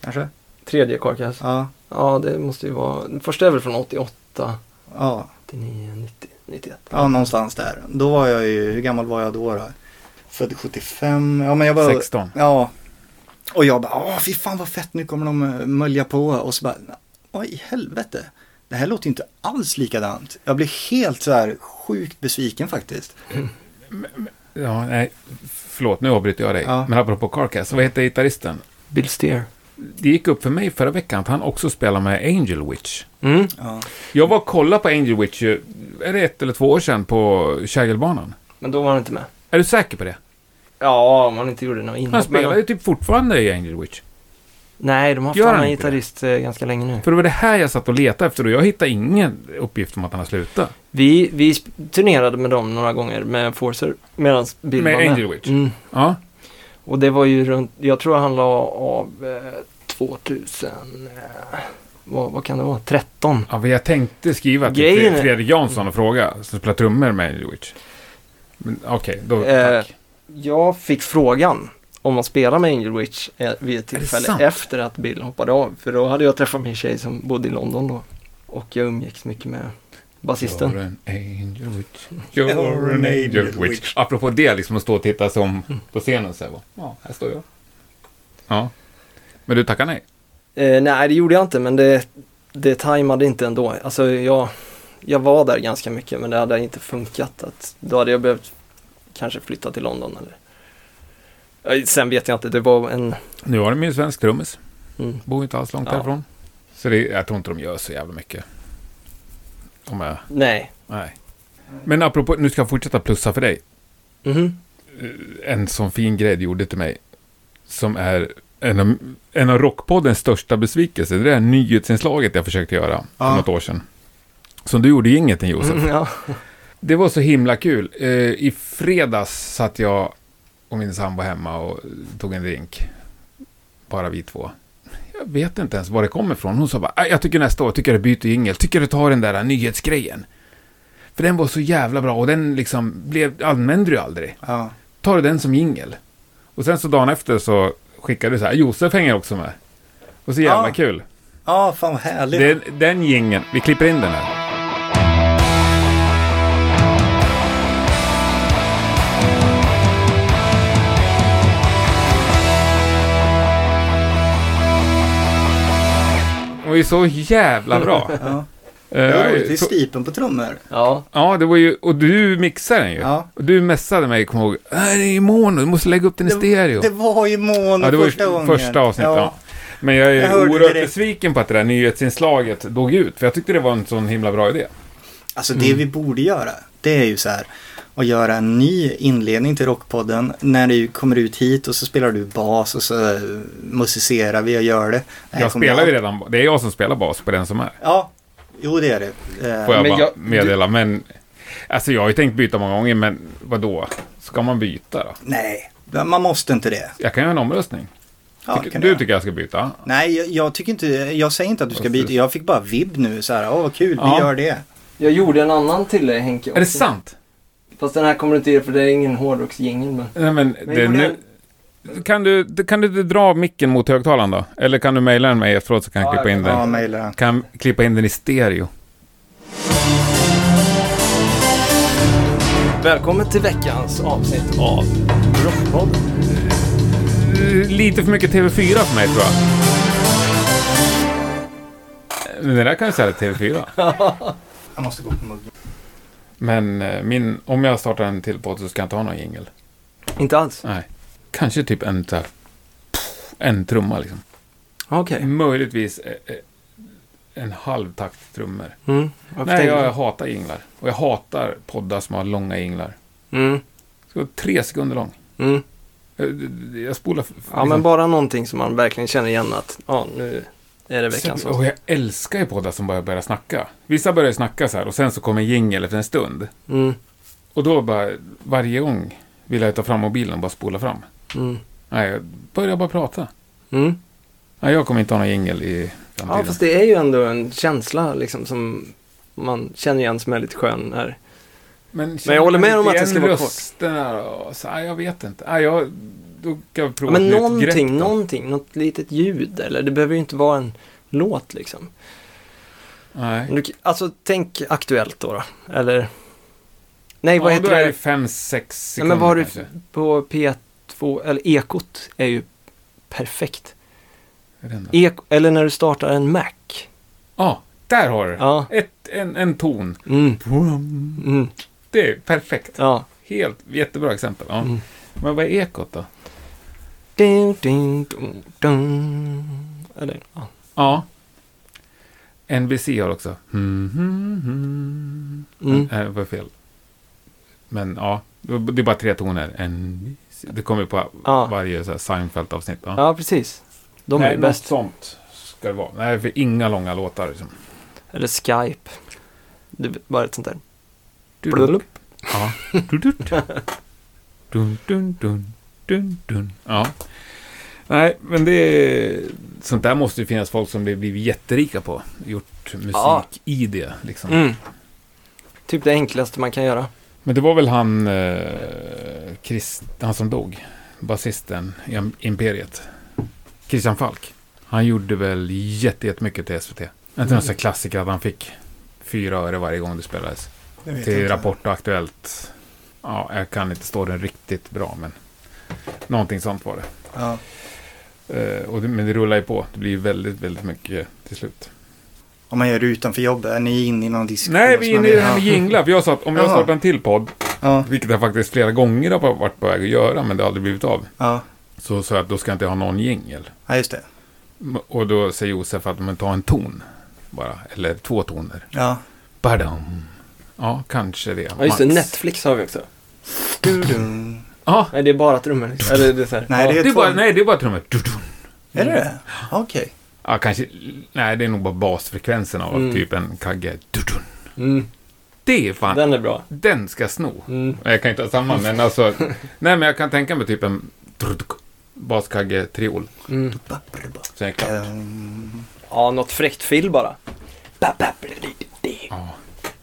B: kanske?
C: Tredje Carcass.
B: Ja,
C: Ja, det måste ju vara. Den första är väl från 88,
B: ja.
C: 89, 90, 91.
B: Ja, någonstans där. Då var jag ju, hur gammal var jag då? då? Född 75, ja men jag var...
A: 16.
B: Ja. Och jag bara, åh fy fan vad fett, nu kommer de eh, mölja på. Och så bara, oj i helvete. Det här låter ju inte alls likadant. Jag blev helt så här sjukt besviken faktiskt.
A: Ja, nej. Förlåt, nu avbryter jag dig.
B: Ja.
A: Men apropå Carcass, vad heter gitarristen?
C: Bill Steer.
A: Det gick upp för mig förra veckan att han också spelar med Angel Witch.
C: Mm.
B: Ja.
A: Jag var och kollade på Angel Witch, ju- är det ett eller två år sedan, på Kägelbanan?
C: Men då var han inte med.
A: Är du säker på det?
C: Mm. Ja, om han inte gjorde något
A: Han
C: inhopp. men-
A: spelar ju typ fortfarande i Angel Witch.
C: Nej, de har haft
A: Gör
C: en
A: han
C: annan
A: inte det?
C: gitarrist eh, ganska länge nu.
A: För det var det här jag satt och letade efter och jag hittade ingen uppgift om att han har slutat.
C: Vi, vi sp- turnerade med dem några gånger med Forcer medan Bill
A: Med
C: var med.
A: Angel Witch?
C: Mm.
A: Ja,
C: Och det var ju runt, jag tror han la av eh, 2000, eh, vad, vad kan det vara, 13?
A: ja för jag tänkte skriva till
C: Grejen är-
A: Fredrik Jansson och fråga, som spelar trummor med Angel Witch. Men okej, då
C: Eh,
A: tack.
C: jag fick frågan om att spela med Angel Witch eh, vid ett
A: det
C: tillfälle
A: sant?
C: efter att Bill hoppade av. För då hade jag träffat min tjej som bodde i London då. Och jag umgicks mycket med basisten.
A: You're an angel witch. You're an angel witch. Apropå det, liksom att stå och titta som på scenen så här. va? Ja, här står jag. Ja. Men du tackar nej?
C: Eh, nej, det gjorde jag inte, men det, det tajmade inte ändå. Alltså jag, jag var där ganska mycket, men det hade inte funkat. Att, då hade jag behövt kanske flytta till London eller... Ja, Sen vet jag inte, det var en...
A: Nu har de ju svensk trummis.
C: Mm.
A: Bor inte alls långt
C: Ja.
A: därifrån. Så det, jag tror inte de gör så jävla mycket. Om jag,
C: Nej.
A: nej. Men apropå, nu ska jag fortsätta plussa för dig.
C: Mhm.
A: En sån fin grej du gjorde till mig. Som är en av, en av rockpoddens största besvikelser. Det där nyhetsinslaget jag försökte göra
B: Ja.
A: för något år sedan. Som du gjorde ingenting Josef.
C: Mm, ja.
A: Det var så himla kul. Eh, I fredags satt jag och min sambo hemma och tog en drink. Bara vi två. Jag vet inte ens var det kommer ifrån. Hon sa bara, "Äh, jag tycker nästa år, tycker jag du byter jingel, tycker du tar den där nyhetsgrejen. För den var så jävla bra och den liksom blev, använder du aldrig.
B: Ja.
A: Tar du den som jingel. Och sen så dagen efter så skickade du så här, Josef hänger också med. Och så jävla
B: Ja.
A: kul.
B: ja, fan vad härligt.
A: Den, den jingeln, vi klipper in den här. Och är så jävla bra.
B: Ja. Det var roligt, det
A: Eh,
B: är
A: så,
B: stipen på trummor.
C: ja.
A: ja, det var ju, och du mixade den ju.
B: Ja.
A: Och du messade mig, kom ihåg, "Äh, det är ju mono, du måste lägga upp den i stereo.
B: Det var ju mono
A: Ja, det var ju
B: första gången.
A: första avsnittet. Ja.
B: Ja.
A: Men jag är
B: Jag hörde
A: oerhört
B: direkt.
A: besviken på att det där nyhetsinslaget dog ut. För jag tyckte det var en sån himla bra idé.
B: Alltså det
A: Mm.
B: vi borde göra, det är ju så här att göra en ny inledning till Rockpodden när du kommer ut hit och så spelar du bas och så eh, musicerar vi och gör det. Det här
A: jag
B: kommer
A: spelar ju
B: bli-
A: redan, det är jag som spelar bas på den som är.
B: Ja, jo det är det. Eh,
A: Får jag
C: Men
A: bara
C: jag-
A: meddela. Men, alltså jag har ju tänkt byta många gånger, men vad då? Ska man byta då?
B: Nej, man måste inte det.
A: Jag kan göra en omröstning.
B: Ja,
A: Tycker-
B: kan
A: du
B: jag.
A: tycker jag ska byta?
B: Nej, jag, jag tycker inte, jag säger inte att du ska
A: Varför?
B: byta. Jag fick bara vibb nu så här, åh vad kul,
A: Ja.
B: vi gör det.
C: Jag gjorde en annan till dig Henke.
A: Är det
C: också.
A: sant?
C: Fast den här kommer du inte ge för det är ingen hårdrocksjingel. Men...
A: Nej, men
C: Men
A: det,
C: gjorde
A: nu, kan, du, kan du dra micken mot högtalaren då? Eller kan du mejla den mig efteråt så kan jag
C: Ja,
A: klippa
C: jag
A: in
B: Ja,
A: den.
B: mejla den.
A: Kan klippa in den i stereo.
C: Välkommen till veckans avsnitt av Rockpodden.
A: Eh, lite för mycket TV4 för mig tror jag. Eh, Men det där kan ju säga TV4.
B: Jag måste gå på muggen.
A: Men eh, min, om jag startar en till podd så ska jag inte ha någon jingel.
C: Inte alls?
A: Nej. Kanske typ en så här, en trumma liksom.
C: Okej.
A: Möjligtvis eh, eh, en halv takt trummor.
C: Mm. varför
A: Nej,
C: tänker
A: jag,
C: du?
A: jag hatar jinglar. Och jag hatar poddar som har långa jinglar.
C: Mm.
A: Det ska vara tre sekunder lång.
C: Mm.
A: Jag, jag spolar... f-
C: Ja, men bara någonting som man verkligen känner igen att ja, nu är det veckans
A: Så, och
C: avsnitt.
A: jag älskar ju poddar som bara börjar snacka. Vissa börjar ju snacka så här och sen så kommer jingel efter en stund.
C: Mm.
A: Och då bara, varje gång vill jag ta fram mobilen och bara spola fram.
C: Mm.
A: Nej, jag börjar bara prata.
C: Mm.
A: Nej, jag kommer inte ha någon jingel i
C: Ja,
A: framtiden.
C: fast det är ju ändå en känsla liksom som man känner igen som är lite skön här.
A: men,
C: jag håller med om att det ska vara kort.
A: kort. Så, nej, jag vet inte. Nej, jag, då kan jag
C: Ja,
A: prova
C: men
A: ett nytt grepp då.
C: någonting, någonting, något litet ljud eller det behöver ju inte vara en låt liksom.
A: Nej.
C: Du, alltså tänk aktuellt då, då. eller Nej, vad
A: ja,
C: heter
A: då är
C: det?
A: det fem, sex
C: Nej,
A: sekunder
C: men vad har du
A: kanske.
C: på P2, eller Ekot är ju perfekt.
A: Är det den där?
C: Ek, eller när du startar en Mac.
A: Ja, där har du det.
C: Ja.
A: Ett, en, en ton.
C: Mm. Mm.
A: Det är perfekt.
C: Ja.
A: Helt, jättebra exempel. Ja.
C: Mm.
A: Men vad är ekot då?
C: Dun, dun, dun, dun. Eller, ja.
A: Ja. NBC har också. Mm, mm, mm.
C: Mm.
A: Nej, det var fel. Men ja, det är bara tre toner. NBC. Det kommer ju på
C: Ja.
A: varje så här Seinfeld-avsnitt. Ja.
C: ja, precis. De är
A: Nej,
C: ju bäst.
A: något sånt ska det vara. Nej, för inga långa låtar. Liksom.
C: Eller Skype. Det är bara ett sånt där.
A: Du-
C: Blulup.
A: Ja. Du- du- du. Dun, dun, dun, dun, dun. Ja. Nej, men det är... Sånt där måste ju finnas folk som blir- blivit jätterika på. Gjort musik
C: Ja.
A: i det, liksom.
C: Mm. Typ det enklaste man kan göra.
A: Men det var väl han, eh, Chris, han som dog, basisten i Im- Imperiet. Christian Falk. Han gjorde väl jätte- jättemycket till SVT. Inte någon sån här klassiker att han fick fyra öre varje gång det spelades.
B: Det vet jag
A: Till
B: inte.
A: Rapport och Aktuellt. Ja, jag kan inte stå den riktigt bra, men någonting sånt var det.
B: Ja.
A: Eh, och det men det rullar ju på. Det blir ju väldigt, väldigt mycket till slut.
B: Om man gör det utanför jobbet, är ni inne i någon diskussion?
A: Nej, vi är inne
B: som man
A: i det
B: vill
A: här med
B: ha?
A: jinglar. För jag sa att om jag
B: Jaha.
A: startar en till podd
B: Ja,
A: Vilket jag faktiskt flera gånger har varit på väg att göra, men det har aldrig blivit av.
B: ja.
A: Så sa jag att då ska jag inte ha någon jingel.
B: ja just det.
A: M- Och då säger Josef att men ta en ton bara, eller två toner.
B: Ja.
A: Badam. Ja, kanske det.
C: Ja, just det.
A: Max.
C: Netflix har vi också.
B: Du, du.
A: Ja,
C: Nej, det är bara trummor. liksom. Eller det är så här.
B: Nej, det
A: det
B: är,
A: är
B: två...
A: bara, nej, det är bara trummor. Du, du.
B: Är det
A: Mm.
B: det? Okej.
A: Ja, kanske, nej, det är nog bara basfrekvensen av
C: Mm.
A: typ en kagge. Du, du.
C: Mm,
A: Det är fan, den,
C: den är bra.
A: ska jag sno.
C: Mm.
A: Jag kan inte ha samma, men alltså. nej, men jag kan tänka mig typ en truduk, baskagge, triol.
C: Mm.
A: Sen är det klart.
B: Ehm,
C: Ja, något fräckt fill bara.
A: Ja,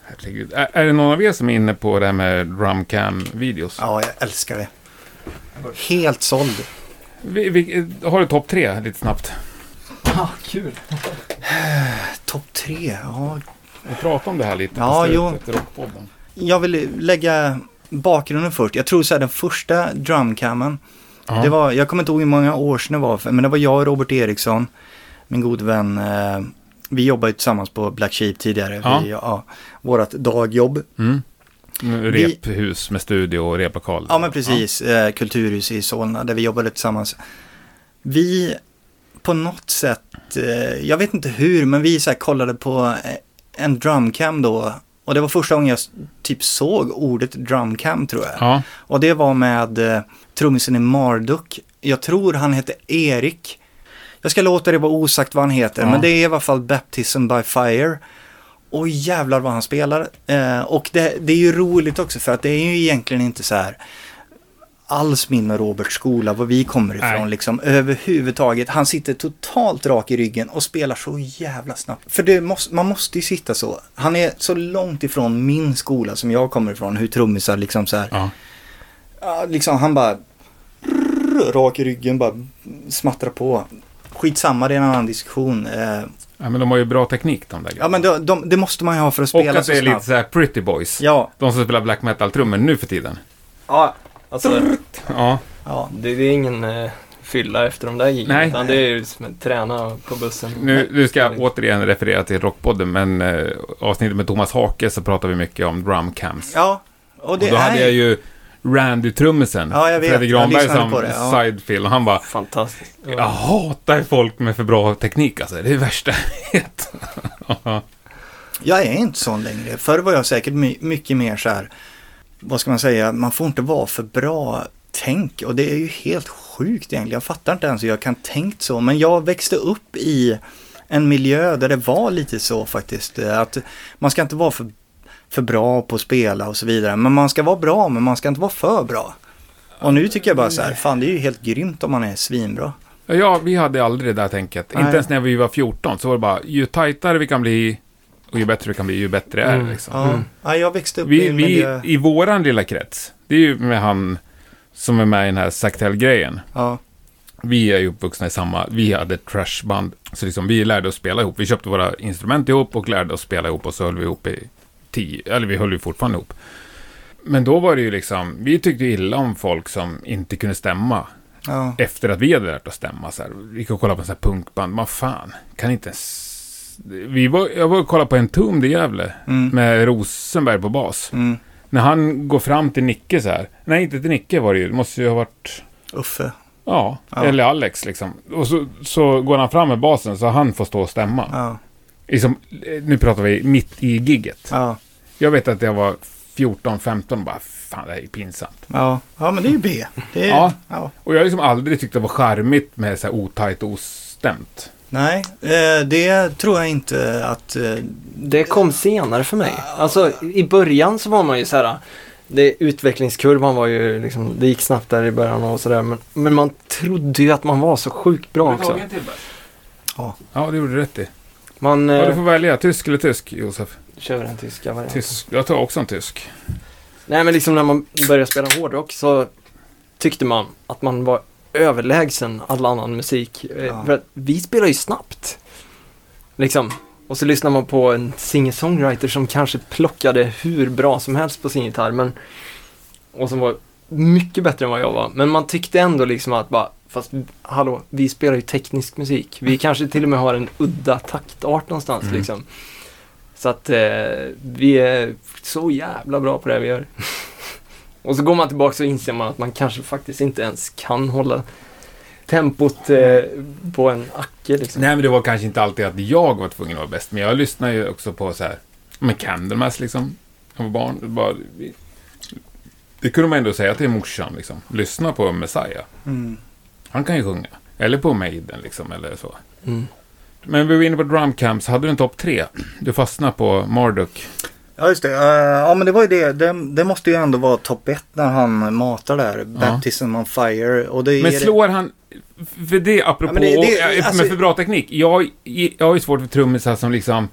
A: herregud. Är, är det någon av er som är inne på det här med drumcam-videos?
B: Ja, jag älskar det. Helt såld.
A: Vi, vi, har du topp tre lite snabbt?
C: Ja, kul.
B: Topp tre. Ja.
A: Vi pratade om det här lite
B: Ja,
A: på slutet
B: jo.
A: efter Rockpodden.
B: Jag vill lägga bakgrunden först. Jag tror så här den första drumcammen.
A: Ja.
B: Det var, jag kommer inte ihåg hur många år sedan det var, men det var jag och Robert Eriksson, min god vän. Eh, vi jobbade ju tillsammans på Black Sheep tidigare.
A: Ja.
B: Vi, ja, vårt dagjobb.
A: Mm. Mm,
B: Vi-
A: Rephus med studio och replokal.
B: Ja men precis, eh, Kulturhus i Solna där vi jobbade tillsammans. Vi på något sätt, eh, jag vet inte hur, men vi så här kollade på eh, en drumcam då. Och det var första gången jag s- typ såg ordet drumcam tror jag.
A: Ja.
B: Och det var med eh, trummisen i Marduk. Jag tror han hette Erik. Jag ska låta det vara osagt vad han heter,
A: Ja.
B: men det är i alla fall Baptism by Fire. Och jävlar vad han spelar. Eh, och det, det är ju roligt också för att det är ju egentligen inte så här alls min och Roberts skola, var vi kommer ifrån
A: Nej.
B: liksom överhuvudtaget. Han sitter totalt rak i ryggen och spelar så jävla snabbt. För det måste, man måste ju sitta så. Han är så långt ifrån min skola som jag kommer ifrån, hur trummisar liksom så här
A: Ja.
B: Ja, liksom han bara rak i ryggen, bara smattrar på. Skitsamma, det är en annan diskussion. Eh,
A: ja, men de har ju bra teknik de där
B: Ja, men de, de, det måste man ju ha för att
A: Och
B: spela
A: att
B: så
A: det är lite
B: snabbt.
A: så här pretty boys.
B: Ja,
A: De som spelar black metal-trummor nu för tiden.
C: Ja, alltså
A: Ja,
B: ja.
C: det, det är ingen eh, fylla efter de där giggen.
A: Nej.
C: Utan det är ju som att träna på bussen.
A: nu, nu ska jag återigen referera till Rockpodden, men eh, avsnittet med Thomas Hake så pratar vi mycket om drumcams.
B: Ja, och det
A: och då hade
B: är...
A: jag ju Randy-trummisen,
B: Ja, jag vet.
A: Fredrik
B: Jag
A: Granberg,
B: lyssnade
A: som
B: på det, ja.
A: sidefill. Och han bara,
C: Fantastiskt. Ja.
A: jag hatar folk med för bra teknik alltså. Det är det värsta jag vet.
B: Jag är inte sån längre. Förr var jag säkert my mycket mer så här, vad ska man säga, man får inte vara för bra tänk och det är ju helt sjukt egentligen. Jag fattar inte ens hur jag kan tänkt så, men jag växte upp i en miljö där det var lite så faktiskt, eh, att man ska inte vara för, för bra på att spela och så vidare, men man ska vara bra, men man ska inte vara för bra. Och nu tycker jag bara så här, fan det är ju helt grymt om man är svinbra.
A: Ja, vi hade aldrig det där tänket.
B: Nej.
A: Inte ens när vi var 14 så var det bara, ju tajtare vi kan bli och ju bättre vi kan bli, ju bättre är det
C: Mm.
A: liksom.
B: Ja, ja jag växte upp i
A: Vi,
B: en
A: vi
B: miljö,
A: i våran lilla krets, det är ju med han som är med i den här Saktell-grejen.
B: ja,
A: Vi är ju uppvuxna i samma, vi hade trashband. Så liksom vi lärde oss spela ihop. Vi köpte våra instrument ihop och lärde oss spela ihop och så höll vi ihop i tio, eller vi höll ju fortfarande ihop. Men då var det ju liksom, vi tyckte illa om folk som inte kunde stämma.
B: ja,
A: Efter att vi hade lärt oss stämma så här. Vi gick och kollade på så här punkband, man fan, kan inte ens... Vi var, jag var och kollade på en tum i Gävle
B: mm,
A: med Rosenberg på bas.
B: mm,
A: När han går fram till Nicke så här. Nej, inte till Nicke var det ju. Det måste ju ha varit...
B: Uffe.
A: Ja,
B: Ja.
A: eller Alex liksom. Och så, så går han fram med basen så han får stå och stämma.
B: Ja,
A: Liksom, eh, nu pratar vi mitt i gigget.
B: ja.
A: Jag vet att jag var 14-15 bara, fan det här är ju pinsamt.
B: Ja, ja men det är ju B. Det är,
A: Ja.
B: ja.
A: Och jag har liksom aldrig tyckt det var charmigt med så här otajt och ostämt.
B: Nej, eh, det tror jag inte att... eh,
C: Det kom senare för mig. Alltså i början så var man ju så här. Det, utvecklingskurvan var ju liksom, det gick snabbt där i början och sådär. Men, men man trodde ju att man var så sjukt bra också.
B: Ja.
A: Ja, det gjorde du rätt i.
C: Man...
A: Ja, du
C: Eh,
A: får välja, tysk eller tysk, Josef?
C: kör vi den tyska varianten.
A: Tysk. Jag tar också en tysk.
C: Nej men liksom när man började spela hårdrock så tyckte man att man var överlägsen all annan musik. Eh,
B: Ja.
C: För att vi spelar ju snabbt. Liksom. Och så lyssnar man på en singer-songwriter som kanske plockade hur bra som helst på sin gitarr. Men, och som var mycket bättre än vad jag var. Men man tyckte ändå liksom att bara, fast hallå, vi spelar ju teknisk musik. Vi kanske till och med har en udda taktart någonstans
A: Mm.
C: liksom. Så att eh, vi är så jävla bra på det vi gör. Och så går man tillbaka så inser man att man kanske faktiskt inte ens kan hålla tempot eh, på en acke. Liksom.
A: Nej, men det var kanske inte alltid att jag var tvungen att vara bäst, men jag lyssnar ju också på så här, men Candlemass liksom, jag var barn, det bara, det kunde man ändå säga till morsan liksom, lyssna på Messiah,
B: Mm.
A: han kan ju sjunga, eller på Maiden liksom, eller så.
C: Mm.
A: Men vi var inne på drumcamps, hade du en topp tre? Du fastnade på Marduk.
B: Ja just det, Eh, ja men det var ju det. det, det måste ju ändå vara topp ett när han matar där, Baptism on Fire. Och det
A: Men
B: är
A: slår han... För det, apropå,
B: Ja, men det- det-
A: och, eh,
B: alltså-
A: men för bra teknik. Jag, jag har ju svårt för trummisar som liksom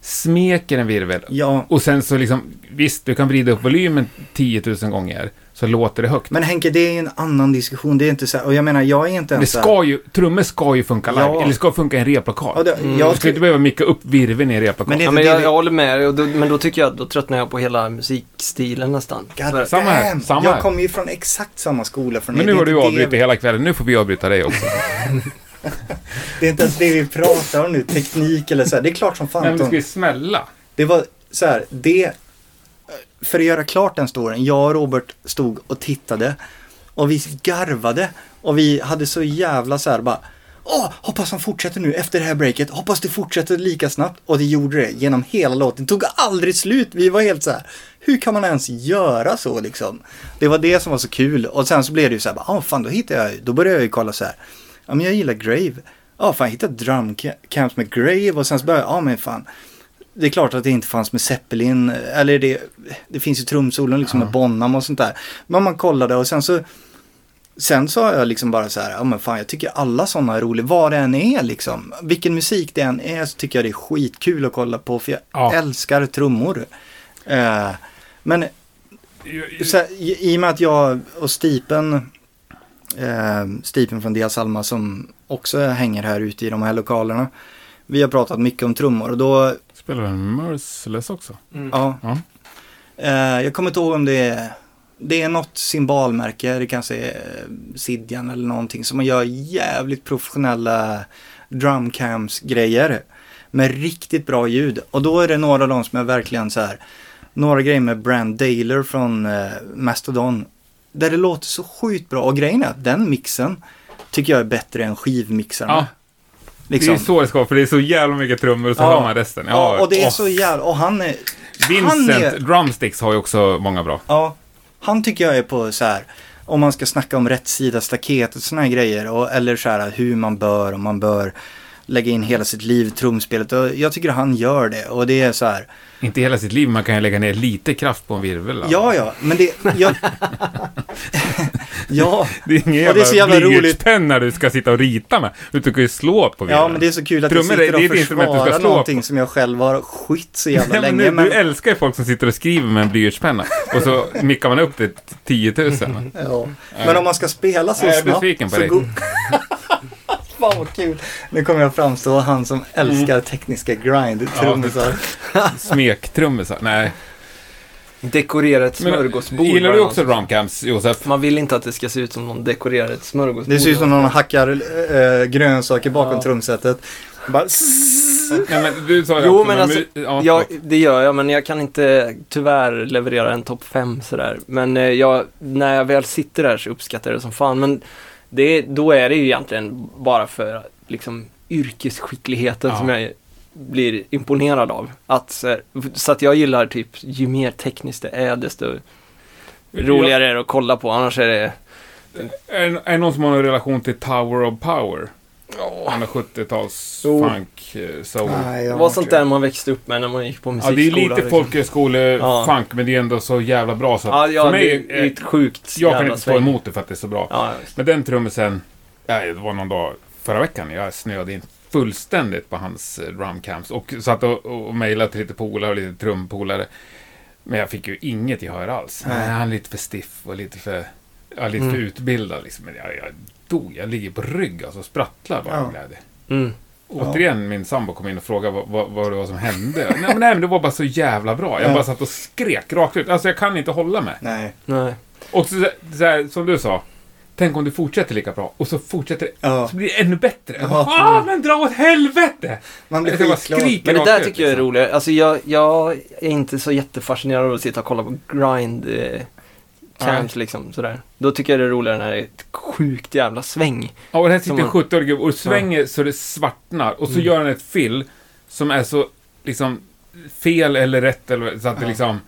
A: smeker en virvel.
B: Ja,
A: Och sen så liksom, visst, du kan vrida upp volymen 10 000 gånger, så låter det högt.
B: men Henke det är ju en annan diskussion. Det är inte så här, och jag menar jag är inte ens
A: det
B: så här-
A: ska ju, trummor ska ju funka live,
B: Ja.
A: eller ska funka i en replokal.
B: Ja, det,
A: Du
B: jag
A: Mm. ska
B: skulle,
A: inte behöva micka upp virveln i en replokal.
B: Men det-
C: Ja, men jag, jag håller med dig, och då, men då tycker jag då tröttnar jag på hela musikstilen nästan.
B: God
C: För-
A: Samma här,
B: damn!
A: samma här.
B: Jag kommer ju från exakt samma skola från
A: Men
B: er.
A: nu
B: Det är
A: har du
B: inte det
A: avbrutit
B: vi-
A: hela kvällen, nu får vi avbryta dig också.
B: Det är inte ens det vi pratar om nu, teknik eller så här. Det är klart som fan.
A: Nej, men det
B: Anton.
A: ska ju smälla.
B: Det var så här, det... För att göra klart den storyn, jag och Robert stod och tittade och vi garvade och vi hade så jävla så här bara Åh, hoppas han fortsätter nu efter det här breaket. Hoppas det fortsätter lika snabbt. Och det gjorde det genom hela låten. Det tog aldrig slut. Vi var helt så här, hur kan man ens göra så liksom? Det var det som var så kul. Och sen så blev det ju så här, bara, ah, fan då hittade jag, ju- då började jag ju kolla så här. Ja, men jag gillar Grave. Ja, fan jag hittade drumcamps med Grave och sen så började jag, ja men fan. Det är klart att det inte fanns med Zeppelin, eller det, det finns ju trumsolon liksom med Bonham och sånt där. Men man kollade och sen så, sen sa jag liksom bara så här, ja men fan jag tycker alla sådana är roliga, vad det än är liksom. Vilken musik det än är så tycker jag det är skitkul att kolla på för jag
A: Ja.
B: älskar trummor. Eh, men så här, i, i och med att jag och Stipen, eh, Stipen från Dias Alma som också hänger här ute i de här lokalerna. Vi har pratat mycket om trummor och då
A: Spelar väl Merciless också?
B: Ja.
A: Ja.
B: Eh, jag kommer inte ihåg om det är, det är något symbolmärke, det kanske är eh, Sidjan eller någonting, som man gör jävligt professionella drumcams-grejer med riktigt bra ljud. Och då är det några av dem som är verkligen så här, några grejer med Brand Daler från eh, Mastodon, där det låter så sjukt bra. Och grejen är att den mixen tycker jag är bättre än skivmixarna.
A: Ja,
B: liksom.
A: Det är så det ska vara, för det är så jävla mycket trummor och så
B: Ja.
A: hör man resten.
B: ja, och det är
A: åh.
B: så jävla, och han är,
A: Vincent
B: han är
A: Drumsticks har ju också många bra.
B: Ja, han tycker jag är på så här, om man ska snacka om rätt sida staket och sådana grejer. Och, eller så här hur man bör, om man bör lägga in hela sitt liv i trumspelet. Och jag tycker han gör det. Och det är så här,
A: Inte hela sitt liv, man kan ju lägga ner lite kraft på en virvel. alltså.
B: ja ja, men det, jag, ja.
A: Det är ingen
B: Och det är så
A: jävla
B: jävla roligt.
A: blyertspenna du ska sitta och rita med. Du kan ju slå på virveln.
B: Ja men det är så kul att
A: Trummor är-
B: jag sitter
A: det är
B: och
A: ett instrument du ska
B: försvarar
A: slå
B: någonting som jag själv har skit så jävla
A: Nej, men nu,
B: länge. Men,
A: Du älskar ju folk som sitter och skriver med en blyertspenna. Och så mickar man upp det till 10 000. va?
B: ja. men om man ska spela så
A: Nej, jag är
B: snabbt
A: besviken på
B: så
A: dig.
B: go- Fan vad kul. Nu kommer jag framstå han som
A: Mm.
B: älskar tekniska grind, trummisar.
A: Smektrummisar. Nej.
C: Dekorera ett smörgåsbord.
A: gillar
C: var
A: du
C: det
A: också drumcamps, Josef?
C: Man vill inte att det ska se ut som någon dekorerar ett smörgåsbord.
B: Det ser ut som någon hackar äh, grönsaker bakom trumsetet. Bara zzzz.
A: Nej, men du sa det
C: Jo,
A: också,
C: men alltså,
A: mu- ja,
C: Ja,
A: förlåt.
C: det gör jag, men jag kan inte tyvärr leverera en topp 5 sådär. Men eh, jag, när jag väl sitter där så uppskattar jag det som fan. Men det, då är det ju egentligen bara för liksom, yrkesskickligheten
A: Ja.
C: som jag blir imponerad av. Att, så, här, så att jag gillar typ, ju mer tekniskt det är, desto roligare är det att kolla på. Annars är det...
A: Är, är det någon som har en relation till Tower of Power? Han är 70-tals
C: Jo.
A: funk, eh, soul.
B: Nej,
C: Det
B: jag
C: var
B: har
C: sånt
B: inte-
C: där man växte upp med när man gick på
A: Ja, det
C: musikskola.
A: är lite
C: liksom. Ja.
A: folkhöskole-funk, men det är ändå så jävla bra så.
C: Ja, ja
A: för
C: det,
A: mig,
C: är- det är
A: eh,
C: ett sjukt
A: jag kan
C: jävla
A: inte stå
C: sväng.
A: emot det för att det är så bra.
C: Ja, just.
A: Men den trummisen, nej, det var någon dag förra veckan, jag snöade in fullständigt på hans eh, drumcamps och satt och, och mejlade till lite polare och lite trumpolare. Men jag fick ju inget gehör alls.
B: Nej.
A: Nej, han är lite för stiff och lite för, ja, lite
C: Mm.
A: för utbildad liksom. Men jag, jag dog, jag ligger på rygg alltså och sprattlar bara
B: Ja.
A: av glädje.
C: Mm.
A: Återigen, min sambo kom in och frågade vad, vad, vad det var som hände. nej, men, nej, men det var bara så jävla bra. Jag
B: Ja.
A: bara satt och skrek rakt ut. Alltså, jag kan inte hålla mig.
B: Nej.
C: Nej.
A: Och så, så här, som du sa, tänk om du fortsätter lika bra och så fortsätter det,
B: Ja.
A: så blir det ännu bättre.
B: Ja.
A: Ah, men dra åt helvete!
B: Man blir
A: Jag ska bara
B: skitglad.
A: skrika
C: Men det
A: rakt
C: där
A: ut,
C: tycker jag är
A: liksom.
C: roligt. Alltså jag, jag är inte så jättefascinerad av att sitta och kolla på grind eh, camps liksom sådär. Då tycker jag det är roligare när det är ett sjukt jävla sväng.
A: Ja, och här
C: Som
A: sitter en
C: man-
A: 70-årig gubbe och svänger så det svartnar. Och så
C: Mm.
A: gör han ett fill som är så liksom fel eller rätt eller så att det
C: Ja.
A: liksom...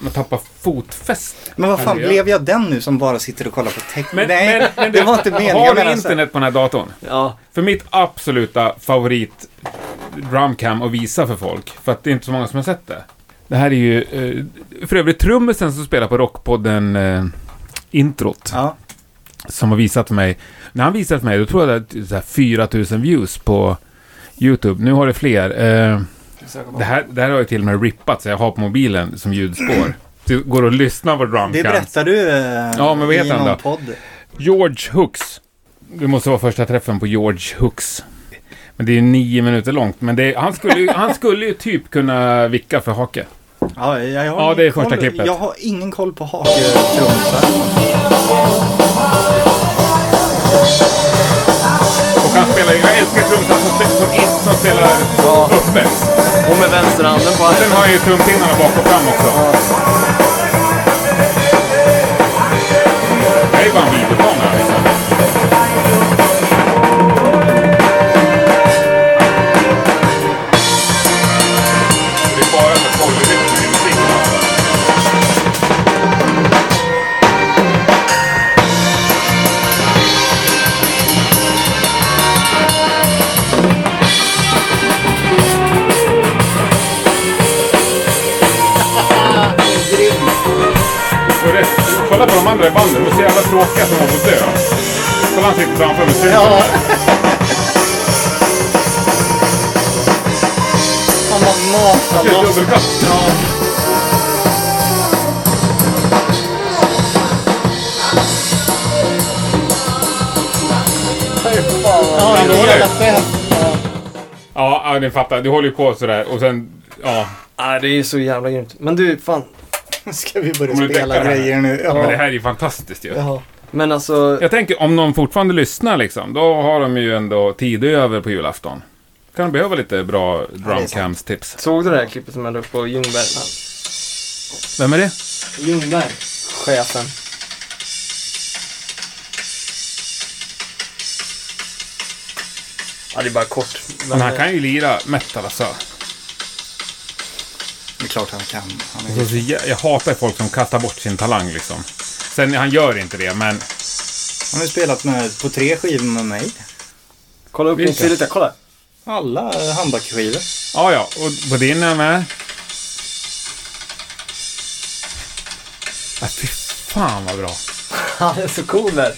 A: Man tappar fotfäste.
B: Men vad fan,
A: Ja.
B: blev jag den nu som bara sitter och kollar på text?
A: Men-
B: Nej,
A: men- men
B: det
A: du-
B: var inte meningen.
A: Har
B: jag
A: du
B: menar så här-
A: internet på den här datorn?
C: Ja,
A: För mitt absoluta favorit drumcam att visa för folk, för att det är inte så många som har sett det. Det här är ju eh, för övrigt trummisen som spelar på Rockpodden eh, introt,
B: Ja,
A: som har visat för mig. När han visade för mig, då tror jag att det är så här 4000 views på YouTube. Nu har det fler. Eh, det, här, det här har jag till och med rippat, så jag har på mobilen som ljudspår. Du går och lyssnar på
B: det
A: drumcam.
B: berättar du eh,
A: Ja, men vad
B: i
A: heter han
B: någon
A: då?
B: podd.
A: George Hooks. Det måste vara första träffen på George Hooks. Men det är ju nio minuter långt. Men det är, han, skulle ju, han skulle ju typ kunna vicka för hake.
B: Ja, jag har
A: Ja, det är
B: ingen
A: första
B: koll,
A: klippet.
B: Jag har ingen koll på haketrumsar.
A: Och han spelar ju, jag älskar trumsan som, spe- som, in- som spelar
C: Ja.
A: uppe.
C: och med vänsterhanden på armen.
A: Sen har han ju trumpinnarna bak och fram också. Det här är ju bara en videobana liksom. Det är bara för folk. Och det, kolla på de andra i banden, de är så jävla tråkiga som håller på att dö. Kolla han sitter framför musiken.
B: Ja. Han har matat
A: Det är
B: loss.
A: dubbelkast.
B: Ja,
A: Han
B: det är
A: håller.
B: jävla fett.
A: Ja, ja, ni fattar. Du håller ju på sådär och sen... Ja,
C: Ja, det är så jävla grymt. Men du, fan.
B: Ska vi börja
A: Kommer du
B: spela
A: täcka det här?
B: grejer nu? Ja.
A: men det här är ju fantastiskt ju.
B: Ja.
C: Men alltså,
A: Jag tänker, om någon fortfarande lyssnar liksom, då har de ju ändå tid över på julafton. Kan de behöva lite bra drumcams-tips.
C: såg du det här klippet som jag la upp på Ljungberg?
A: Vem är det?
C: Ljungberg? Chefen. Ja, det är bara kort.
A: Men han kan ju lira metal alltså.
B: Det är klart han kan. Han är...
A: Så- så jä- Jag hatar folk som kastar bort sin talang liksom. Sen, han gör inte det, men...
B: Han har ju spelat med, på tre skivor med mig.
C: Kolla upp
A: Vilka?
C: insidan, kolla.
B: Alla eh, handbackskivor.
A: Ja, ja. Och på din är med. Ja, fy fan vad bra.
C: Han är så cool där.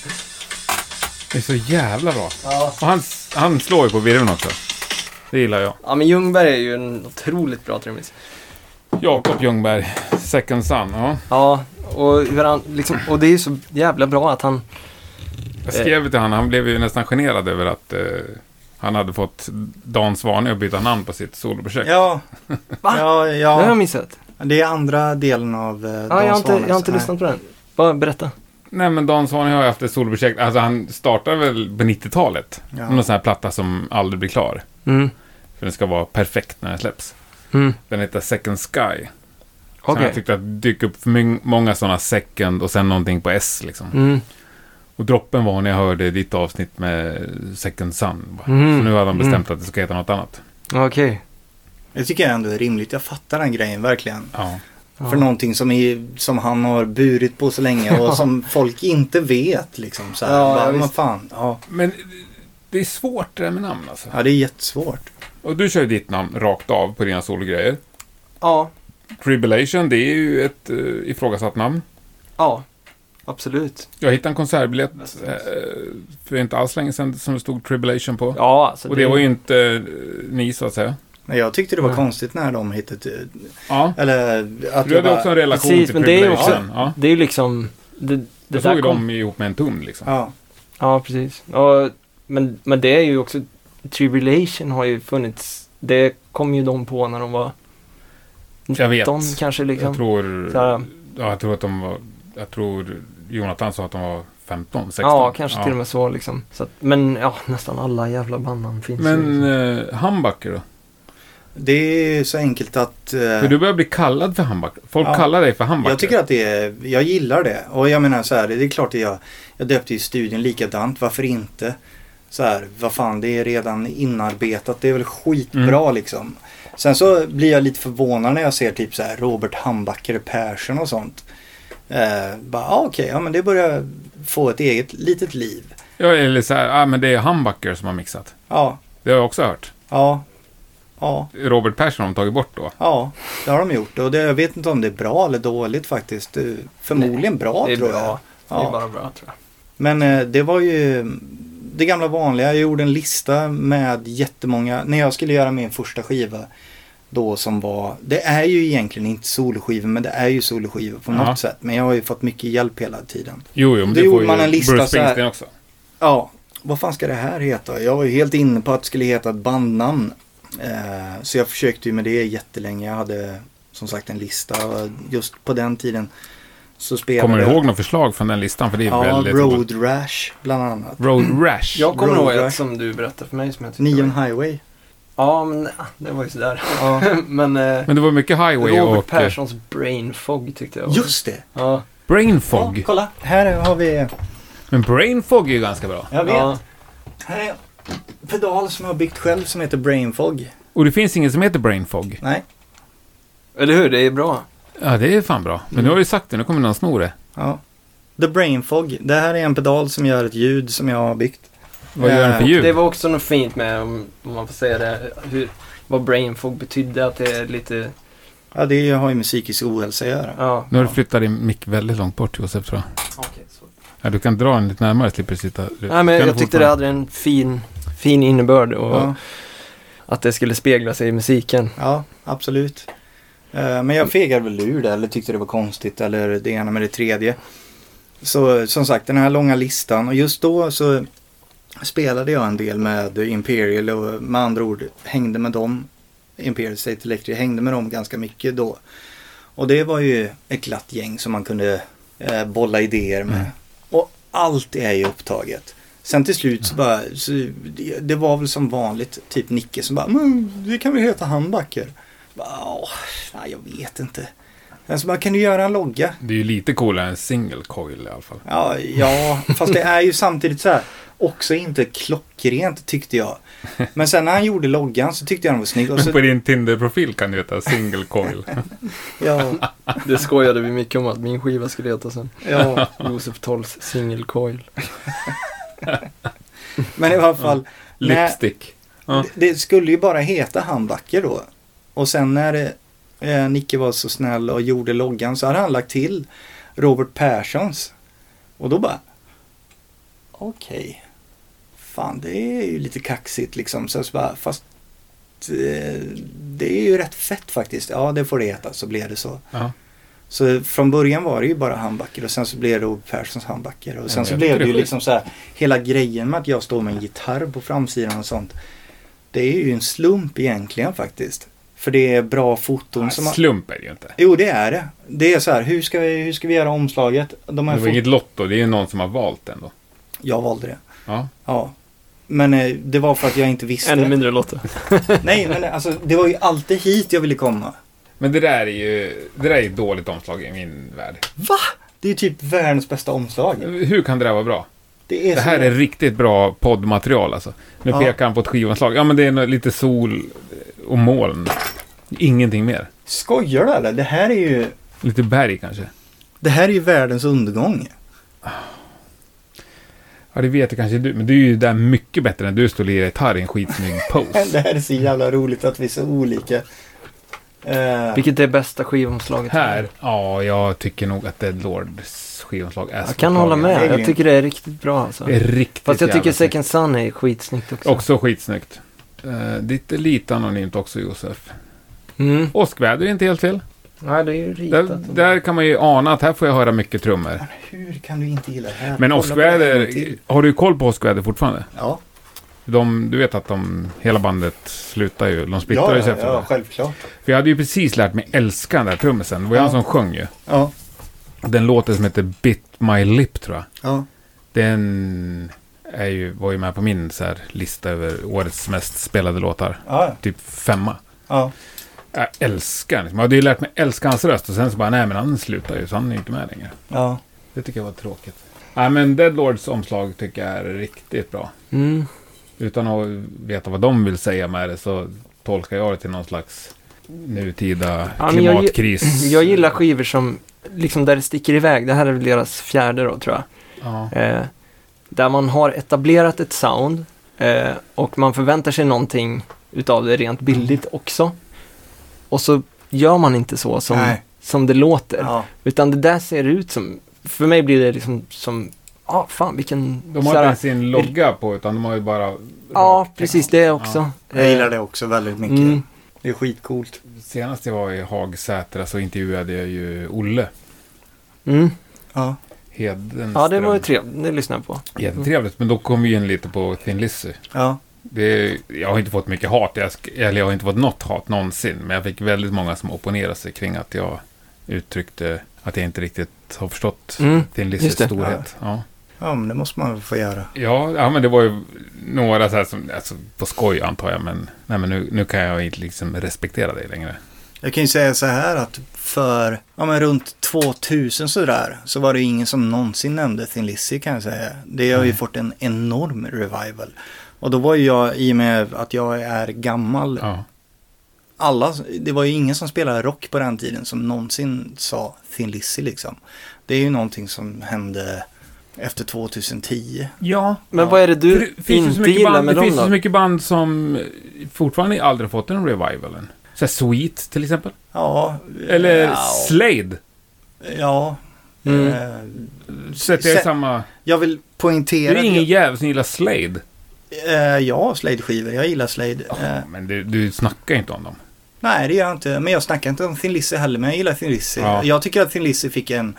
A: Det är så jävla bra.
C: Ja.
A: Och han, han slår ju på virveln också. Det gillar jag.
C: Ja, men Ljungberg är ju en otroligt bra trummis.
A: Jakob Ljungberg, Second Son. Ja.
C: Ja, och, hur han, liksom, och det är ju så jävla bra att han...
A: Jag
B: Eh.
A: skrev till honom, han blev ju nästan generad över att eh, han hade fått Dan Svanö att byta namn på sitt soloprojekt.
B: Ja.
C: Va?
B: Ja,
C: Det har jag
B: ja.
C: missat.
B: Det är andra delen av eh,
C: Ja, jag, har
B: Dan
C: inte, jag har inte
B: Svanes.
C: lyssnat på den. Bara berätta.
A: Nej, men Dan Svanö har ju haft ett soloprojekt. Alltså, han startade väl på 90-talet.
B: Nej. Ja.
A: Någon sån här platta som aldrig blir klar.
C: Mm.
A: För den ska vara perfekt när den släpps.
C: Mm.
A: Den heter Second Sky. Så
C: Okej.
A: jag tyckte att det dök upp för my- många sådana second och sen någonting på S liksom.
C: Mm.
A: Och droppen var när jag hörde ditt avsnitt med Second Sun. Bara,
C: Mm.
A: Så nu hade han bestämt
C: Mm.
A: att det ska heta något annat.
C: Okej.
B: Det tycker jag ändå är rimligt. Jag fattar den grejen verkligen.
A: Ja.
C: Ja.
B: För någonting som, är, som han har burit på så länge och som folk inte vet liksom. Så här.
C: Ja,
B: Bara,
C: ja,
B: men
C: visst.
B: fan, ja.
A: Men det är svårt det där med namn alltså.
B: ja, det är jättesvårt.
A: Och du kör ju ditt namn rakt av på dina sologrejer.
C: Ja,
A: Tribulation, det är ju ett uh, ifrågasatt namn.
C: ja. Absolut.
A: Jag hittade en konsertbiljett eh, för inte alls länge sedan som det stod Tribulation på.
C: Ja, alltså
A: Och det var ju inte eh, ni så att säga.
B: Men jag tyckte det var
C: Ja.
B: konstigt när de hittade...
A: Ja.
B: Eller att
A: Du
B: det
A: hade
B: var...
A: också en relation
C: Precis,
A: till
C: men det är ju också-
A: Tribulation. Ja.
C: Det är ju liksom... Det, det
A: Jag
C: där
A: såg ju
C: kom-
A: dem ihop med en tum liksom.
B: Ja,
C: Ja, precis. Och, men, men det är ju också... Tribulation har ju funnits. Det kom ju de på när de var...
A: Jag vet.
C: 19 kanske liksom.
A: Jag tror...
C: Så här,
A: Ja, jag tror att de var... Jag tror Jonathan sa att de var 15, 16.
C: ja, kanske till och med så
B: eh,
C: liksom. Så att, men ja, nästan alla jävla bandnamn finns ju.
A: Men
C: Liksom.
A: eh, Humbucker då?
B: Det är så enkelt att... eh,
A: För du börjar bli kallad för handbacker. Folk
B: Ja.
A: kallar dig för handbacker.
B: Jag tycker att det är, jag gillar det. Och jag menar så här, det är klart att jag, jag döpte ju studien likadant, varför inte? Så här, vad fan, det är redan inarbetat, det är väl skitbra
C: Mm.
B: liksom. Sen så blir jag lite förvånad när jag ser typ så här Robert Hambacker Persson och sånt. Eh, bara, ah, okej, ja men det börjar få ett eget litet liv.
A: Ja, eller så här, ah, men det är handbacker som har mixat.
B: Ja,
A: Det har jag också hört.
B: ja, ja.
A: Robert Persson har de tagit bort då.
B: Ja, det har de gjort och det, jag vet inte om det är bra eller dåligt faktiskt. Eh, Förmodligen bra
C: det är
B: tror
C: bra.
B: jag.
C: Det
B: Ja.
C: är bara bra tror jag.
B: Men eh, det var ju det gamla vanliga. Jag gjorde en lista med jättemånga. När jag skulle göra min första skiva då som var, det är ju egentligen inte soloskivor men det är ju soloskivor på
A: Ja.
B: något sätt. Men jag har ju fått mycket hjälp hela tiden.
A: Jo, jo, men
B: Då
A: det får
B: gjorde
A: ju
B: man en lista
A: Bruce
B: så här.
A: Springsteen också.
B: Ja, vad fan ska det här heta? Jag var ju helt inne på att det skulle heta ett bandnamn. Eh, så jag försökte ju med det jättelänge. Jag hade som sagt en lista och just på den tiden så spelade
A: Kommer du
B: jag
A: ihåg några förslag från den listan? För det är
B: Ja,
A: väldigt...
B: Road Rash bland annat.
A: Road Rash.
C: Jag kommer
B: Road
C: ihåg
B: Rash.
C: ett som du berättade för mig som jag tyckte
B: Neon
C: var...
B: Highway.
C: Ja, men nej, det var ju sådär.
B: Ja.
C: men eh,
A: Men det var mycket Highway
C: Robert
A: och eh,
C: Perssons brain fog tyckte jag var-
B: Just det!
C: Ja,
A: Brain Fog.
B: Ja, kolla, här har vi...
A: Men Brain Fog är ju ganska bra.
B: Jag vet.
C: ja.
B: Här är en pedal som jag har byggt själv som heter Brainfog.
A: Och det finns ingen som heter Brain Fog.
B: Nej.
C: Eller hur? Det är bra.
A: Ja, det är fan bra. Men
C: Mm.
A: nu har du sagt det, nu kommer någon sno det.
B: Ja. The Brainfog. Det här är en pedal som gör ett ljud som jag har byggt.
A: Vad gör den för
B: Eh,
A: ljud?
C: Det var också något fint med, om om man får säga det, hur, vad brain fog betydde. Att det är lite...
B: Ja, det har ju med psykisk ohälsa att göra.
C: Ja.
A: Nu har du flyttat din mick väldigt långt bort, Josef, tror jag.
C: Okej, så.
A: Ja, du kan dra den lite närmare, slipper du sitta...
C: Nej, men
A: Kan du
C: jag tyckte
A: fortfarande-
C: det hade en fin, fin innebörd och
B: Ja,
C: att det skulle spegla sig i musiken.
B: ja absolut. Eh, Men jag fegade väl ur det eller tyckte det var konstigt eller det ena med det tredje. Så som sagt, den här långa listan och just då så spelade jag en del med Imperial och med andra ord hängde med dem. Imperial State Electric hängde med dem ganska mycket då. Och det var ju ett glatt gäng som man kunde eh, bolla idéer med. Och allt är ju upptaget. Sen till slut så bara, så, det- det var väl som vanligt, typ Nicke som bara, men det kan vi heta handbacker. Bara, "Åh, nej, jag vet inte. Sen så bara, kan du göra en logga?
A: Det är ju lite coolare än single coil i alla fall.
B: Ja, ja, fast det är ju samtidigt så här också inte klockrent tyckte jag. Men sen när han gjorde loggan så tyckte jag den var snygg. Och
A: Men på
B: så,
A: din Tinder-profil kan du heta single coil.
B: ja,
C: Det skojade vi mycket om att min skiva skulle heta sen.
B: ja.
C: Josef Tolls Single Coil.
B: Men i alla fall, när,
A: Lipstick. Ja.
B: det- det skulle ju bara heta handbacker då. Och sen när eh, Nicke var så snäll och gjorde loggan så hade han lagt till Robert Perssons. Och då bara, okej. Fan, det är ju lite kaxigt liksom. Så jag så bara, fast eh, det är ju rätt fett faktiskt. Ja, det får det heta. Så blev det så.
A: Ja.
B: Så från början var det ju bara handbacker och sen så blev det Ove Perssons handbacker. Och sen
A: men
B: så
A: jag
B: blev
A: tycker
B: det
A: det
B: ju
A: är schysst.
B: liksom så här, hela grejen med att jag står med en gitarr på framsidan och sånt. Det är ju en slump egentligen faktiskt. För det är bra foton som... Har...
A: Slump är det ju inte.
B: Jo, det är det. Det är så här, hur ska vi, hur ska vi göra omslaget? De här
A: Det var
B: fot...
A: inget lotto, det är ju någon som har valt den då.
B: Jag valde det.
A: Ja.
B: Ja. Men eh, det var för att jag inte visste.
C: Ännu mindre Lotta.
B: Nej, men alltså det var ju alltid hit jag ville komma.
A: Men det där är ju det där är ett dåligt omslag i min värld.
B: Det är ju typ världens bästa omslag.
A: Hur kan det där vara bra?
B: Det är,
A: Mm. Det
B: så-
A: här är riktigt bra poddmaterial alltså. Nu
B: Ja.
A: pekar han på ett skivanslag. Ja, men det är nog lite sol och moln. Ingenting mer.
B: Skojar du eller? Det här är ju...
A: Lite berg kanske.
B: Det här är ju världens undergång.
A: Ja, det vet jag kanske du. Men du är ju där mycket bättre än du står och lirar gitarr i en skitsnygg
B: Det
A: pose.
B: här är så jävla roligt att vi är så olika. Eh,
C: Vilket är bästa skivomslaget?
A: här. Ja, jag tycker nog att Dead Lords skivomslag är
C: Jag kan hålla
B: Det är
C: med. Jag
B: grymt.
C: tycker det är riktigt bra alltså.
A: Det är riktigt
C: Fast jag
A: jävla
C: tycker
A: snyggt.
C: Second Sun är skitsnyggt också.
A: Också skitsnyggt. Uh, ditt är lite anonymt också Josef.
C: Mm.
A: Åskväder är inte helt fel.
C: Ja, det är ju
A: Där,
C: ritat.
A: där kan man ju ana att här får jag höra mycket trummor.
B: hur kan du inte gilla det här?
A: Men
B: Kolla på det här en
A: åskväder,
B: gång till.
A: har du koll på åskväder fortfarande?
B: Ja,
A: De, du vet att de, hela bandet slutar ju, de splittar
B: ja,
A: ju sig
B: ja,
A: efter
B: ja
A: det.
B: självklart.
A: För jag hade ju precis lärt mig älska den där trummisen, det var ju
B: Ja.
A: han som sjöng ju.
B: Ja,
A: Den låten som heter Bit My Lip tror jag.
B: ja.
A: Den är ju, var ju med på min så här, lista över årets mest spelade låtar.
B: ja.
A: Typ femma.
B: Ja.
A: Jag älskar den. Jag hade ju lärt mig älska hans röst och sen så bara, nej men han slutar ju så han är ju inte med längre.
B: ja.
A: Det tycker jag var tråkigt. Nej men Dead Lords omslag tycker jag är riktigt bra.
C: Mm.
A: Utan att veta vad de vill säga med det så tolkar jag det till någon slags nutida
C: Ja, men jag gi-
A: klimatkris.
C: Jag gillar skivor som, liksom där det sticker iväg. Det här är väl deras fjärde då tror jag.
A: Ja.
C: Eh, där man har etablerat ett sound eh, och man förväntar sig någonting utav det rent bildligt också. Och så gör man inte så som,
B: Nej.
C: som det låter.
B: Ja.
C: Utan det där ser ut som, för mig blir det liksom som, ja ah, fan vilken...
A: De har
C: så
A: inte
C: här-
A: ens sin logga på utan de har ju bara...
C: ja, precis det också.
B: Jag gillar det också väldigt mycket.
C: Mm.
B: Det är skitcoolt.
A: Senast jag var i Hagsätra så intervjuade jag ju Olle
C: Mm.
B: Ja.
A: Hedenström.
C: Ja, det var ju trevligt, det lyssnade jag på.
A: Jättetrevligt, men då kom vi in lite på Thin Lizzy.
B: Ja.
A: Det, jag har inte fått mycket hat, jag, sk- eller jag har inte fått något hat någonsin. Men jag fick väldigt många som opponerade sig kring att jag uttryckte att jag inte riktigt har förstått
C: Mm,
A: Thin Lizzys
C: just det.
A: storhet. Ja.
B: Ja, men det måste man väl få göra.
A: Ja, ja, men det var ju några så här som, alltså, på skoj antar jag, men, nej, men nu, nu kan jag inte liksom respektera dig längre.
B: Jag kan ju säga så här att för, ja men runt 2000 sådär, så var det ingen som någonsin nämnde Thin Lizzy kan jag säga. Det har ju fått en enorm revival. Och då var ju jag, i och med att jag är gammal,
A: Ja,
B: alla, det var ju ingen som spelade rock på den tiden som någonsin sa Thin Lizzy liksom. Det är ju någonting som hände efter 2010.
A: ja
C: Men vad är det du
A: det finns ju så
C: inte
A: mycket
C: gillar
A: band,
C: med
A: Det
C: dem
A: finns ju
C: då?
A: så mycket band som fortfarande aldrig har fått den revivalen. Så här Sweet till exempel.
B: Ja,
A: Eller
B: ja,
A: Slade.
B: ja.
C: Mm.
B: Eh,
A: Sätter jag i
B: Se-
A: samma...
B: jag vill
A: Det
B: poängtera.
A: är ingen jävel som gillar Slade.
B: Eh, ja, Slade-skivor. Jag gillar Slade. Eh,
A: Men du, du snackar inte om dem.
B: nej, det gör jag inte. Men jag snackar inte om Thin Lizzy heller, men jag gillar Thin Lizzy.
A: Ja.
B: Jag tycker att Thin Lizzy fick en...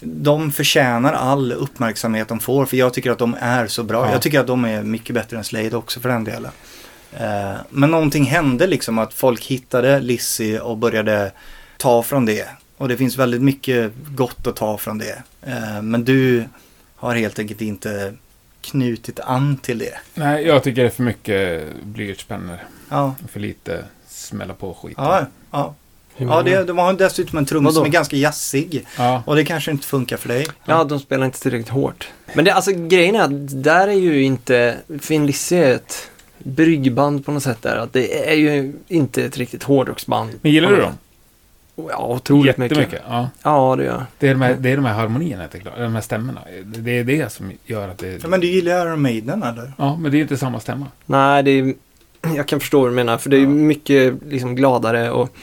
B: De förtjänar all uppmärksamhet de får, för jag tycker att de är så bra.
A: Ja.
B: Jag tycker att de är mycket bättre än Slade också för den delen. Eh, men någonting hände liksom, att folk hittade Lizzy och började ta från det. Och det finns väldigt mycket gott att ta från det. Eh, men du har helt enkelt inte knutit an till det.
A: Nej, jag tycker det är för mycket blyertspennor.
B: Ja,
A: och För lite smälla på skit.
B: ja, ja. Ja, det, de har dessutom en trumma
C: Vadå?
B: som är ganska jazzig.
A: ja.
B: Och det kanske inte funkar för dig.
C: Ja, de spelar inte tillräckligt hårt. Men det, alltså, grejen är att där är ju inte, Finn Lizzy är ett bryggband på något sätt där. Att det är ju inte ett riktigt hårdrocksband.
A: Men gillar
C: på
A: du
C: något
A: dem?
C: sätt. Ja, otroligt mycket.
A: Jättemycket. Ja.
C: Ja, det gör jag.
A: Det, är de här, det är de här harmonierna, helt klart. De här stämmorna. Det är det som gör att det...
B: Ja, men du gillar Iron Maiden eller?
A: Ja, men det är ju inte samma stämma.
C: Nej, det är, jag kan förstå vad du menar. För det är ju mycket liksom, gladare och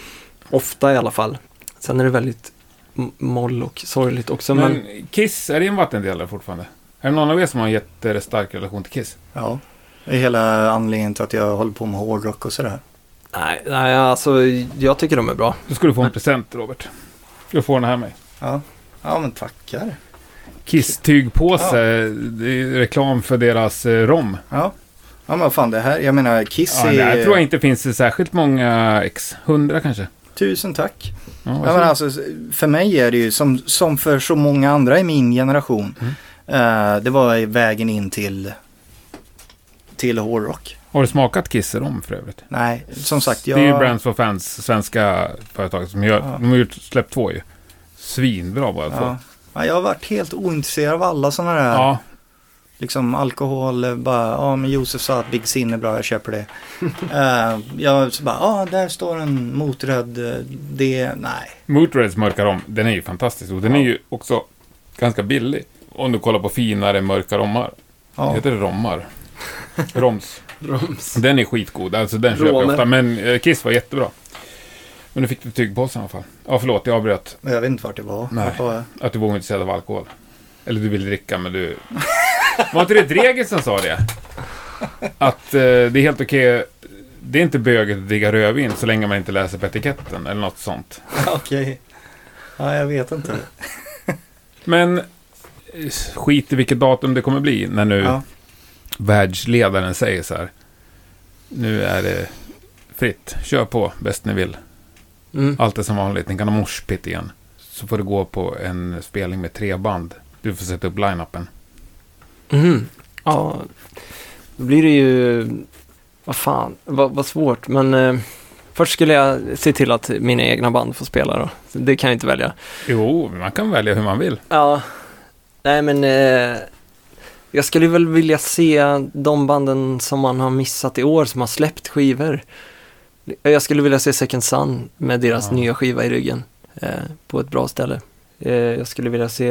C: ofta i alla fall. Sen är det väldigt m- moll och sorgligt också. Men,
A: men, Kiss, är det en vattendelare fortfarande? Är det någon av er som har en jättestark relation till Kiss?
B: Ja. Det är hela anledningen till att jag håller på med hårdrock och sådär.
C: nej, nej, alltså jag tycker de är bra.
A: Då ska du få en present, Robert. Du får den här mig.
B: Ja. Ja men tackar.
A: Kiss-tygpåse. Det är reklam för deras eh, rom.
B: Ja. Ja men vad fan det här, jag menar Kiss
A: Ja,
B: är...
A: det här tror jag inte finns i särskilt många ex. Hundra kanske.
B: Tusen tack.
A: Ja,
B: Ja,
A: varsågod.
B: men alltså, för mig är det ju som, som för så många andra i min generation.
A: Mm.
B: eh, det var vägen in till, till hårdrock.
A: Har du smakat Kiss rom för övrigt?
B: Nej, som sagt jag...
A: Det är ju Brands for Fans, svenska företag som gör.
B: Ja.
A: De har ju släppt två ju. Svinbra bara två.
B: ja. ja, jag har varit helt ointresserad av alla sådana där.
A: Ja,
B: Liksom alkohol, eh, bara, ja men Josef sa att Big Sin är bra, jag köper det. Eh, jag så bara, ja där står en motröd, eh, det, nej.
A: Mootreds mörka rom, den är ju fantastisk. Och den är ju också ganska billig. Om du kollar på finare mörka rommar.
B: Ja,
A: Heter det rommar? Roms. Den är skitgod, alltså den köper jag
C: Romer.
A: ofta. Men eh, Kiss var jättebra. Men nu fick du tygpåse i alla fall. Ja, förlåt, jag avbröt.
B: men jag vet inte vart det var.
A: Nej.
B: Vart var jag?
A: Att du var ointresserad av alkohol. Eller du vill dricka, men du... Var inte det Dreger som sa det? Att eh, det är helt okej. Det är inte böget att dricka rödvin så länge man inte läser på etiketten eller något sånt.
B: Okej. Ja, jag vet inte.
A: Men eh, skit i vilket datum det kommer bli när nu
B: Ja.
A: världsledaren säger så här. Nu är det fritt. Kör på bäst ni vill.
C: Mm.
A: Allt är som vanligt. Ni kan ha morspitt igen. Så får du gå på en spelning med tre band. Du får sätta upp line-upen.
C: Mhm. Ja, då blir det ju... Vad fan, vad, vad svårt. Men eh, Först skulle jag se till att mina egna band får spela då. Så Det kan jag inte välja.
A: Jo, man kan välja hur man vill.
C: Ja, nej men eh, jag skulle väl vilja se de banden som man har missat i år som har släppt skivor. Jag skulle vilja se Second Sun med deras
A: Ja.
C: nya skiva i ryggen eh, på ett bra ställe. Eh, jag skulle vilja se,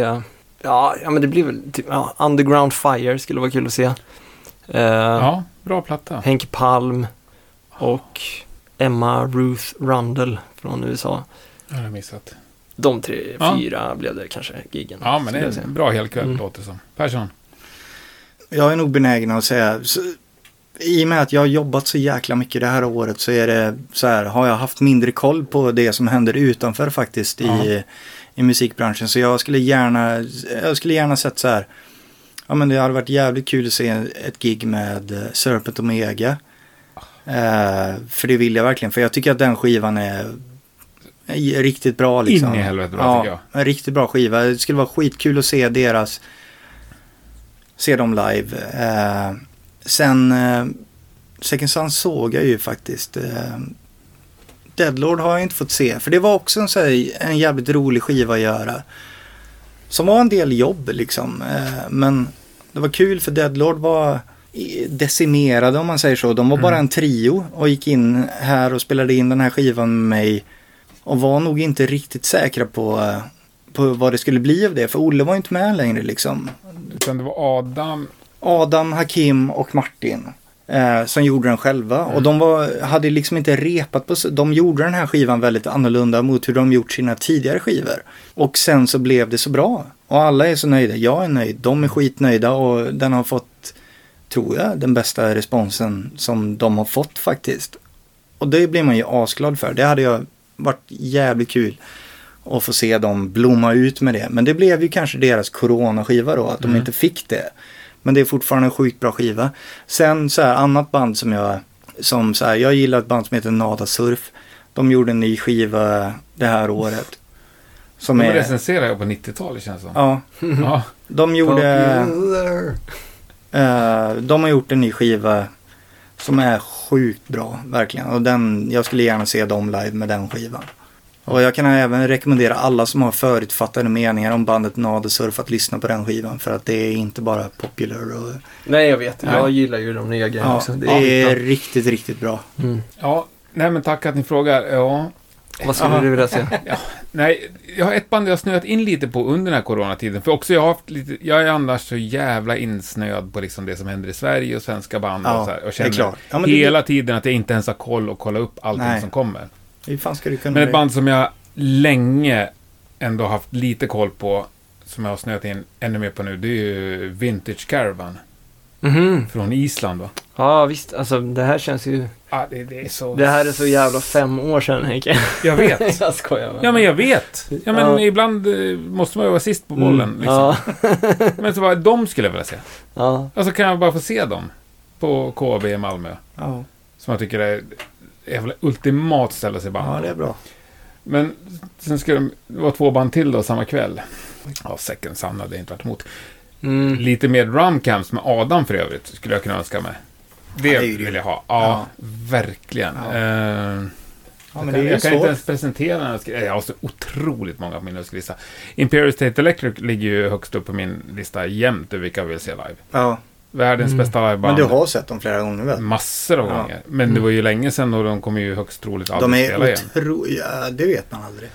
C: ja, ja men det blir väl typ, ja, Underground Fire skulle vara kul att se. Eh,
A: Ja, bra platta.
C: Henke Palm och Emma Ruth Rundle från USA.
A: Det har jag missat.
C: De tre,
A: Ja.
C: fyra blev det kanske, giggen.
A: Ja, men det
C: skulle jag
A: är
C: säga.
A: en bra helkväll
C: Mm.
A: låter det som. Persson?
B: Jag är nog benägen att säga, så, i och med att jag har jobbat så jäkla mycket det här året så är det så här, har jag haft mindre koll på det som händer utanför faktiskt
A: Ja.
B: i, i musikbranschen. Så jag skulle gärna, jag skulle gärna sett så här, ja men det hade varit jävligt kul att se ett gig med eh, Serpent Omega.
A: Ah.
B: Eh, för det vill jag verkligen, för jag tycker att den skivan är är riktigt bra liksom.
A: In i helvete bra, tycker
B: ja, en riktigt bra skiva. Det skulle vara skitkul att se deras se dem live. Eh, sen eh, Second Sun såg jag ju faktiskt. Eh, Deadlord har jag inte fått se. För det var också en, så här, en jävligt rolig skiva att göra. Som var en del jobb liksom. Eh, men det var kul för Deadlord var i- decimerade om man säger så. De var
A: Mm.
B: bara en trio och gick in här och spelade in den här skivan med mig. Och var nog inte riktigt säkra på, eh, på vad det skulle bli av det. För Olle var ju inte med längre liksom.
A: jag. Utan det var Adam.
B: Adam, Hakim och Martin. Eh, som gjorde den själva. Och de var, hade liksom inte repat på... s- De gjorde den här skivan väldigt annorlunda mot hur de gjort sina tidigare skivor. Och sen så blev det så bra. Och alla är så nöjda. Jag är nöjd. De är skitnöjda och den har fått, tror jag, den bästa responsen som de har fått faktiskt. Och det blir man ju asglad för. Det hade jag varit jävligt kul att få se dem blomma ut med det. Men det blev ju kanske deras coronaskiva då, att
A: Mm.
B: de inte fick det. Men det är fortfarande en sjukt bra skiva. Sen så här, annat band som jag, som så här, jag gillar ett band som heter Nada Surf. De gjorde en ny skiva det här året. Som
A: De
B: är, Mm.
A: recenserade jag på 90-talet känns det som.
B: ja,
A: Ja.
B: de gjorde... Eh, de har gjort en ny skiva som är sjukt bra, verkligen. Och den, jag skulle gärna se dem live med den skivan. Och jag kan även rekommendera alla som har förutfattade meningar om bandet Nadesurf att lyssna på den skivan. För att det är inte bara popular och...
C: Nej, jag vet.
A: Nej.
C: Jag gillar ju de nya grejerna
B: Ja,
C: också.
B: det är riktigt, riktigt bra.
C: Mm.
A: ja. Nej, men tack att ni frågar. Ja.
C: Vad skulle
A: Aha.
C: du vilja se?
A: Nej, jag har ett band jag har snöat in lite på under den här coronatiden. För också jag har haft lite, jag är annars så jävla insnöad på liksom det som händer i Sverige och svenska band
B: Ja,
A: och så här.
B: det är
A: Och känner
B: klart. Ja, men det-
A: hela tiden att jag inte ens har koll och kolla upp allting
B: Nej.
A: som kommer.
B: Hur fan ska du kunna...
A: Men ett band som jag länge ändå haft lite koll på, som jag har snöat in ännu mer på nu, det är ju Vintage Caravan
C: Mhm.
A: från Island va?
C: Ja, visst. Alltså, det här känns ju...
A: Ja, det, det är så...
C: Det här är så jävla fem år sedan, Henke.
A: Jag vet.
C: jag skojar bara.
A: Ja, men jag vet. Ja, men
C: Ja.
A: ibland eh, måste man ju vara sist på bollen.
C: Mm.
A: Liksom.
C: Ja,
A: Men så bara, de skulle jag vilja se.
C: ja.
A: Alltså kan jag bara få se dem på KB i Malmö.
B: Ja,
A: Som jag tycker är är väl ultimat ställe att se band
B: ja,
A: på.
B: det är bra.
A: Men sen skulle det vara två band till då samma kväll. Ja, Second Sun hade jag inte varit emot.
C: Mm.
A: Lite mer drumcamps med Adam för övrigt skulle jag kunna önska mig. Det,
B: Ja, det är ju det.
A: vill jag ha. Ja,
B: Ja.
A: verkligen.
B: Ja.
A: Eh,
B: Ja, men
A: jag
B: det
A: kan,
B: är
A: jag kan inte
B: svårt.
A: ens presentera den. Jag har så otroligt många på min önskelista. Imperial State Electric ligger ju högst upp på min lista jämt över vilka jag vill se live.
B: Ja,
A: Världens
C: Mm.
A: bästa liveband.
B: men du har sett dem flera gånger väl?
A: Massor av
B: Ja.
A: gånger. Men det
C: Mm.
A: var ju länge sedan och de kommer ju högst troligt aldrig
B: De
A: spela
B: är
A: igen.
B: otroliga, ja, det vet man aldrig.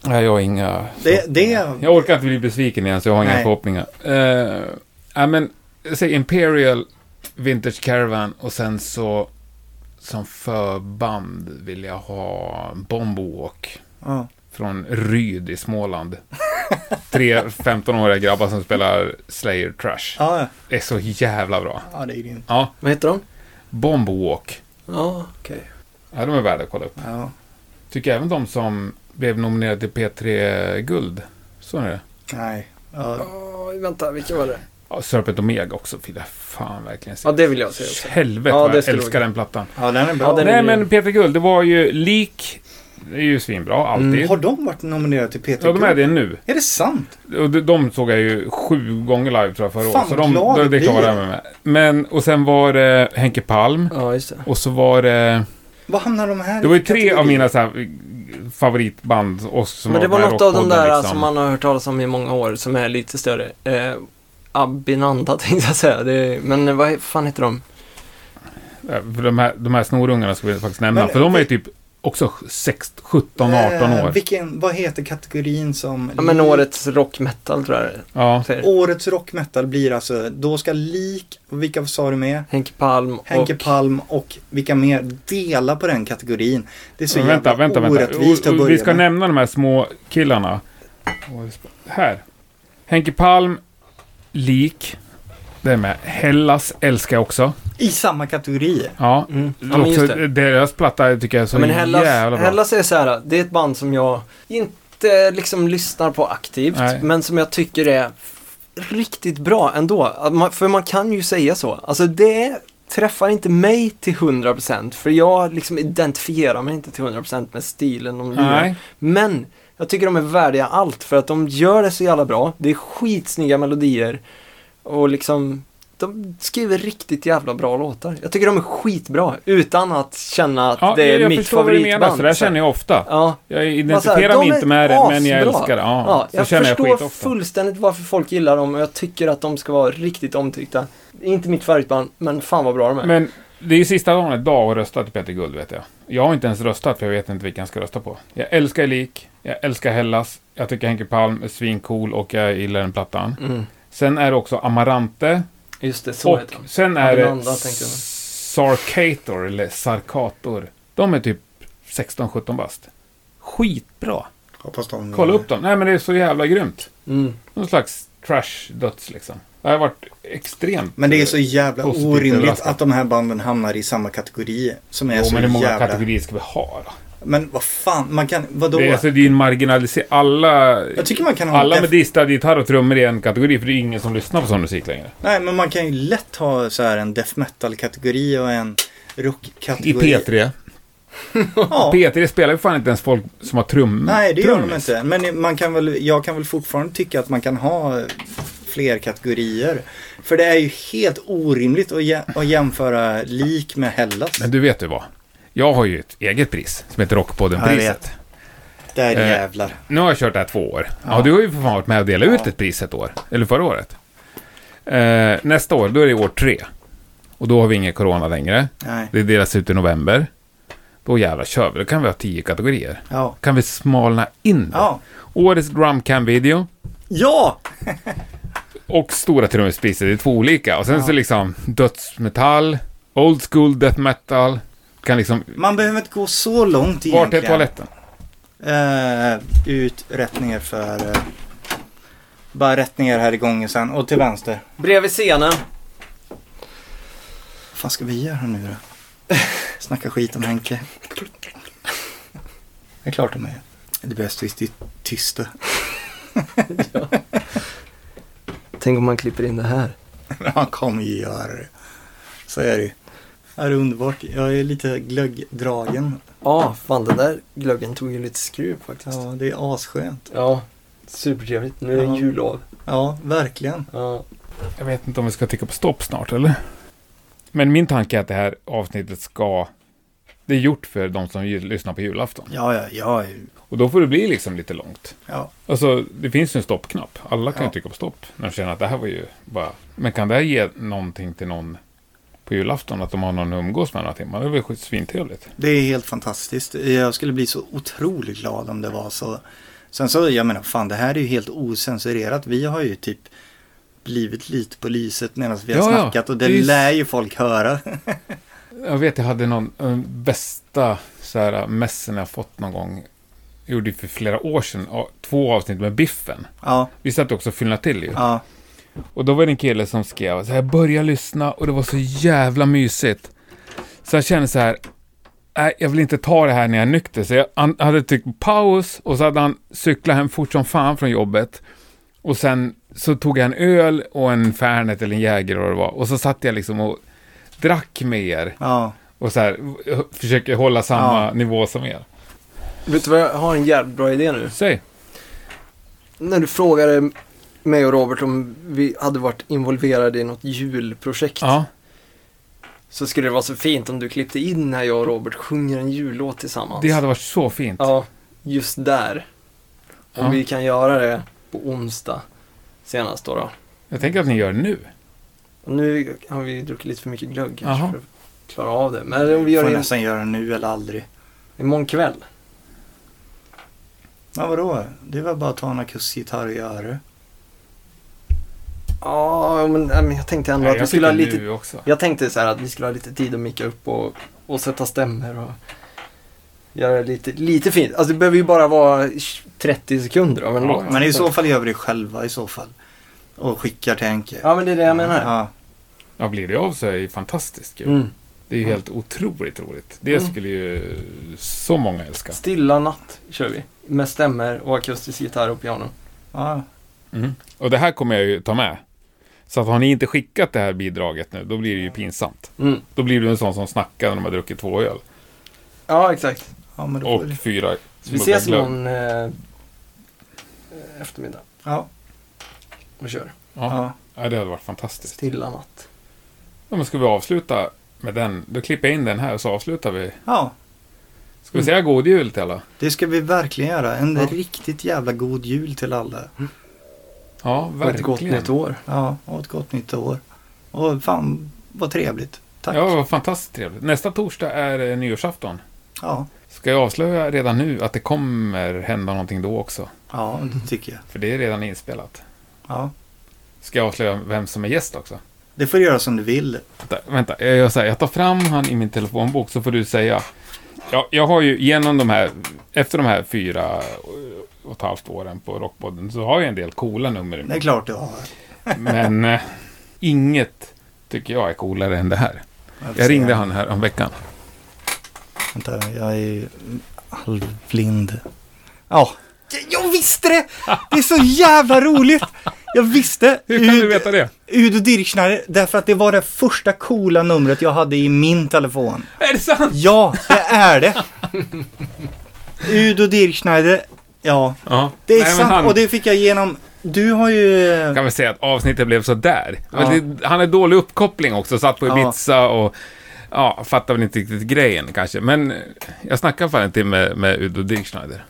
A: Nej, jag har inga...
B: Det, det är...
A: Jag orkar inte bli besviken igen, så jag har inga
B: Nej.
A: förhoppningar. Eh, Nej, men säg Imperial, Vintage Caravan och sen så som förband vill jag ha Bomb Walk
B: Ja.
A: från Ryd i Småland. Tre 15-åriga grabbar som spelar Slayer Trash.
B: Ja, ja.
A: Det är så jävla bra.
B: ja, det är grymt.
A: Ja,
C: Vad heter de?
A: Bomb Walk.
C: Ja, okej.
A: Ja, de är värda att kolla upp.
B: Ja.
A: Tycker även de som blev nominerade till P3-guld. Så är det.
B: Nej. Ja.
C: Oj, vänta, vilka var det?
A: Ja, Serpent Omega också. Fy, det fan verkligen.
C: Ja, det vill jag se också.
A: Helvete
C: Ja,
A: vad
C: det
A: jag
C: skulle
A: älskar
C: vara-
A: den plattan.
B: Ja, den är bra.
C: Ja, den är-
A: Nej, men P3 Guld, det var ju lik. Det är ju svinbra,
C: Mm.
A: alltid.
B: Har de varit nominerade till Peter
A: Ja, de är det nu.
B: Är det sant?
A: Och de, de såg jag ju sju gånger live tror jag förra
B: Fan,
A: året. Så
B: vad
A: de,
B: glad
A: de,
B: jag
A: det
B: blir.
A: klarade jag mig med. Men, och sen var det Henke Palm.
C: Ja, just det.
A: Och så var det
B: Vad hamnar de här
A: Det var ju
B: i
A: tre av
B: kategorin?
A: mina så här, favoritband. Oss som
C: Men det var
A: den här
C: något av de
A: rockpodden,
C: där
A: liksom.
C: som man har hört talas om i många år som är lite större. Eh, Abinanda tänkte jag säga. Det är, men vad fan heter de?
A: Ja, Eh, För de här, de här snorungarna ska vi faktiskt nämna.
B: Men-
A: för de är ju typ också 16, 17, 18
B: Eh,
A: år.
B: vilken, vad heter kategorin som...
C: Ja, men årets rock metal tror jag det
A: Ja.
C: heter.
B: Årets rock metal blir alltså, då ska lik, vilka sa du med?
C: Henke Palm
B: Henke
C: och...
B: Palm och vilka mer dela på den kategorin. Det är så
A: vänta,
B: jävla
A: vänta, vänta.
B: orättvist
A: O-
B: att
A: o-
B: börja
A: Vi ska
B: med.
A: nämna de här små killarna. Åh, Här. Henke Palm, Lik. Det är med. Hellas älskar jag också.
B: I samma kategori.
A: Ja.
C: Mm. Ja, men
A: också
C: just det.
A: deras platta tycker jag är så
C: Ja, men Hellas,
A: jävla bra.
C: Hellas är så här, det är ett band som jag inte liksom lyssnar på aktivt,
A: Nej.
C: men som jag tycker är riktigt bra ändå. Att man- För man kan ju säga så. Alltså det träffar inte mig till 100% för jag liksom identifierar mig inte till 100% med stilen de gör.
A: Nej.
C: Men jag tycker de är värdiga allt för att de gör det så jävla bra. Det är skitsnygga melodier och liksom de skriver riktigt jävla bra låtar. Jag tycker de är skitbra utan att känna att
A: Ja,
C: det är
A: jag
C: mitt
A: förstår vad du menar.
C: favoritband.
A: Så där känner jag ofta.
C: Ja,
A: Jag
C: Men så här,
A: identifierar mig
C: de
A: inte
C: är
A: med det, men jag
C: asbra.
A: älskar det. Ja,
C: ja,
A: så
C: jag
A: känner jag
C: förstår
A: skitofta.
C: fullständigt varför folk gillar dem och jag tycker att de ska vara riktigt omtyckta. Inte mitt favoritband, men fan vad bra de är.
A: Men det är ju sista dagen idag att rösta till Peter Guld, vet jag. Jag har inte ens röstat, för jag vet inte vilka jag ska rösta på. Jag älskar Lik, jag älskar Hellas, jag tycker Henke Palm är svincool och jag gillar den plattan.
C: Mm,
A: Sen är det också Amarante.
C: just det, så
A: och
C: heter de.
A: sen är det
C: Amaranda, tänkte jag.
A: Sarkator, eller Sarkator. De är typ 16-17 bast. Skitbra!
B: Hoppas de...
A: Kolla upp dem. Nej, men det är så jävla grymt.
C: Mm.
A: Någon slags trash-döds, liksom. Jag har varit extremt...
B: Men det är så jävla
A: Positivt
B: orimligt
A: överraskad.
B: att de här banden hamnar i samma kategori. Som är
A: Jo,
B: så
A: men hur många
B: jävla...
A: kategorier ska vi ha då?
B: Men vad fan, man kan... Vadå?
A: Det är, alltså, det är ju en marginalisering. Alla,
B: Jag tycker man kan ha...
A: alla
B: def-
A: med distad gitarr och trummor är en kategori, för det är ingen som lyssnar på sån musik längre.
B: Nej, men man kan ju lätt ha så här en death metal-kategori och en
A: I
B: rock-kategori.
A: P3.
B: Ja.
A: P3 spelar ju fan inte ens folk som har trummor.
B: Nej, det gör de
A: Trummis.
B: inte. Men man kan väl, jag kan väl fortfarande tycka att man kan ha fler kategorier. För det är ju helt orimligt att, jä- att jämföra lik med Hellas.
A: Men du vet ju vad. Jag har ju ett eget pris som heter
B: Ja, jag
A: Rockpodden-priset.
B: vet. Där
A: eh,
B: jävlar.
A: Nu har jag kört det här två år. Ja.
B: Ja.
A: du har ju för fan varit med och delat ut
B: Ja.
A: ett pris ett år. Eller förra året. Eh, nästa år, då är det år tre. Och då har vi ingen corona längre.
B: Nej.
A: Det delas ut i november. Då jävlar kör vi. Då kan vi ha tio kategorier.
B: Ja.
A: Kan vi smalna in det?
B: Ja.
A: Årets drumcam-video
B: Ja!
A: och Stora trummispriset. Det är två olika. Och sen så liksom dödsmetall, old school death metal. Kan liksom...
B: Man behöver inte gå så långt
A: Vart är
B: egentligen.
A: toaletten?
B: Eh, ut, rätt ner för... Eh, bara rätt ner här i gången sen och till vänster.
C: Bredvid scenen.
B: Vad fan ska vi göra nu då? Snacka skit om Henke. Det är klart de är. Det är bäst visst i tysta.
C: Tänk om man klipper in det här.
B: Han kommer ju göra det. Så är det ju. Ja, Det är underbart. Jag är lite glöggdragen.
C: Ja, fan den där glöggen tog ju lite skruv faktiskt. Ja,
B: Ja, det är asskönt.
C: supertrevligt. Nu är det
B: Ja.
C: jullov.
B: Ja, verkligen.
C: Ja.
A: Jag vet inte om vi ska trycka på stopp snart, eller? Men min tanke är att det här avsnittet ska... Det är gjort för de som ju- lyssnar på julafton.
B: Ja, ja, ja.
A: Och då får det bli liksom lite långt.
B: ja.
A: Alltså, det finns ju en stoppknapp. Alla kan ju
B: Ja.
A: trycka på stopp när de känner att det här var ju bara... Men kan det här ge någonting till någon på julafton? Att de har någon att umgås med några timmar? Det är väl svintrevligt?
B: Det är helt fantastiskt. Jag skulle bli så otroligt glad om det var så. Sen så, jag menar, fan det här är ju helt osensurerat. Vi har ju typ blivit lite på lyset medan vi har
A: Ja, ja.
B: snackat och det
A: Det är ju-
B: lär ju folk höra.
A: Jag vet, jag hade någon eh, bästa så här, messen jag fått någon gång. Jag gjorde ju för flera år sedan. ja, Två avsnitt med Biffen.
B: Ja,
A: Vi satt också och fyllnade till ju.
B: ja,
A: Och då var det en kille som skrev så här, börja lyssna och det var så jävla mysigt. Så jag kände så här, nej jag vill inte ta det här när jag är nykter. Så jag han hade tryckt på paus och så hade han cyklat hem fort som fan från jobbet. Och sen så tog jag en öl och en Fernet eller en Jäger eller vad det var. Och så satt jag liksom och drack med er
B: ja.
A: och så här försöker hålla samma nivå som er.
C: Vet du vad, jag har en jävligt bra idé nu.
A: Säg.
C: När du frågade mig och Robert om vi hade varit involverade i något julprojekt.
A: Ja.
C: Så skulle det vara så fint om du klippte in när jag och Robert sjunger en jullåt tillsammans.
A: Det hade varit så fint.
C: Ja, just där. Om
A: Ja.
C: vi kan göra det på onsdag senast då. då.
A: Jag tänker att ni gör det nu.
C: Och nu har vi druckit lite för mycket glögg kanske
A: Jaha.
C: för att klara av det. Men om vi gör
B: Får
C: det
B: nästan göra nu eller aldrig.
C: imorgon kväll.
B: Ja, vadå? Det var bara att ta en akusgitarr och göra det.
C: Ja, men, nej, men jag tänkte ändå
A: Nej,
C: att vi
A: jag
C: skulle ha
A: tycker
C: lite...
A: nu också.
C: Jag tänkte så här att vi skulle ha lite tid att micka upp och, och sätta stämmer och göra det lite, lite fint. Alltså det behöver ju bara vara 30 sekunder av en
A: Ja,
C: låt.
B: Men i så fall gör vi det själva i så fall. Och skickar till Henke.
C: Ja, men det är det jag menar.
B: Ja.
A: Ja, blir det av så är det ju fantastiskt kul.
C: Mm.
A: Det är ju helt otroligt roligt. Det
C: Mm.
A: skulle ju så många älska.
C: Stilla natt kör vi. Med stämmer och akustisk gitarr och piano.
B: ja.
A: Och det här kommer jag ju ta med. Så att har ni inte skickat det här bidraget nu, då blir det ju pinsamt.
C: Mm.
A: Då blir du en sån som snackar när de har druckit två öl.
C: Ja, exakt.
B: Ja, men då får
A: Och
B: vi...
A: fyra
C: Så vi ses
A: smugglare.
C: någon eh, eftermiddag
B: Ja,
C: och kör.
A: Ja.
B: ja.
A: ja, det hade varit fantastiskt.
C: Stilla natt.
A: Ja, men ska vi avsluta med den? Då klipper jag in den här och så avslutar vi.
B: ja.
A: Ska vi säga god jul till alla?
B: Det ska vi verkligen göra. En
C: Ja.
B: riktigt jävla god jul till alla.
A: Ja,
C: Och ett gott
A: verkligen.
C: nytt år.
B: Ja, och ett gott nytt år. Och fan, vad trevligt. Tack.
A: Ja, vad fantastiskt trevligt. Nästa torsdag är eh, nyårsafton.
B: ja.
A: Ska jag avslöja redan nu att det kommer hända någonting då också?
B: Ja, det tycker jag.
A: För det är redan inspelat.
B: Ja.
A: Ska jag avslöja vem som är gäst också?
B: Det får du göra som du vill.
A: Vänta, vänta. Eh, Jag, gör så här, jag tar fram han i min telefonbok så får du säga. Jag, jag har ju genom de här, efter de här fyra eh, och ett halvt åren på Rockpodden så har jag en del coola nummer. i
B: Det är klart du har.
A: Men eh, inget tycker jag är coolare än det här. Jag ringde han här om veckan.
B: Vänta, jag är ju halvblind. Ja. Jag visste det! Det är så jävla roligt! Jag visste!
A: Hur kan du veta det?
B: Udo Dirkschneider, därför att det var det första coola numret jag hade i min telefon.
A: Är det sant?
B: Ja, det är det! Udo Dirkschneider, ja.
A: Ja.
B: Det är
A: Nej, men
B: sant,
A: han-
B: och det fick jag igenom. Du har ju...
A: kan väl säga att avsnittet blev sådär.
B: Ja.
A: Men det, han är dålig uppkoppling också, satt på
B: Ja.
A: Ibiza och ja, fattar väl inte riktigt grejen kanske. Men eh, jag snackade fan en timme med Udo Dirkschneider.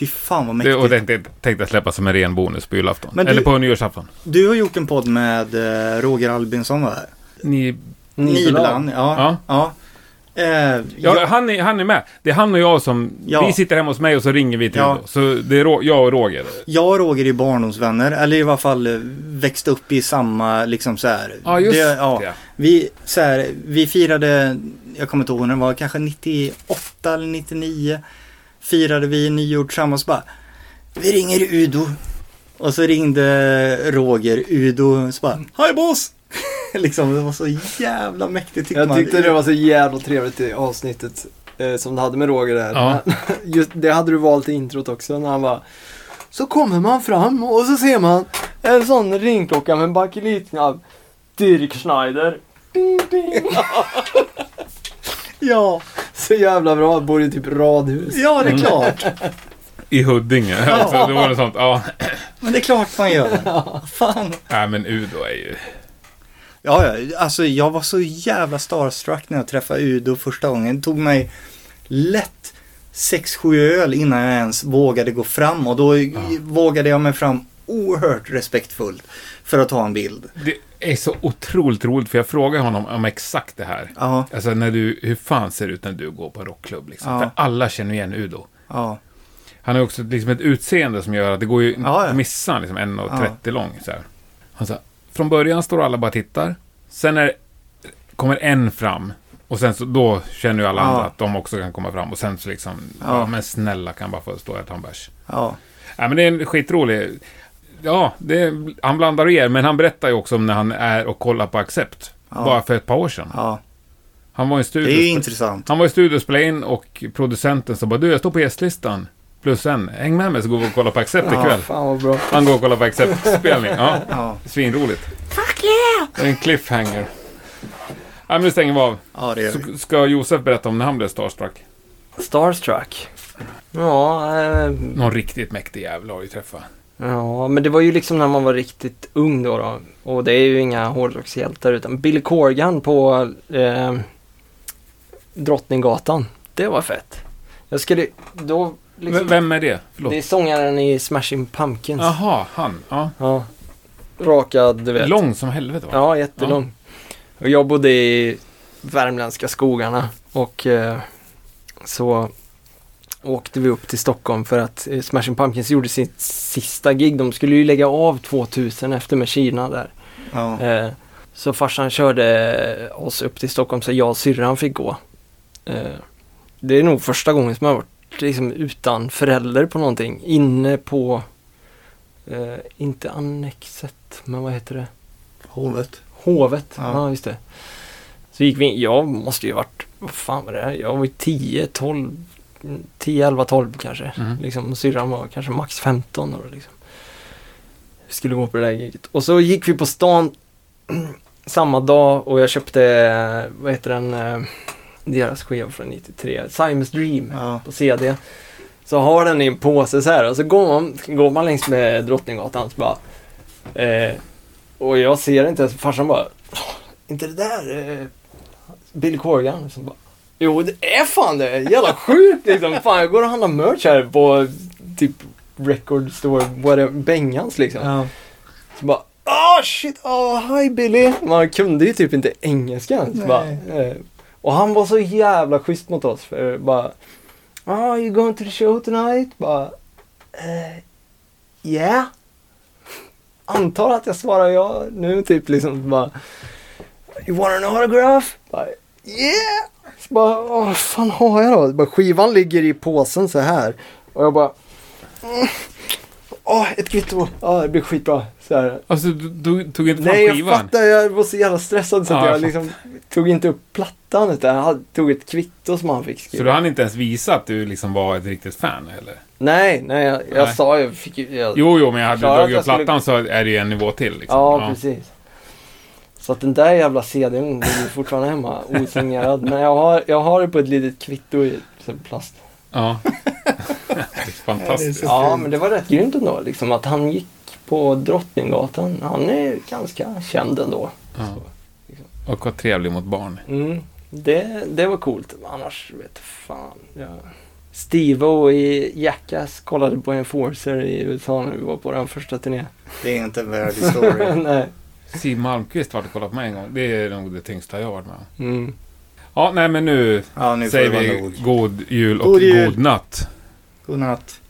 B: Fy fan vad
A: Det,
B: mäktigt.
A: och det tänkte, tänkte jag släppa som en ren bonus på julafton.
B: Men du-
A: Eller på nyårsafton.
B: Du har gjort en podd med eh, Roger Albinsson va?
A: Ni,
B: Nibeland. Ja. ja. Eh,
A: ja,
B: jag-
A: Han, är, han är med. Det är han och jag som...
B: Ja.
A: Vi sitter hemma hos mig och så ringer vi till
B: Ja.
A: Udo. Så det är Ro, jag och Roger.
B: Jag och Roger är barndomsvänner, eller i varje fall eh, växte upp i samma, liksom så här.
A: Ja, just det.
B: Det- ja. Vi, så här, vi firade, jag kommer inte ihåg när det var, kanske 98 eller 99. Firade vi nyår tillsammans bara. Vi ringer Udo. Och så ringde Roger Udo och så bara, Hej boss! liksom, det var så jävla mäktigt tyckte
C: Jag
B: man.
C: tyckte det var så jävla trevligt i avsnittet eh, som du hade med Roger där.
A: Ja.
C: Just, det hade du valt i introt också när han bara Så kommer man fram och så ser man en sån ringklocka med en bakelitknapp. Dirk Schneider. Ding, ding.
B: Ja,
C: Så jävla bra. Bor i typ radhus.
B: ja det är klart.
A: I Huddinge. Så det var något sånt. Ja.
B: Men det är klart man gör. Fan.
A: Nej, men Udo är ju...
B: Ja, ja, alltså jag var så jävla starstruck när jag träffade Udo första gången. Det tog mig lätt 6-7 öl innan jag ens vågade gå fram och då vågade jag mig fram oerhört respektfullt för att ta en bild.
A: Det är så otroligt roligt, för jag frågade honom om exakt det här.
B: Ja,
A: Alltså när du, hur fan ser det ut när du går på en rockklubb liksom?
B: Ja.
A: För alla känner igen Udo.
B: ja,
A: Han har också liksom ett utseende som gör att det går ju
B: Ja, ja.
A: missa liksom 1,30 lång så här. Han sa, från början står alla bara och tittar. Sen är, kommer en fram. Och sen så, då känner ju alla
B: Ja.
A: andra att de också kan komma fram. Och sen så liksom, ja,
B: Ja.
A: men snälla kan bara få stå här och ta en bärs.
B: ja,
A: Ja, men det är en skitrolig... Ja, det, han blandar och ger, men han berättar ju också om när han är och kollar på Accept.
B: Ja.
A: Bara för ett par år sedan.
B: ja.
A: Han var i studion.
B: Det är ju intressant.
A: Han var i studion och spelade in och producenten sa bara du, jag står på gästlistan. Plus en, häng med mig så går vi och kollar på Accept
B: Ja.
A: ikväll.
C: Fan vad bra.
A: Han går och kollar på Accept-spelning. Ja,
B: Ja,
A: svinroligt. Fuck yeah! Det är en cliffhanger. Ja, men nu stänger vi av.
B: ja det gör vi.
A: Så ska Josef berätta om när han blev starstruck.
C: Starstruck. Ja, eh,
A: Någon riktigt mäktig jävel har vi träffat.
C: Ja, men det var ju liksom när man var riktigt ung då. då. Och det är ju inga hårdrockshjältar utan Billy Corgan på eh, Drottninggatan. Det var fett. Jag skulle då...
A: V-
C: Liksom,
A: Vem är det? Förlåt.
C: det är sångaren i Smashing Pumpkins.
A: Jaha, han. Ja.
C: Ja. Rakad, du vet.
A: Lång som helvete va?
C: Ja, jättelång. Och jag bodde i värmländska skogarna och eh, så åkte vi upp till Stockholm för att eh, Smashing Pumpkins gjorde sitt sista gig. De skulle ju lägga av 2000 efter med Kina där.
B: Ja.
C: Eh, så farsan körde oss upp till Stockholm så jag och syrran fick gå. Eh, det är nog första gången som jag har varit liksom, utan förälder på någonting. Inne på, eh, inte Annexet, men vad heter det?
B: Hovet.
C: Hovet, ja.
B: Ja.
C: just det. Så gick vi in, jag måste ju varit, vad fan var det? här? Jag var ju 10, 12, 10, 11, 12 kanske.
A: Mm.
C: Liksom, och syrran var kanske max 15 år liksom. Vi skulle gå på det där giget. Och så gick vi på stan samma dag och jag köpte, eh, vad heter den, eh, deras skiva från 93, Simon's Dream
B: Ja.
C: på CD. Så har den i en påse så här och så går man, går man längs med Drottninggatan så bara eh, Och jag ser inte ens, farsan bara "Åh, Inte det där eh, Bill Corgan? Så bara, jo det är fan det, jävla sjukt liksom. Fan jag går och handlar merch här på typ Record Store, whatever, Bengans liksom.
B: Ja.
C: Så bara Ah shit, oh, hi Billy! Man kunde ju typ inte engelska ens.
B: Nej.
C: Bara, eh, och han var så jävla schysst mot oss. För bara, ah you going to the show tonight? Bara, eh, yeah. Antar att jag svarar ja nu typ liksom bara, you want an autograph? Bara, yeah! Så bara, "Åh, vad fan har jag då? Bara, skivan ligger i påsen så här. Och jag bara, mm, åh ett kvitto, ja "Ah, det blir skitbra. Så här.
A: Alltså, du, du tog inte fram
C: Nej, jag
A: skivan?
C: fattar. Jag var så jävla stressad så att
A: Ja, jag
C: jag liksom tog inte upp plattan utan jag hade- tog ett kvitto som han fick
A: Så
C: skriva.
A: du hann inte ens visa att du liksom var ett riktigt fan eller?
C: Nej, nej, jag, jag
A: Nej.
C: sa ju... Fick, ju- jag,
A: Jo, jo, men jag hade
C: Klara
A: dragit upp
C: att jag skulle-
A: plattan så är det ju en nivå till. Liksom.
C: ja, precis. Så att den där jävla CDn ligger ju fortfarande hemma osignerad. Men jag har, jag har det på ett litet kvitto i så här plast.
A: Ja. det är fantastiskt.
B: Ja,
C: Ja,
B: fint.
C: men det var rätt grymt ändå liksom att han gick på Drottninggatan. Han är ganska känd ändå.
A: Ja. Och var trevlig mot barn.
C: Mm, det, det var coolt. Annars vet fan. Ja. Steve-O i Jackass kollade på Enforcer i USA när vi var på den första turnén.
B: Det är inte en värdig story.
C: Nej.
A: Siw Malmkvist var och kollade på mig en gång. Det är nog det tyngsta jag har varit med om.
C: Mm.
A: Ja, nej men nu
B: Ja, nu får
A: säger
B: det vara
A: vi
B: nog.
A: god jul och
B: God jul.
A: god natt.
B: Godnatt.